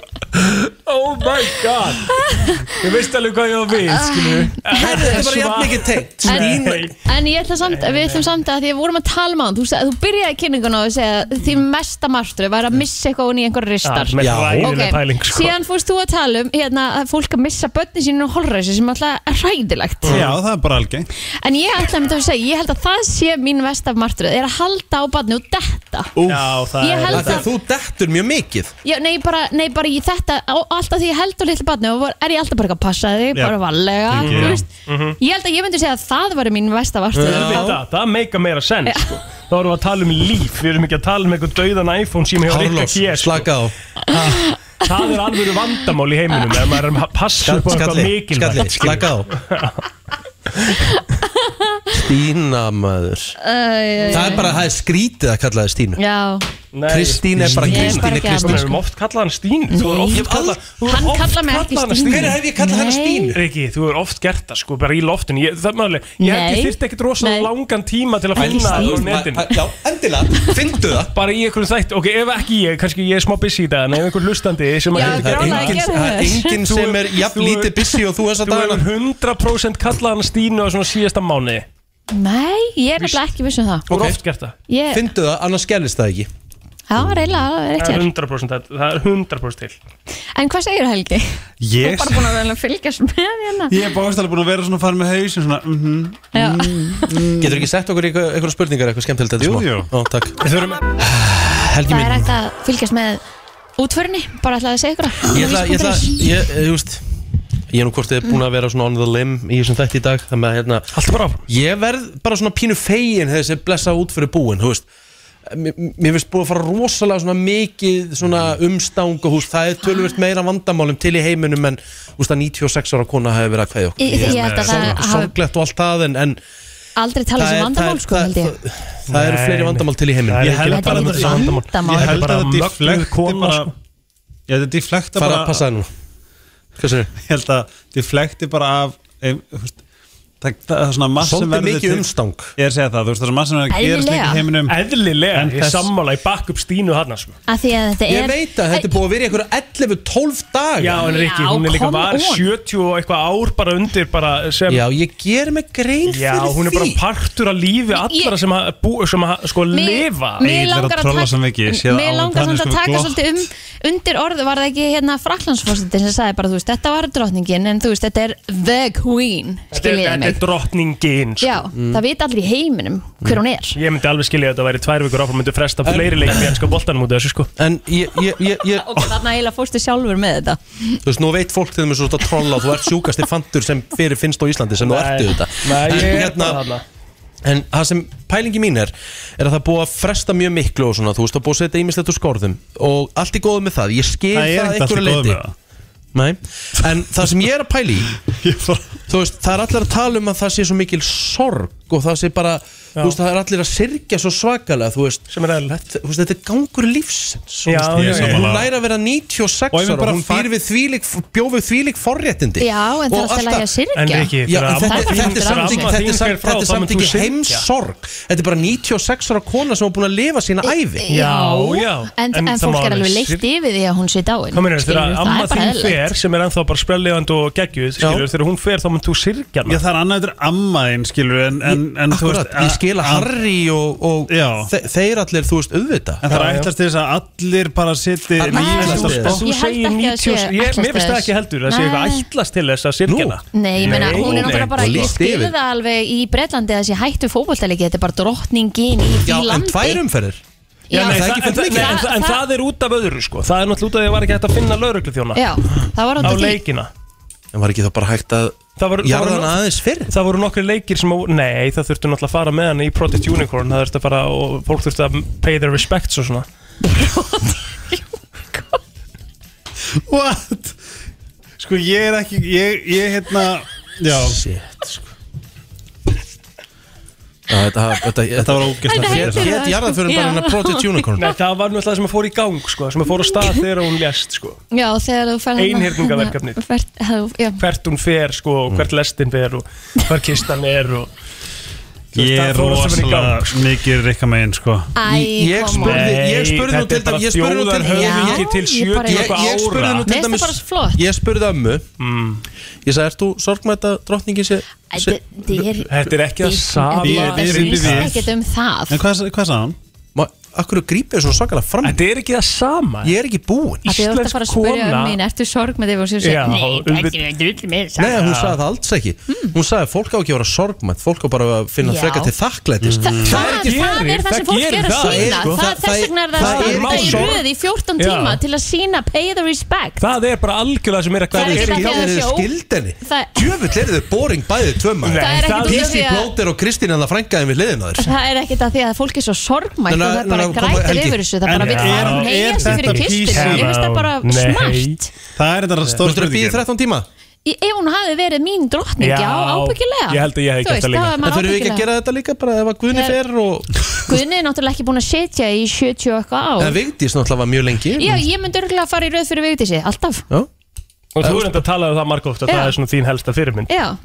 Oh my god Ég veist alveg hvað ég á við skilu
Herðu, þetta er bara jafn mikið tengt
En,
Nei.
en ég ætla samt, við ætlum samt að því að við vorum að tala með hann, þú, sag- þú byrjaði kynninguna og segja að þín mesta martröð var að missa eitthvað ofan í einhverja ristar.
Ah, Með
Já.
ræðilega pæling sko
síðan fórst þú að tala um hérna, að fólk að missa börnin sín og holræsi sem alltaf er hræðilegt.
Já, það er bara algeng
En ég ætla að mynda að segja, ég held að það sé mín mesta martröð, er að halda á barni og detta.
Já, það
Ég held
Þegar
að,
þú dettur mjög mikið
já, nei, bara, nei, bara ég þetta, á, alltaf því ég held á litlu barni og var, er ég alltaf bara ekki að passa þig,
Já.
bara varlega,
Þykir,
þú
já.
veist. Ég held að ég myndi segja að það var mín mesta martröð.
Við þetta, það meika meira sens sko. Þá erum við að tala um líf, við erum ekki að tala um einhvern dauðan iPhone síma hjá Rikka
Hárlós,
G sko.
slaka á
Það er alveg vandamál í heiminum ef maður er að passa upp á eitthvað
Skalli,
mikilvægt
skalli,
skilur.
slaka á Stína maður
Uh,
Það er bara, það er skrítið að kalla það Stínu
já,
Nei,
Kristín er bara
Ég er
Kristín er
bara ekki
Við
Kristín
að-
höfum oft kallað hann Stín Þú er
Ég
oft
hef
kallað
aldrei-
þú hefur
Hann
oft
kallar mig
kallað
ekki
hana
Stínu.
Hver hef ég kallað hana
Nei.
Stínu?
Riki, þú er oft gert það sko, bara í loftinu Ég, það er málið, ég held ég
Nei.
þyrfti ekkit rosalega
Nei.
langan tíma til að
En-
finna það á
Ma-
netinu
ma- Já, endilega, fyndu það
Bara í einhverjum þætt, ok, ef ekki ég, kannski ég er smá busy í dag En ef einhver hlustandi sem
Já,
að
Það
Já,
er
það
engin,
gerðu
það er
þess.
enginn
Þú-
sem er
þú-
jafn lítið busy og þú þess að
Þú
dagana
hefur 100% kallað hann Stínu á svona síðasta mánu
nei, ég er nefnilega ekki viss um það.
Þú
Ok.
er oft gert það
Ég,
Fyndu það, annars gerðist það ekki
það var eiginlega alveg rétt
Það er
hér.
100% það- það er 100% til
En hvað segir Helgi? Þú er
Ég,
bara búin að velja að fylgjast með hérna.
ég er bóðstæðlega búin að vera svona farin með hausin svona, mhm
Já. Mm.
Getur ekki sett okkur eitthvað einhverjar spurningar, eitthvað skemmtilegt þetta
Jú,
smá?
jú.
Ó, takk
Við þurfum
Helgi
Það er
mín
hægt að fylgjast með útförinni, bara ætlaði að segja ykkur. á
Ég ætla, ég ætla,
vísi.is.
ég, þú veist Ég er nú hvort þið búin að vera svona on the limb í þessum þætti í dag Þannig að hérna
Allt bara áfram
Ég verð bara svona pínu fegin þegar þessi blessa út fyrir búin, þú veist M- m- Mér finnst búið að fara rosalega svona mikið svona umstang og húst Það er tölvöld meira vandamálum til í heiminum en úst, að 96 ára kona hefur verið að kveðja
Ég, ég held að það
okkur
hafi
Sorglegt og allt það en, en
aldrei talað
það
sem
er-
vandamál, sko,
það-
held ég.
það- Það eru
Nei,
fleiri
nei.
vandamál til í heiminum
Það er
Ég
ekki
held
Þetta
bara
er
með þessi
ekki
vandamál.
vandamál.
Ég
Þetta er
held
bara
að þetta
mögnuð
deflekti
kona,
bara
sko.
Ég held að deflekta
fara
bara
að passa það nú Hvað sér?
Ég held að deflekti bara af em, þú veist, Það það er svona maður sem
Svolítið
verður
mikið umstang
Ég er að segja það, þú veist það er maður sem verður að gerast líka
Eðlilega.
í heiminum
Eðlilega,
En
um- ég
þess-
sammála, ég bakk upp Stínu hann sko.
Af því að þetta
Ég
er...
veit að þetta er búið að vera í einhverju 11-12 dag
Já, en Riki,
Já,
hún er líka
come
var
on.
70 og eitthvað ár bara undir bara sem,
Já, ég ger mig grein fyrir því
um- Já, hún er bara partur af lífi allra
Ég-
sem að, bú, sem að sko
Mér-
lifa
Mér
Egill er að
langar að
trolla
taka-
svo mikið, ég sé það á
mér
honum,
langar
hann er
samt að
sko
taka
glott.
svolítið um undir orðu var það ekki hérna Fraklandsfórsetin sem sagði bara þú veist þetta var drottningin en þú veist þetta er the queen
Þetta er-
skiljiði
þetta er
mig
drottningin sko.
já það veit allir í heiminum hver hún er
Ég myndi alveg skilja að þetta væri tvær vikur áfram myndi fresta fleiri leikum í ennska boltanum út af þessu sko
En ég, ég, ég, ég
*laughs* ok þarna eiginlega fórstu sjálfur með þetta
þú veist, nú veit fólk þegar mér svo að trolla Þú ert sjúkasti fantur sem fyrir finnst á Íslandi sem þú ert auðvitað
Nei,
en,
ég er bara
hérna,
þarna
en það sem pælingi mín er Er að það er búið að fresta mjög miklu og svona Þú veist, það er búið að setja ímislegt úr skorðum Og allt í góðu með það, ég skil það,
Það
það
er ekkert
einhverju
alltaf góð
leiti
með það
Nei, en það sem ég er að pæli í
Ég bara-
þú veist, það er allir að tala um að það sé svo mikil sorg og það sé bara, þú veist, það er allir að syrgja svo svakalega, þú veist
Sem er eðlilegt.
þetta, þú veist, þetta er gangur lífsins þú
Já,
veist.
já,
Ég er
já.
hún
sammála.
læra að vera 96
Og ég vil
ára
bara
hún
fag-
býr við þvílík, bjóð við þvílík forréttindi
já en það er
Og
alltaf lægi að syrkja
En Riki,
Já, en þetta,
amma
þetta, er
þín
samt
fer frá,
ekki- þetta er samt- þetta er samt ekki heimsorg Þetta er bara 96 ára kona sem er búin að lifa sína ævi
Já, já.
en,
En
en,
það má
fólk
alveg
er alveg leikt
syrgja.
yfir því að hún sé dáin
Hvað meina,
skilurðu,
þegar
það
amma
er bara
þín
eðlilegt.
fer sem er ennþá bara sprellifand og geggjuð, skilur, þegar hún fer þá mun þú syrgja
Já,
hana
það er annað þetta er ammaðin skilur en, en, en þú
Akkurat,
veist
ég
að-
skila
að-
Harry og, og
Já.
þe þeir allir, þú veist, auðvita
En það er ætlast til þess að allir bara sitti
Allir
lífið
ætlast til
þetta
þess.
Þú
Ég held
segir 90 ég- Mér finnst
ekki að það sé ætlast
það
þess.
ekki heldur, það sé eitthvað
Nei.
ætlast til þess að
Nú.
syrgja hana
Nei, ég meina,
Nei,
hún er
nei.
náttúrulega bara,
Og
ég
lýst
skilði
yfir.
það alveg í Breitlandi að þessi hættu fótboltaleiki, þetta er bara drottningin í því
Já, en
landi.
tvær umferðir
Já,
nei, það er
En
ekki
það-
fullt
en
mikið.
það- en það er út af öðru sko Það er náttúrulega út af því að það var ekki hægt að finna laurugluþjóna
Já, það var út
á
af því.
leikina
En var ekki þá bara hægt að
Það voru- það
jarðan
voru-
aðeins fyrr
Það voru nokkri leikir sem, að- nei það þurftu náttúrulega að fara með hann í Project Unicorn Það þurftu að fara og fólk þurftu að pay their respects og svona
What? Sko ég er ekki Ég, ég hérna Já
Shit, sko Þetta, þetta, þetta var
ógeðslega
Þetta heitir
Hétt
það. sko.
jarðaförin bara
Já.
hennar Project Unicorn
Nei, það var náttúrulega sem að fór í gang sko, sem að fór á stað þegar hún lest sko.
Já, þegar þú ferð hérna-
Einhyrningaverkefnið.
Einhyrningaverkefnið
hvert hún fer sko, og hvert lestin fer og hver kistan er og Þú veist,
Ég
það
er
fór allt saman í gang,
rosalega mikið rikka megin sko
Æ,
Ég
koma
spurði, ég
Nei,
spurði nú
þetta
til
er bara
dæmis Ég spurði nú til
þjóðarhöfðingi
dæmis
höfðingi til
Já,
Ég,
70
ég bara-
ég spurði nú til
Mér finnst það
dæmis
bara flott.
Ég spurði ömmu Ég sagði, ert þú sorgmæta drottningi sé
Æ, þi- þið er-
Þetta er ekki það
þið-
sama.
þið-
Við-
Það
við-
snýst
við-
ekkert um það
En hvað, hvað sagði hann?
Ma- Akkur grípið svo svakalega fram í?
Þetta er ekki það sama
Ég er ekki búinn
Af því Þú ert að fara að spyrja um mín, ertu sorg með þig og sér sér,
Já,
nei,
auðvitað-
þetta er drull með
Nei,
þess
hún sagði það alls ekki Hún sagði, fólk á ekki að vera sorgmætt Fólk á bara að finna
Mm. Já.
freka til þakklætis
Það er
gerir-
það er það sem
það
fólk
gerir
er að
það,
sína
sko.
Það
Það-
er þess vegna er það
það
er
standa í
mál.
röð í 14
Já.
tíma til að sína pay the respect
Það er bara algjörlega sem er að
Það er
hverju
ekki
er í
það þegar
gangi.
Þeir eru
sjó.
skildenni
Það-
Djöfull eru þau boring bæðið tvöma
Nei,
Það er ekkert út af
Dísi
því að
Blóter og Kristín en það frænkaði við liðin á þér
Það er ekkert að því að fólk er svo sorgmætt
Núna-
og það bara
núna kom
grætir
Helgi.
yfir þessu það
En
bara vil
er-
fara að
er
neyja sig fyrir
þetta
kistunni
písan?
ég finnst það bara
Nei.
smart
Það er þetta
Þú
stór
ættir að býða í 13 tíma
Í- ef hún hafi verið mín drottning já,
Já.
ábyggilega
Ég held að ég hefði
Þú
gert það
veist,
líka.
var
En
maður
þurfum við ekki að
ábyggilega.
gera þetta líka bara ef að Guðni
Nei.
fer og
Guðni er náttúrulega ekki búin að setja í 70 og
En
eitthvað ár
Vigdís náttúrulega var mjög lengi
já, ég myndi örgulega að fara í röð fyrir Vigdísi alltaf,
Já.
Og þú er enda að tala um það margóft að
Já.
það er svona þín helsta fyrirmynd
já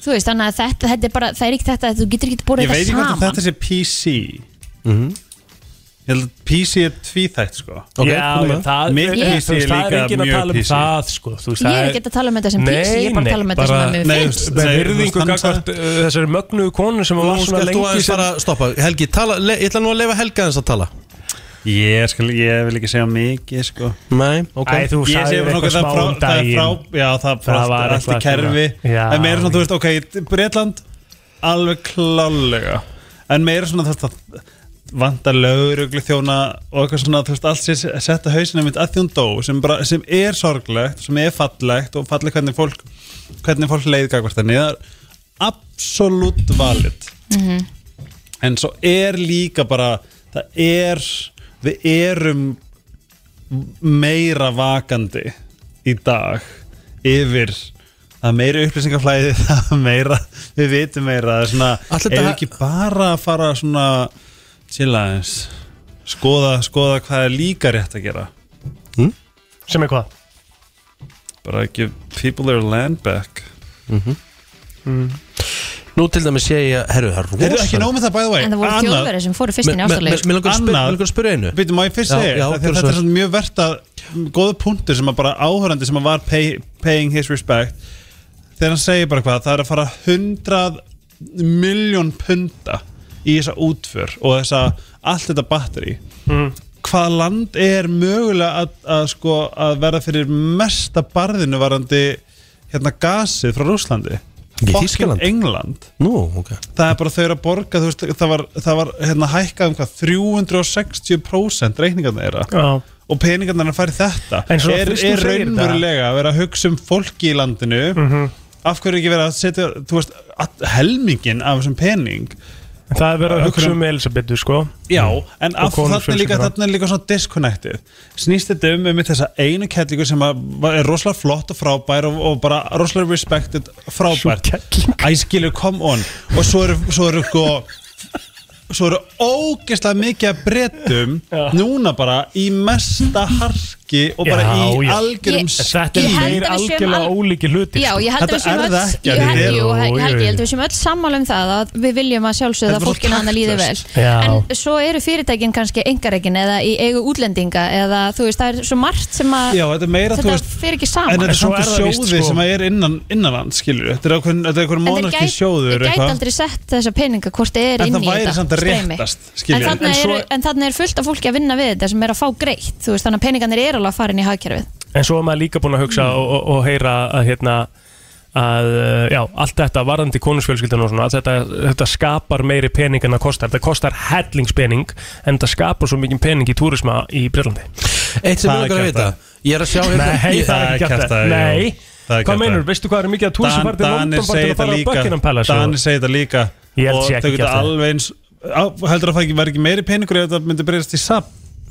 þú veist, þannig að þetta, þetta er bara, það er ekki þetta að þú getur ekki
Ég
búin
veit
þetta
ekki hvort að
saman
þetta sé PC
Mhm.
Ég held að PC er tvíþætt sko
Ok,
já,
komum
já,
við.
það,
Mitt
þú veist,
PC er
það er
líka
enginn að
mjög
tala um
PC.
það sko, þú veist,
ég
það
er ekki að tala um þetta sem
Nei,
písi, ég er bara að
nei,
tala um þetta
bara-
sem að mér
Nei,
finnst
þú veist,
með
nei,
virðingu
þú veist, hann
gagvart þessari mögnuðu konu sem
Nú
var svona
skalt þú
lengi
aðeins
sem
bara stoppa Helgi, tala, le, ég ætla nú að leifa Helga aðeins að tala
Ég, skal, ég vil ekki segja mikið sko
Nei, ok
Æ, þú
Ég
sagði
segi bara
eitthvað
nokkuð það
smá
er frá,
um
það er
daginn
frá Já, það
Það
er
var
allt í
eitthvað
kerfi
svona. Já.
En meira svona, þú veist, ok, Breitland Alveg klálega En meira svona, þú veist, það vantar löguruglu þjóna og eitthvað svona, þú veist, allt sé sett að hausinu mitt að þjón dó sem, bara, sem er sorglegt, sem er fallegt og fallegt hvernig fólk hvernig fólk leiði gagvart henni, það er absolutt valid en svo er líka bara það er, við erum meira vakandi í dag yfir það er meira upplýsingaflæði *laughs* það er meira, við vitum meira það er svona,
Allt þetta-
erum við ekki bara að fara svona chilla aðeins skoða, skoða hvað er líka rétt að gera
sem er hvað
bara give people their land back
Nú til dæmis sé ég að, herru, það er rosa
er ekki nóg með það by the way
en það voru þjóðverðir sem fóru fyrst inn í ástæðleik
Mér langar að spyrja-
Annað-
mig langar að spyrja einu
Býtum, má ég fyrst
Já,
segja,
já,
já,
gjörðu
þetta
svo
er
vel.
svona mjög verta góðu punktur sem að bara áhörandi sem að var pay, paying his respect þegar hann segir bara hvað, það er að fara 100 miljón punta í þessa útför og þessa allt þetta batteri hvað land er mögulega að, að, sko, að verða fyrir mesta barðinu varandi hérna gasið frá Rúslandi
Ekki Þýskaland?
England
Nú, ok
það er bara þau eru að borga þú veist, það var, það var hérna, hækkað um hvað 360% reikningarna þeirra
Já.
og peningarna er að fara í þetta
En svona
er,
fyrst þú segir
er
þetta- Mhm.
raunverulega að vera að hugsa um fólki í landinu af hverju ekki vera að setja þú veist, all- helmingin af þessum pening
það er verið að hugsa
Akkurat.
um Elisabetu sko
Já, en af þarna er líka,
konungsfjölskylduna.
þarna er líka svona disconnected snýst þetta um um þessa einu kellingu sem að var- er rosalega flott og frábær og, og bara rosalega respected frábær æskilur come on og svo eru svo eru sko svo eru ógeðslega mikið að breytum núna bara í mesta harki og bara
Já,
í
já.
algjörum
Ég-
þetta
Ég
er
held
meir
að við séum
algjörlega
al-
ólíki hluti
Já, ég held að
Þetta
við séum
er
öll
það ekki,
ég held-
þetta er-
Jú,
Jú, jú,
Helgi,
jú.
ég held að við séum öll sammála um það að við viljum að sjálfsögða
Þetta
að
var svo
fólkinu hann að líði vel
taktlust.
Já.
en svo eru fyrirtækin kannski engarekin eða í eigu útlendinga eða þú veist, það er svo margt sem að
Já, þetta er meira, þú
þetta
veist
fer ekki
En
saman
þetta
En
er
svo
samt
er
að
það víst,
sjóði
sko.
sem að er innan, innanland, skilur Þetta er ákveðin- þetta er einhver
En þeir
monarki
gæt-
sjóður
þeir gæti
eitthvað.
aldrei sett þessa peninga hvort þið er
En
inn
það
í
væri
þetta
samt að
streymi.
réttast,
en
skilurðu.
þarna,
En svo-
eru, en þarna er fullt af fólki að vinna við þetta sem er að fá greitt þú veist, þannig að peningarnir eru alveg að fara inn í hagkerfið
En svo er maður líka búin að hugsa
Mm.
og, og, og heyra að hérna að, uh, já, allt þetta varðandi konusfjölskyldan og svona, að þetta, þetta skapar meiri pening en það kostar, þetta kostar hellingspening en þetta skapar svo mikið pening í túrisma í Breitlandi
Eitt sem
Það
ég
er
langar að vita
kjaftæði.
Ég er að sjá hérna-
Nei,
ég-
það er ekki
það er
kæft
kjaftæði,
Nei,
jú. Það
hvað
er kjaftæði.
meinur, veistu hvað er mikið að túrisma
Dan,
farið til
Danir
London bara
segja
til að
þetta
fara á Buckingham
líka
Palace
Danir
og-
segja þetta líka
Ég held
og
sé ekki
þau geta
kjaftaði.
alveg eins á, heldur að það ekki væri ekki meiri peningur ef þetta myndi breyðast í sap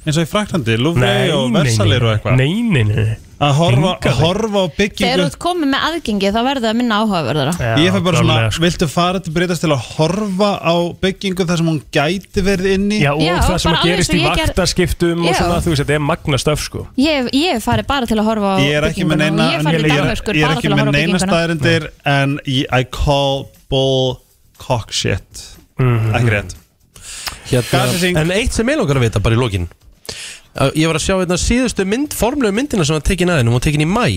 eins og í Fraklandi, Louvre
Nei,
og
nei,
Versalir og
nei,
eitthvað
nei, nei, nei, nei
að horfa,
Hingað
að
þig.
horfa á
Þegar þú
byggingu
ert komið með aðgengi þá verður það minna áhugaverðara
ég fæ bara svona,
klárlega, sko.
viltu fara til breytast til að horfa á byggingu þar sem hún gæti verið inni
Já, og
Já,
það sem
bara
að
alveg
gerist
eins
í
og ég ger-
vaktaskiptum
Já.
og svona, þú veist, þetta er magna stöf, sko
Ég ég hef farið bara til að horfa á
ég er ekki með
bygginguna
neina
og Ég farið
ég
til
er,
Danmörskur
ég er
bara
ekki
til að horfa
með
á
neina
bygginguna
staðarindir en ég, I call bull cock shit
Mhm.
ekki rétt Gasasing.
hérna, En eitt sem ég langar að vita bara í lokin Að Ég var að sjá hérna síðustu mynd, formlegu myndina sem var tekin aðeins Hún var tekin í mæ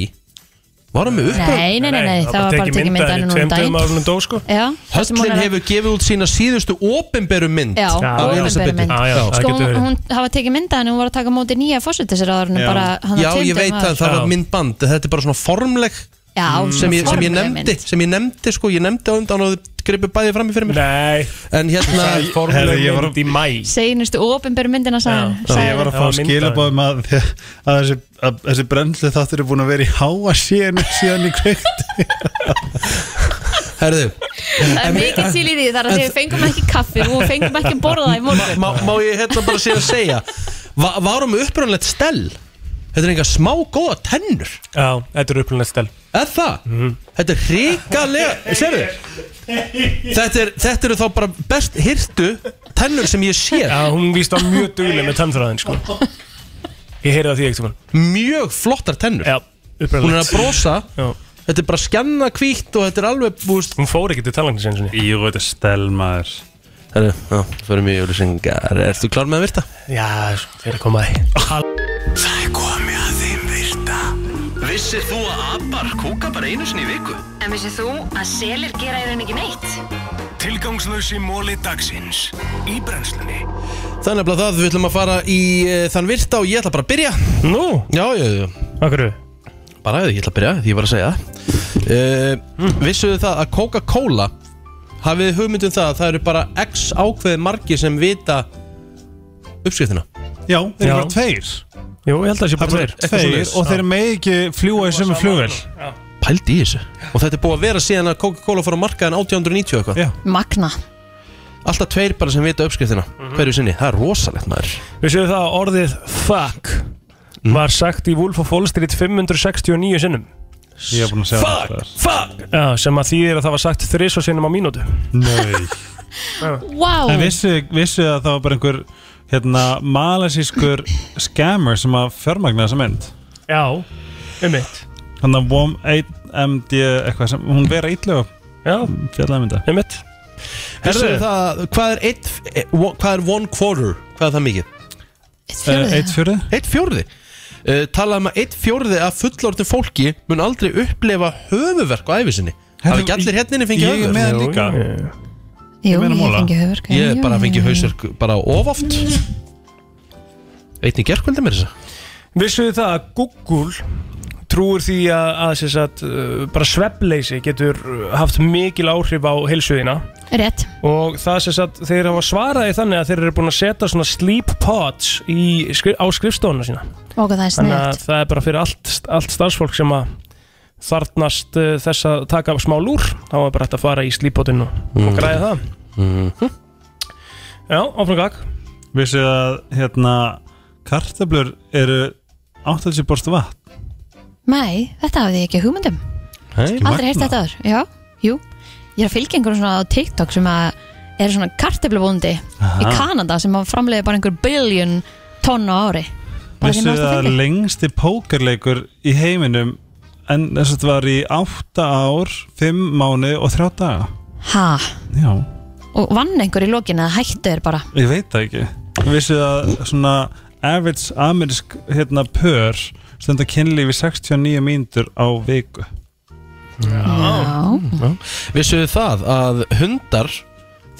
Var hann með uppröð?
Nei, nei, nei, nei, það var bara tekið mynda ennum um
Tveim dögum
daginn
árunum dó, sko
Já, það sem hún
Höllin
er að-
hefur gefið út sína síðustu opinberu mynd
Já,
Já,
af
opinberu
Elísabetu.
mynd.
Já, já,
Já.
það
Sko,
getur
hún,
verið
hún hafa tekið mynda henni, hún var að taka á móti nýja fósutisraðurinn
Já.
bara hann
Já, ég veit að það
Já.
var myndband Þetta er bara svona formleg
Já,
sem ég, sem ég
formleg
nefndi
mynd.
sem ég nefndi sko, ég nefndi á undan og þið gripið bæði fram í fyrir mér
Nei,
en hérna,
það er
Herðu, ég
formlega
var-
mynd í mæ
Seinustu ofinberu myndina sagði
Já.
ég var að
Það
fá
var mynd af
skilabóðum að, *laughs* að þessi, að þessi brennslu þáttur er búin að vera í háa síðan *laughs* síðan í kveikt
herðu
hann Það er mikið til í því þar að við fengum ekki kaffi og fengum ekki borða í morgun
má, má ég hérna bara síðan segja va varum við uppröðanlegt stell þetta er einhver smá góða tennur
Já, þetta er upplunlega stel
eða það, þetta er hrikalega sérðu þetta, er, þetta eru þá bara best hirtu tennur sem ég sé
Já, hún víst á mjög duglega með tannfræðin, sko Ég heyrði það því ekkert mann
mjög flottar tennur
Já,
hún er að
upplunlega
brosa
Já.
þetta er bara skjanna kvítt og þetta er alveg búist
Hún fór ekki til tannlæknis eins og ný
Jú, þetta er stelmaður
herru, já, fyrir mig jölusingar ertu klár með að virta?
Já, sko, þeir að koma að því
Það er komið að þeim virta Vissir þú að abar kúka bara einu sinni í viku?
En vissið þú að selir gera í raun ekki neitt?
Tilgangslösi móli dagsins Í brennslunni
Þannig að það, við ætlum að fara í uh, þann virta og ég ætla bara að byrja
Nú,
Já, já, já,
okkur
bara ég ætla að byrja því ég var að segja uh, Vissuðu það að Coca-Cola hafið hugmyndum það að það eru bara x ákveði margi sem vita uppskriftina
Já, þeir
Já.
eru bara tveir
Jú, ég held að það sé
Það
bara
eru
tveir
bara tveir og þeir megi ekki fljúa í sömu flugvel
Pældi í þessu Og þetta er búið að vera síðan að Coca-Cola fór á markaðin 1890 og eitthvað
Já.
Magna
Alltaf tveir bara sem vita uppskriftina hverju sinni, það er rosalegt maður
Við séum það að orðið fuck var sagt í Wolf of Wall Street 569 sinnum
Ég er búin að segja það
fuck Já, sem að þýðir að það var sagt þriss og sinnum á mínútu
Nei
Vá,
En vissu, vissu að það var bara einhver hérna, malasískur scammer sem að fjármagna þessa mynd
Já, um mitt
hann að WOM 8MD eitthvað sem, hún vera ítlög
Já,
fjallaði mynda
um mitt
Vissuðu það, hvað er, eitt, eh, one- hvað er one quarter, hvað er það mikið?
eitt fjórði.
Eitt fjörði?
Eitt fjórði uh, Talað um að eitt fjórði af fullorðnum fólki mun aldrei upplefa höfuverk á æfisinni Hafa ekki allir hérna inni fengið
Ég er
höfuverk?
með hann líka
Jú,
meina
ég
Móla.
fengi höfverk
Ég er bara að fengið hausverk bara ofaft Einnig gerkvöldi mér þess að
Vissuðu það að Google trúir því að, að sem sagt, uh, bara svefleysi getur uh, haft mikil áhrif á heilsuðina
Rétt,
og það sem sagt, þeir hafa svaraði þannig að þeir eru búin að setja svona sleep pods í, skri- á skrifstofuna sína
og það er
þannig að
sniðt
það er bara fyrir allt, allt starfsfólk sem að þarnast uh, þess að taka smá lúr þá er bara hægt að fara í slípotinn og, og græða það Já, áfram gag
Vissu að hérna kartablur eru 80 borst vatn
Nei, þetta hafði ég ekki hugmyndum Aldrei heyrst þetta aður, já, jú Ég er að fylgja einhverjum svona á TikTok sem að er svona karteflubóndi í Kanada sem að framleiði bara einhver billion tonn á ári Bara því
Vissu
maður að
að
fylgja
lengsti pókerleikur í heiminum en þess að þetta var í 8 ár 5 mánu og 3 daga
Ha,
Já,
og vann einhver í lokin eða hættu er bara
ég veit það ekki Vissu að svona average amerisk hérna pör stundar kynlífi 69 mínútur á viku
Já,
Vissuðu það að hundar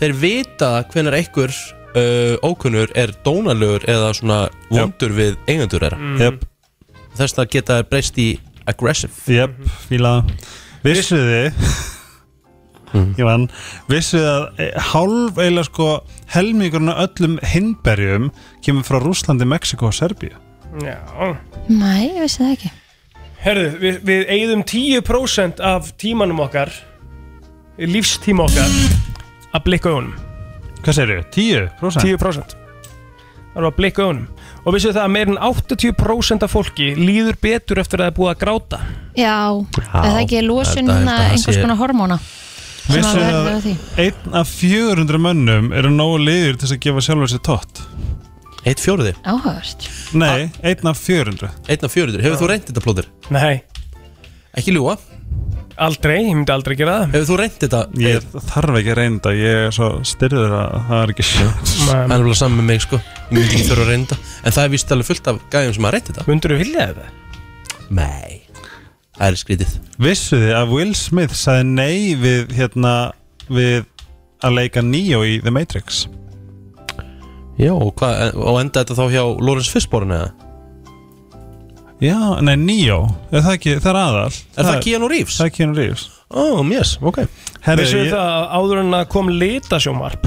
Þeir vita hvenar einhver uh, ókunnur er dónalögur eða svona vondur við eigendur þeirra
Jöp,
Þess að geta þeir breyst í aggressive
jöp, fílaða Vissuð þið Ég vann Vissuð að e, hálf eiginlega sko helmingurinn af öllum hinberjum kemur frá Rúslandi, Mexiko og Serbíu
Já.
nei, ég vissi það ekki
Herðu, við, við eigðum 10% af tímanum okkar lífstíma okkar að blikka augunum
Hvað segir þau? 10%?
10% Það eru að blikka augunum Og vissu það að meirinn 80% af fólki líður betur eftir að það er búið að gráta
Já, er það ekki losun
þetta-
hérna
þetta
einhvers
sé-
konar hormóna sem að
Vissu
verður
að
því
einn af 400 mönnum eru nógu liður til þess að gefa sjálfur sér tótt
Eitt fjóruði?
Áhörst
Nei, einn af 400
Einn af 400, hefur þú reynt þetta plóður?
Nei
Ekki ljúa?
Aldrei, ég myndi aldrei gera það
Hefur þú reynt þetta?
Ég þarf ekki að reynda, ég er svo styrður að það er ekki sjöns *laughs*
Það er alveg saman með mig sko Ég myndi ekki þurfa að reynda En það er vist alveg fullt af gæðum sem að reynda þetta
Mundur þú vilja þetta?
Nei Það er skrítið
Vissu þið að Will Smith sagði nei við, hérna, við að leika Neo í The Matrix
Já, og, hvað, og enda þetta þá hjá Lawrence Fishburne eða?
Já, nei, Neo, er það, ekki, það er aðal
Er það Keanu Reeves?
Það er Keanu Reeves
Oh, yes, ok
Herri,
Vissu
ég-
það að áður en að kom litasjómarp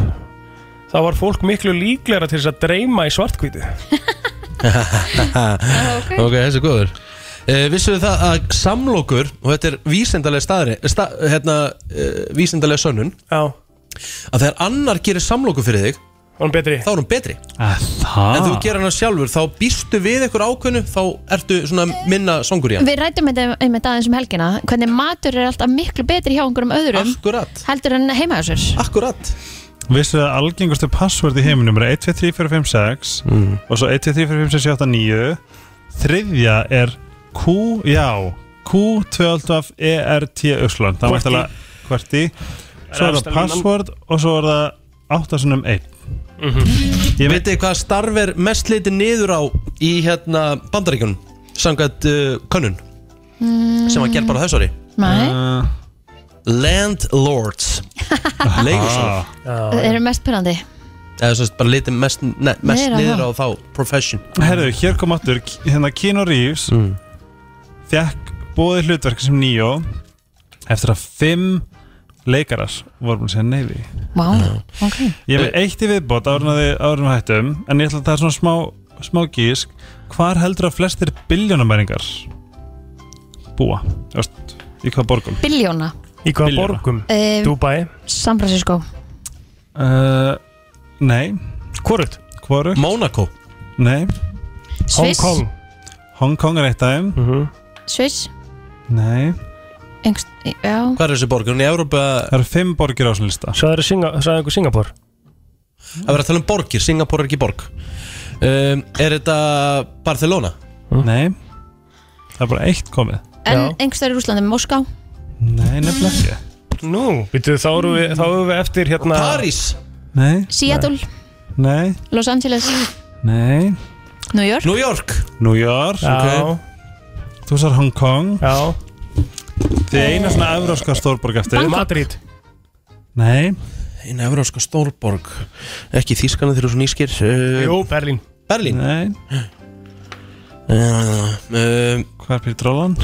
þá var fólk miklu líklegra til þess að dreyma í svartkvítu
ok, þessi er góður Uh, vissuðu það að samlokur og þetta er vísindalega staðri sta, hérna, uh, vísindalega sönnun
Já.
að þegar annar gerir samloku fyrir þig
þá er
hún betri
Það
en þú gerir hana sjálfur þá býstu við einhver ákveðnu þá ertu svona minna songur í hann
Við rættum þetta einmitt aðeins um helgina hvernig matur er alltaf miklu betri hjá einhverjum öðrum
Akkurat.
heldur en heima hjá sér
Akkurat
Vissu það að algengustu passvörð í heiminum er 123456 mm. og svo 12345679 þriðja er Q, já Q12ERT Uslan það
Qwerty.
e, er
efsta
alltaf hvert í svo er það
línan.
passvörð og svo er það 801 Mhm.
Ég veit ekki hvað starf er mest litið niður á í hérna bandaríkjunum samkvæmt uh, könnun sem var gerð bara þess ári
Nei.
Ah,
Landlords
Ah.
Leigursal
Það eru mest pyrrandi
eða svo bara litið mest, ne, mest
Niður á
niður á þá profession
Herðu, hér kom aftur K- hérna Keanu Reeves mm. fekk bóðið hlutverk sem nýjó eftir að fimm leikarar voru búin að segja neyfi
Vá, ok
Ég hef eitt í viðbót árun að þið árun að hættum en ég ætla að það er svona smá, smá gísk hvar heldur að flestir biljónamæringar búa Öst, í hvaða borgum?
Biljóna
Í hvaða borgum?
Eh,
Dubai?
San Francisco
Uh, nei
Hvorut?
Hvorut?
Monaco
Nei
Sviss. Hong Kong.
Hong Kong er eitt aðeim
mm -hmm.
Sviss
Nei
Engst, já
Hvað er þessi borg? Hún í Európa
Það eru fimm borgir á þessum lista
Sæður einhver Singapur?
Það verður að tala um borgir, Singapur er ekki borg um, Er þetta Barcelona?
Nei Það er bara eitt komið
En engst er í Rúslandi, Moskva
Nei, nefnilega ekki
Nú, býtu, þá erum við, þá erum við eftir hérna
París
Nei
Seattle,
Nei
Los Angeles
Nei
New York
New York
New York
Já.
Þú sær Hong Kong
Já
Þið er eina svona evróska stórborg eftir
Madrid
Nei
Einn európska stórborg Ekki Þískana þeir eru svo nýskir uh,
Jú, Berlín
Berlín
Nei
uh,
Hvað er fyrir drólan?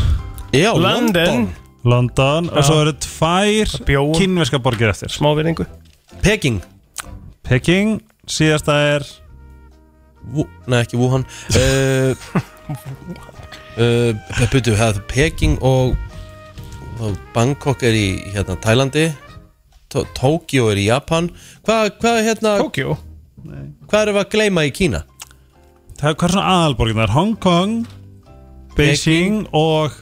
Já,
London.
London
London og
Já.
svo eru tvær
Bjóa.
kínverska borgir eftir
Smáverðingu
Peking
Peking, síðasta er
Wu- Nei, ekki Wuhan uh, uh, Butu, það er Peking og, og Bangkok er í hérna, Tælandi Tó- Tókíó er í Japan Hvað hva, hérna,
Tokjó
hva erum við að gleyma í Kína?
það, Hvað er svona aðalborgin? Það er Hong Kong, Beijing og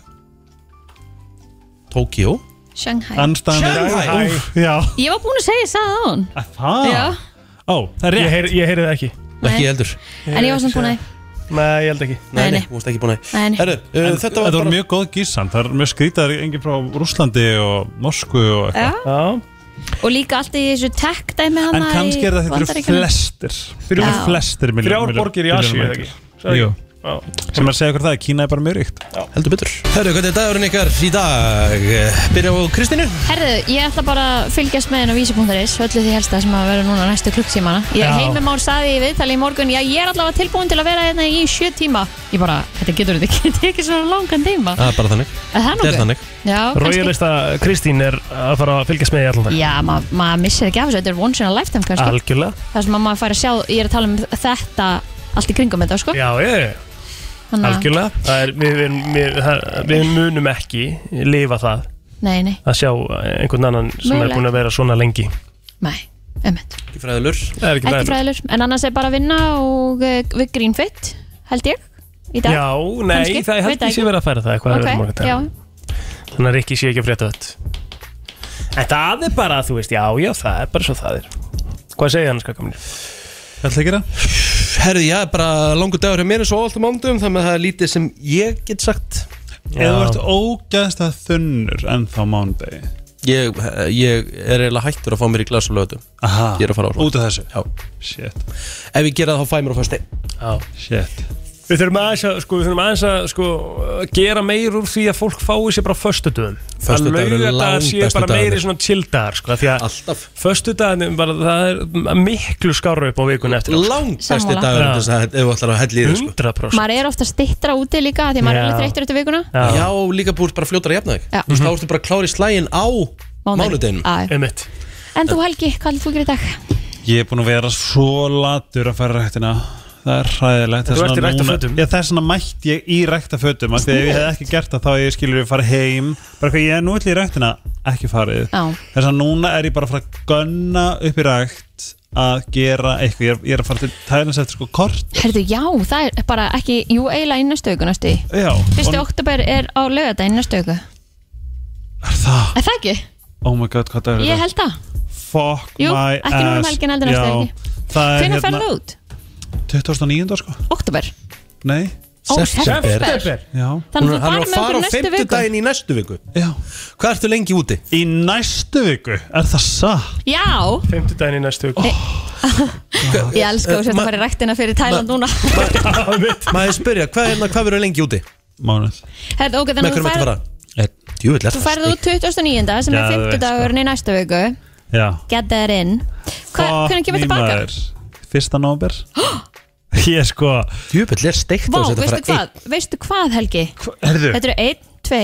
Tókíó
Shanghai
anstæðan
Shanghai.
Úf, Já,
Ég var búin að segja það Ah, á hún
Að það
Já,
Ó, það er
Ég
rétt
heyri ég heyri það ekki
Ekki heldur
en ég var samt búin að
Nei, ég held ekki
Nei,
Nei,
nei,
nei.
þú varst ekki búin að
Nei, nei.
Herru, uh, þetta var
Þetta var
bara
mjög góð gísan, það er mjög skrítið engin frá Rúslandi og Norsku og
Já,
eitthvað
Já
og líka allt í þessu tech dæmi hana
En kannski er það þetta eru flestir Þetta
Já.
eru flestir miljón-
Þrjár
miljón-
borgir í Asíu,
miljónum
eða ekki?
mælingar.
Sagði
Jú,
Já.
sem er að segja okkur það, Kína er bara mjög ríkt
heldur betur Herru, hvernig er dagurinn ykkar í dag? Byrja á Kristínu
Herðu, ég ætla bara að fylgjast með henn á vísi.is öllu því helsta sem að vera núna næstu klukktímana Ég
Já.
heimir már saði í viðtali í morgun Já, ég er allavega tilbúin til að vera hérna í sjö tíma Ég bara, þetta getur þetta ekki *laughs* tekið svona langan tíma
Það er bara þannig
Er það
Það er
nokkuð?
þannig
Já, kannski
Rauðalista Kristín er að fara að fylgjast með í allan dag
Já, ma- maður missir ekki af þessu, þetta er once in a lifetime kannski
Algjörlega
Það sem að maður fær að sjá, ég er að tala um þetta allt í kringum þetta, sko
Já, ég
Þannig að-
Algjörlega Það er, við, við, við, það- við munum ekki lifa það
Nei, nei,
að sjá einhvern annan sem
Mögulega.
er búin að vera svona lengi
nei Einmitt.
Ekki fræðilur
Það er
ekki fræðilur, en annars er bara að vinna og eh, við grínfitt, held ég í dag,
Já, nei,
kannski,
það er
veit
held ég sé verið að færa það eitthvað
ok,
öðrum morgun dag.
já,
Þannig að Rikki sé ekki að frétta þetta En það er bara, þú veist, já, já, það er bara svo það er Hvað segir hann, skakamni?
Hvað ætla ekki það?
Herði, já, bara langur dagur hjá mér eins og alltaf mándum Þannig að það er lítið sem ég get sagt
Eða þú ert ógæðst að þunnur ennþá mándegi
Ég, ég er eiginlega hættur að fá mér í glas og lögðu
Aha,
Ah.
Ég er að fara á
út af þessu
Já
Shit,
Ef ég gera það þá fæ ég mér á fæsti
Já
shit
Við þurfum aðeins að, sko, við þurfum aðeins að, sko, gera meir úr því að fólk fái sér bara föstudöðum
Föstudagur er
laugardagar séu bara
langbesti
meiri
dagur.
svona chilldagar, sko, af því að
Alltaf
Föstudagarnir, bara, það er miklu skárra upp á vikun eftir á, sko.
Langt besti
Sammála.
dagur
Já.
þess að ef þú ætlar að hella í þig sko.
100%
maður er ofta stittra úti líka því að maður
Já.
er alveg þreyttur eftir vikuna
Já,
Já, Mhm. og líka búið bara fljótar að jafna þig
Já.
Þú veist, þá ertu bara klár í slægin á mánudeginum
Já, já.
einmitt
En þú Helgi, hvað heldur þú að gera í dag?
Ég er búin að vera svo latur að fara í ræktina Það er hræðilegt
En þú
Þess
ert í
vegna núna-
ræktarfötum?
Já, þess vegna mætti ég í ræktafötum Þegar ég hef ekki gert það þá hefði ég skilur ég fara heim Bara hvað ég er nú ætla í ræktina Ekki farið
Já,
Þess að núna er ég bara að fara að gönna upp í rækt Að gera eitthvað Ég er, ég er að fara til tælans eftir sko kort
herðu, já, það er bara ekki, jú, eiginlega í næstu viku næstu í
Já,
Fyrsti
og-
oktober er á lögadaginn næstu viku
er það
Er það ekki?
Oh my god, hvað það er
Ég held það
Fuck
Jú,
my
ekki núna um
ass.
helgina, heldur næstu
Já,
helgi.
Það er
Hvenær ferðu
hérna
út?
2009 sko
Oktober
Nei,
Ó,
September.
september
já,
Hún
Þannig
er hann er
að þú farið
að
með
fara á
okkur næstu viku
fimmtudaginn í næstu viku
já
Hvað ertu lengi úti?
Í næstu viku, er það satt?
Já,
Fymtudaginn í næstu viku
Ég elska þú sért að fara í ræktina fyrir Tæland núna *laughs*
Maður spyrja, hvað, hérna, hvað verður lengi úti?
Mánuð
Herðu, ok,
Með hverjum
þannig að
ertu
þú
að
færð-
fara? Eh, Djúvill, er
þú
það
færðu út 29. sem er
Já, þú veist, sko.
50 dagurinn í næstu viku
Já
Get that in Hva- Hvernig kemur tilbaka?
Fyrsta nóber *gasps* Ég sko
Djúvill er steikt
Vá,
og setja bara
veistu
einn.
hvað? Veistu hvað, Helgi?
Herðu
Þetta eru 1, 2,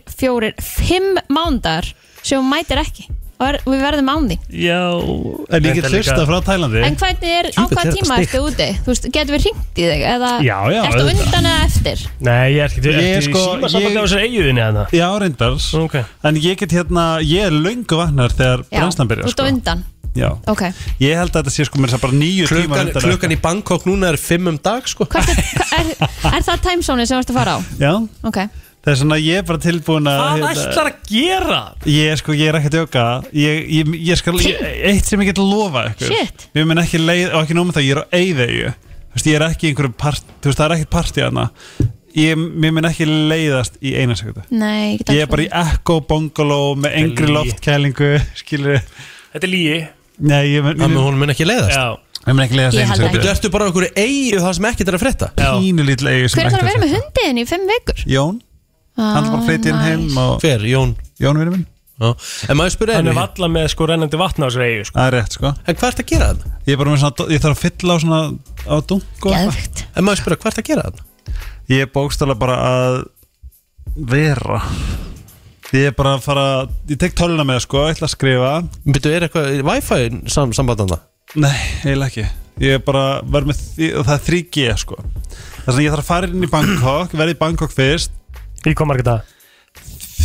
3, 4, 5 mándar sem hún mætir ekki og er, við verðum án því
Já En ég
Þetta
get
er líka-
hlusta frá Tælandi
En hvernig er, á
Djúpill er
hvaða
þetta
tíma ertu úti? Þú veist, getum við ringt í þig? Eða
Já, já,
Ertu
auðvitað.
undan eða eftir?
Nei, ég er ekki,
Ég er
ekki
sko-
símasambandi
ég-
á þessar eigiðinni að
Já, reyndar
hérna? Ok.
En ég get hérna Ég er löngu vaknar þegar
Já,
brennslan
þú
byrjar
ert á
sko.
undan
Já
Ok,
Ég held að þetta sé sko mér bara nýju tíma
Klukkan, klukkan í Bangkok núna er fimm um dag sko
Hvert er, hva- er, er það timezónið sem varstu að fara á?
Já
Ok,
Það er svona ég er bara tilbúin að hérna-
Hvað ætlar að hérna- gera?
Ég er sko, ég er ekki að djóka Ég, ég, ég skal, ég, eitt sem ég get lofa ykkur
Shit.
Ég mun ekki leið, og ekki nómið það, ég er á eyðeyju Þú veist, ég er ekki í einhverju part Þú veist, það er ekkert partí hana Ég, mér mun ekki leiðast í eina sekundu
nei, ekki
Ég er bara í Echo Bungalow með engri
lygi.
loftkælingu *laughs* Skilur
Þetta er lígi
Nei, ég mun, ég
Þannig að
mun,
hún mun ekki leiðast
Já,
ég mun ekki leiðast
Ég
í eina
held
Þú
sekundu
ertu bara á einhverju eigu það sem ekkert er að frétta
já
Pínu lítið eyju sem
Hver þarf að
ekkert
vera
er
með
þetta.
hundin í fimm vikur? Ah,
Jón, hann þarf bara að flytja inn heim og,
Hver, Jón?
Jón vinur minn,
Já. En maður spyrja
Hann er
einu
valla með sko rennandi vatna á þessar eigu sko.
það er rétt sko
En hvað ertu að gera þarna?
Ég er bara með svona, ég þarf að fylla á svona á dunk og eitthvað
Geðvegt
En maður spyrja, hvað ertu að gera þarna?
Ég er bókstala bara að vera Ég er bara að fara Ég tek töluna með sko, ég ætla að skrifa
Býttu, er eitthvað er Wi-Fi sam, sambandanda?
Nei, eiginlega ekki Ég er bara að vera með, því- og það er 3G sko Þess að ég þarf að fara inn í Bangkok Verði í Bangkok fyrst,
Í koma ekki það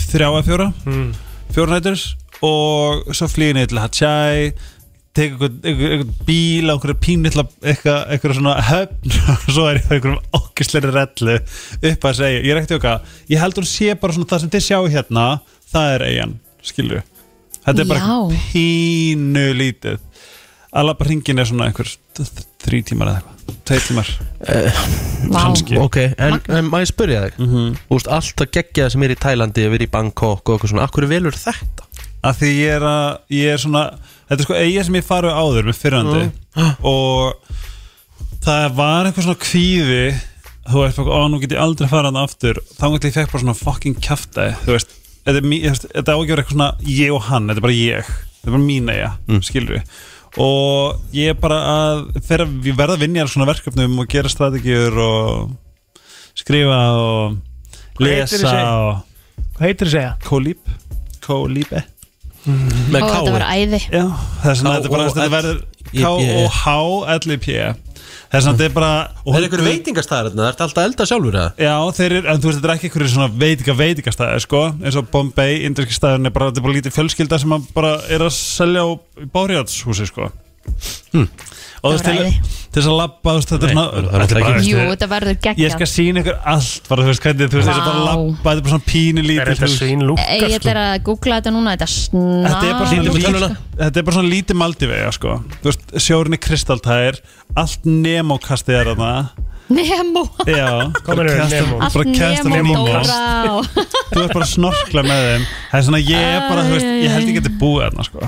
þrjá að fjóra mm. Fjóra nætur Og svo flýði niður til Hachai Tek einhvern- einhvern einhvern bíl á einhverju pínlilla eitthvað, eitthvað svona höfn *laughs* og svo er ég á einhverjum okkisleiri rellu upp að segja, ég er ekkert jóka ég held hún sé bara svona það sem þið sjáu hérna það er eigin, skilju þetta er bara
Já.
pínu lítið að lappa hringin er svona einhver þrý tímar eða eitthvað, tvei tímar
Vá.
Ok, en, en maður spyrja þig Þú veist, allt að gegja það sem er í Tælandi og verið í Bangkok og eitthvað svona Akkur velur þetta?
að því ég er að ég er svona, þetta er sko eiga sem ég farið áður með fyrrandi og það var eitthvað svona kvíði þú veist, fólk, ó, nú get ég aldrei farið hann aftur þá gæti ég fekk bara svona fucking kjafta þú veist, þetta er mí- þú veist, þetta á ekki að vera eitthvað svona ég og hann, þetta er bara ég þetta er bara mín eiga, mm. skilur við og ég er bara að fer, ég verða að vinja svona verkefnum og gera strategiur og skrifa og
Hvað heitir
lesa
þessi?
og eh?
Hvað heitir þessi eiga?
kólíp kólípe
Með
Ó, þetta
káu
var æði
Já, það er svona,
Ká-
þetta er bara,
og-
þetta verður K-O-H-L-I-P Það er samt E. þetta er bara
Það er einhver veitingastæðar þarna, það ert alltaf að elda sjálfur eða?
Já, þeir eru, en þú veist, þetta er ekki einhverju svona veitinga veitingastæði, sko, eins og Bombay, inderski stæðun er bara, þetta er bara lítið fjölskylda sem að bara er að selja á bárjáttshúsi, sko. Hmm. Og þú veist,
Það var
til, til þess að labba, þú veist, þetta er
Nei,
svona,
það er
þetta er
náttúrulega
bara,
ekki-
Jú, þetta verður
ég skal
geggjað
sína ykkur allt, bara, þú veist, hvernig, þú veist, þess að bara
Vá.
labba, þetta er bara svona pínu lítið.
þetta sko? svínlúkka,
Ég ætla að googla þetta núna Þetta snar
sko. Þetta er bara svona lítið, þetta er bara svona lítið maldivega, sko. Þú veist, sjórinn er kristaltæðir, allt nemokastið er þarna.
Nemo
Já,
Hvað meinarðu,
kasta-
Nemo?
bara
Allt
kasta
Nemo
Nemo.
Dóra og-
þú ert bara að snorkla með þeim það er svona ég er bara, þú veist, ég held ég geti búið þarna sko.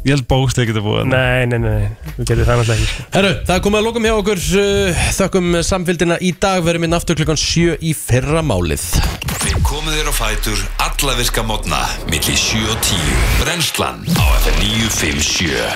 ég held bókstlega geti búið þarna
Nei, nei, nei, nei, við getum það náttúrulega ekki sko.
Herru, það er komið að lokum hjá okkur uh, Þökkum samfélgina í dag Verum inn aftur klukkan 7 í fyrramálið
Við komum þér á fætur alla virka mótna milli 7 og 10 Brennslan á FM 957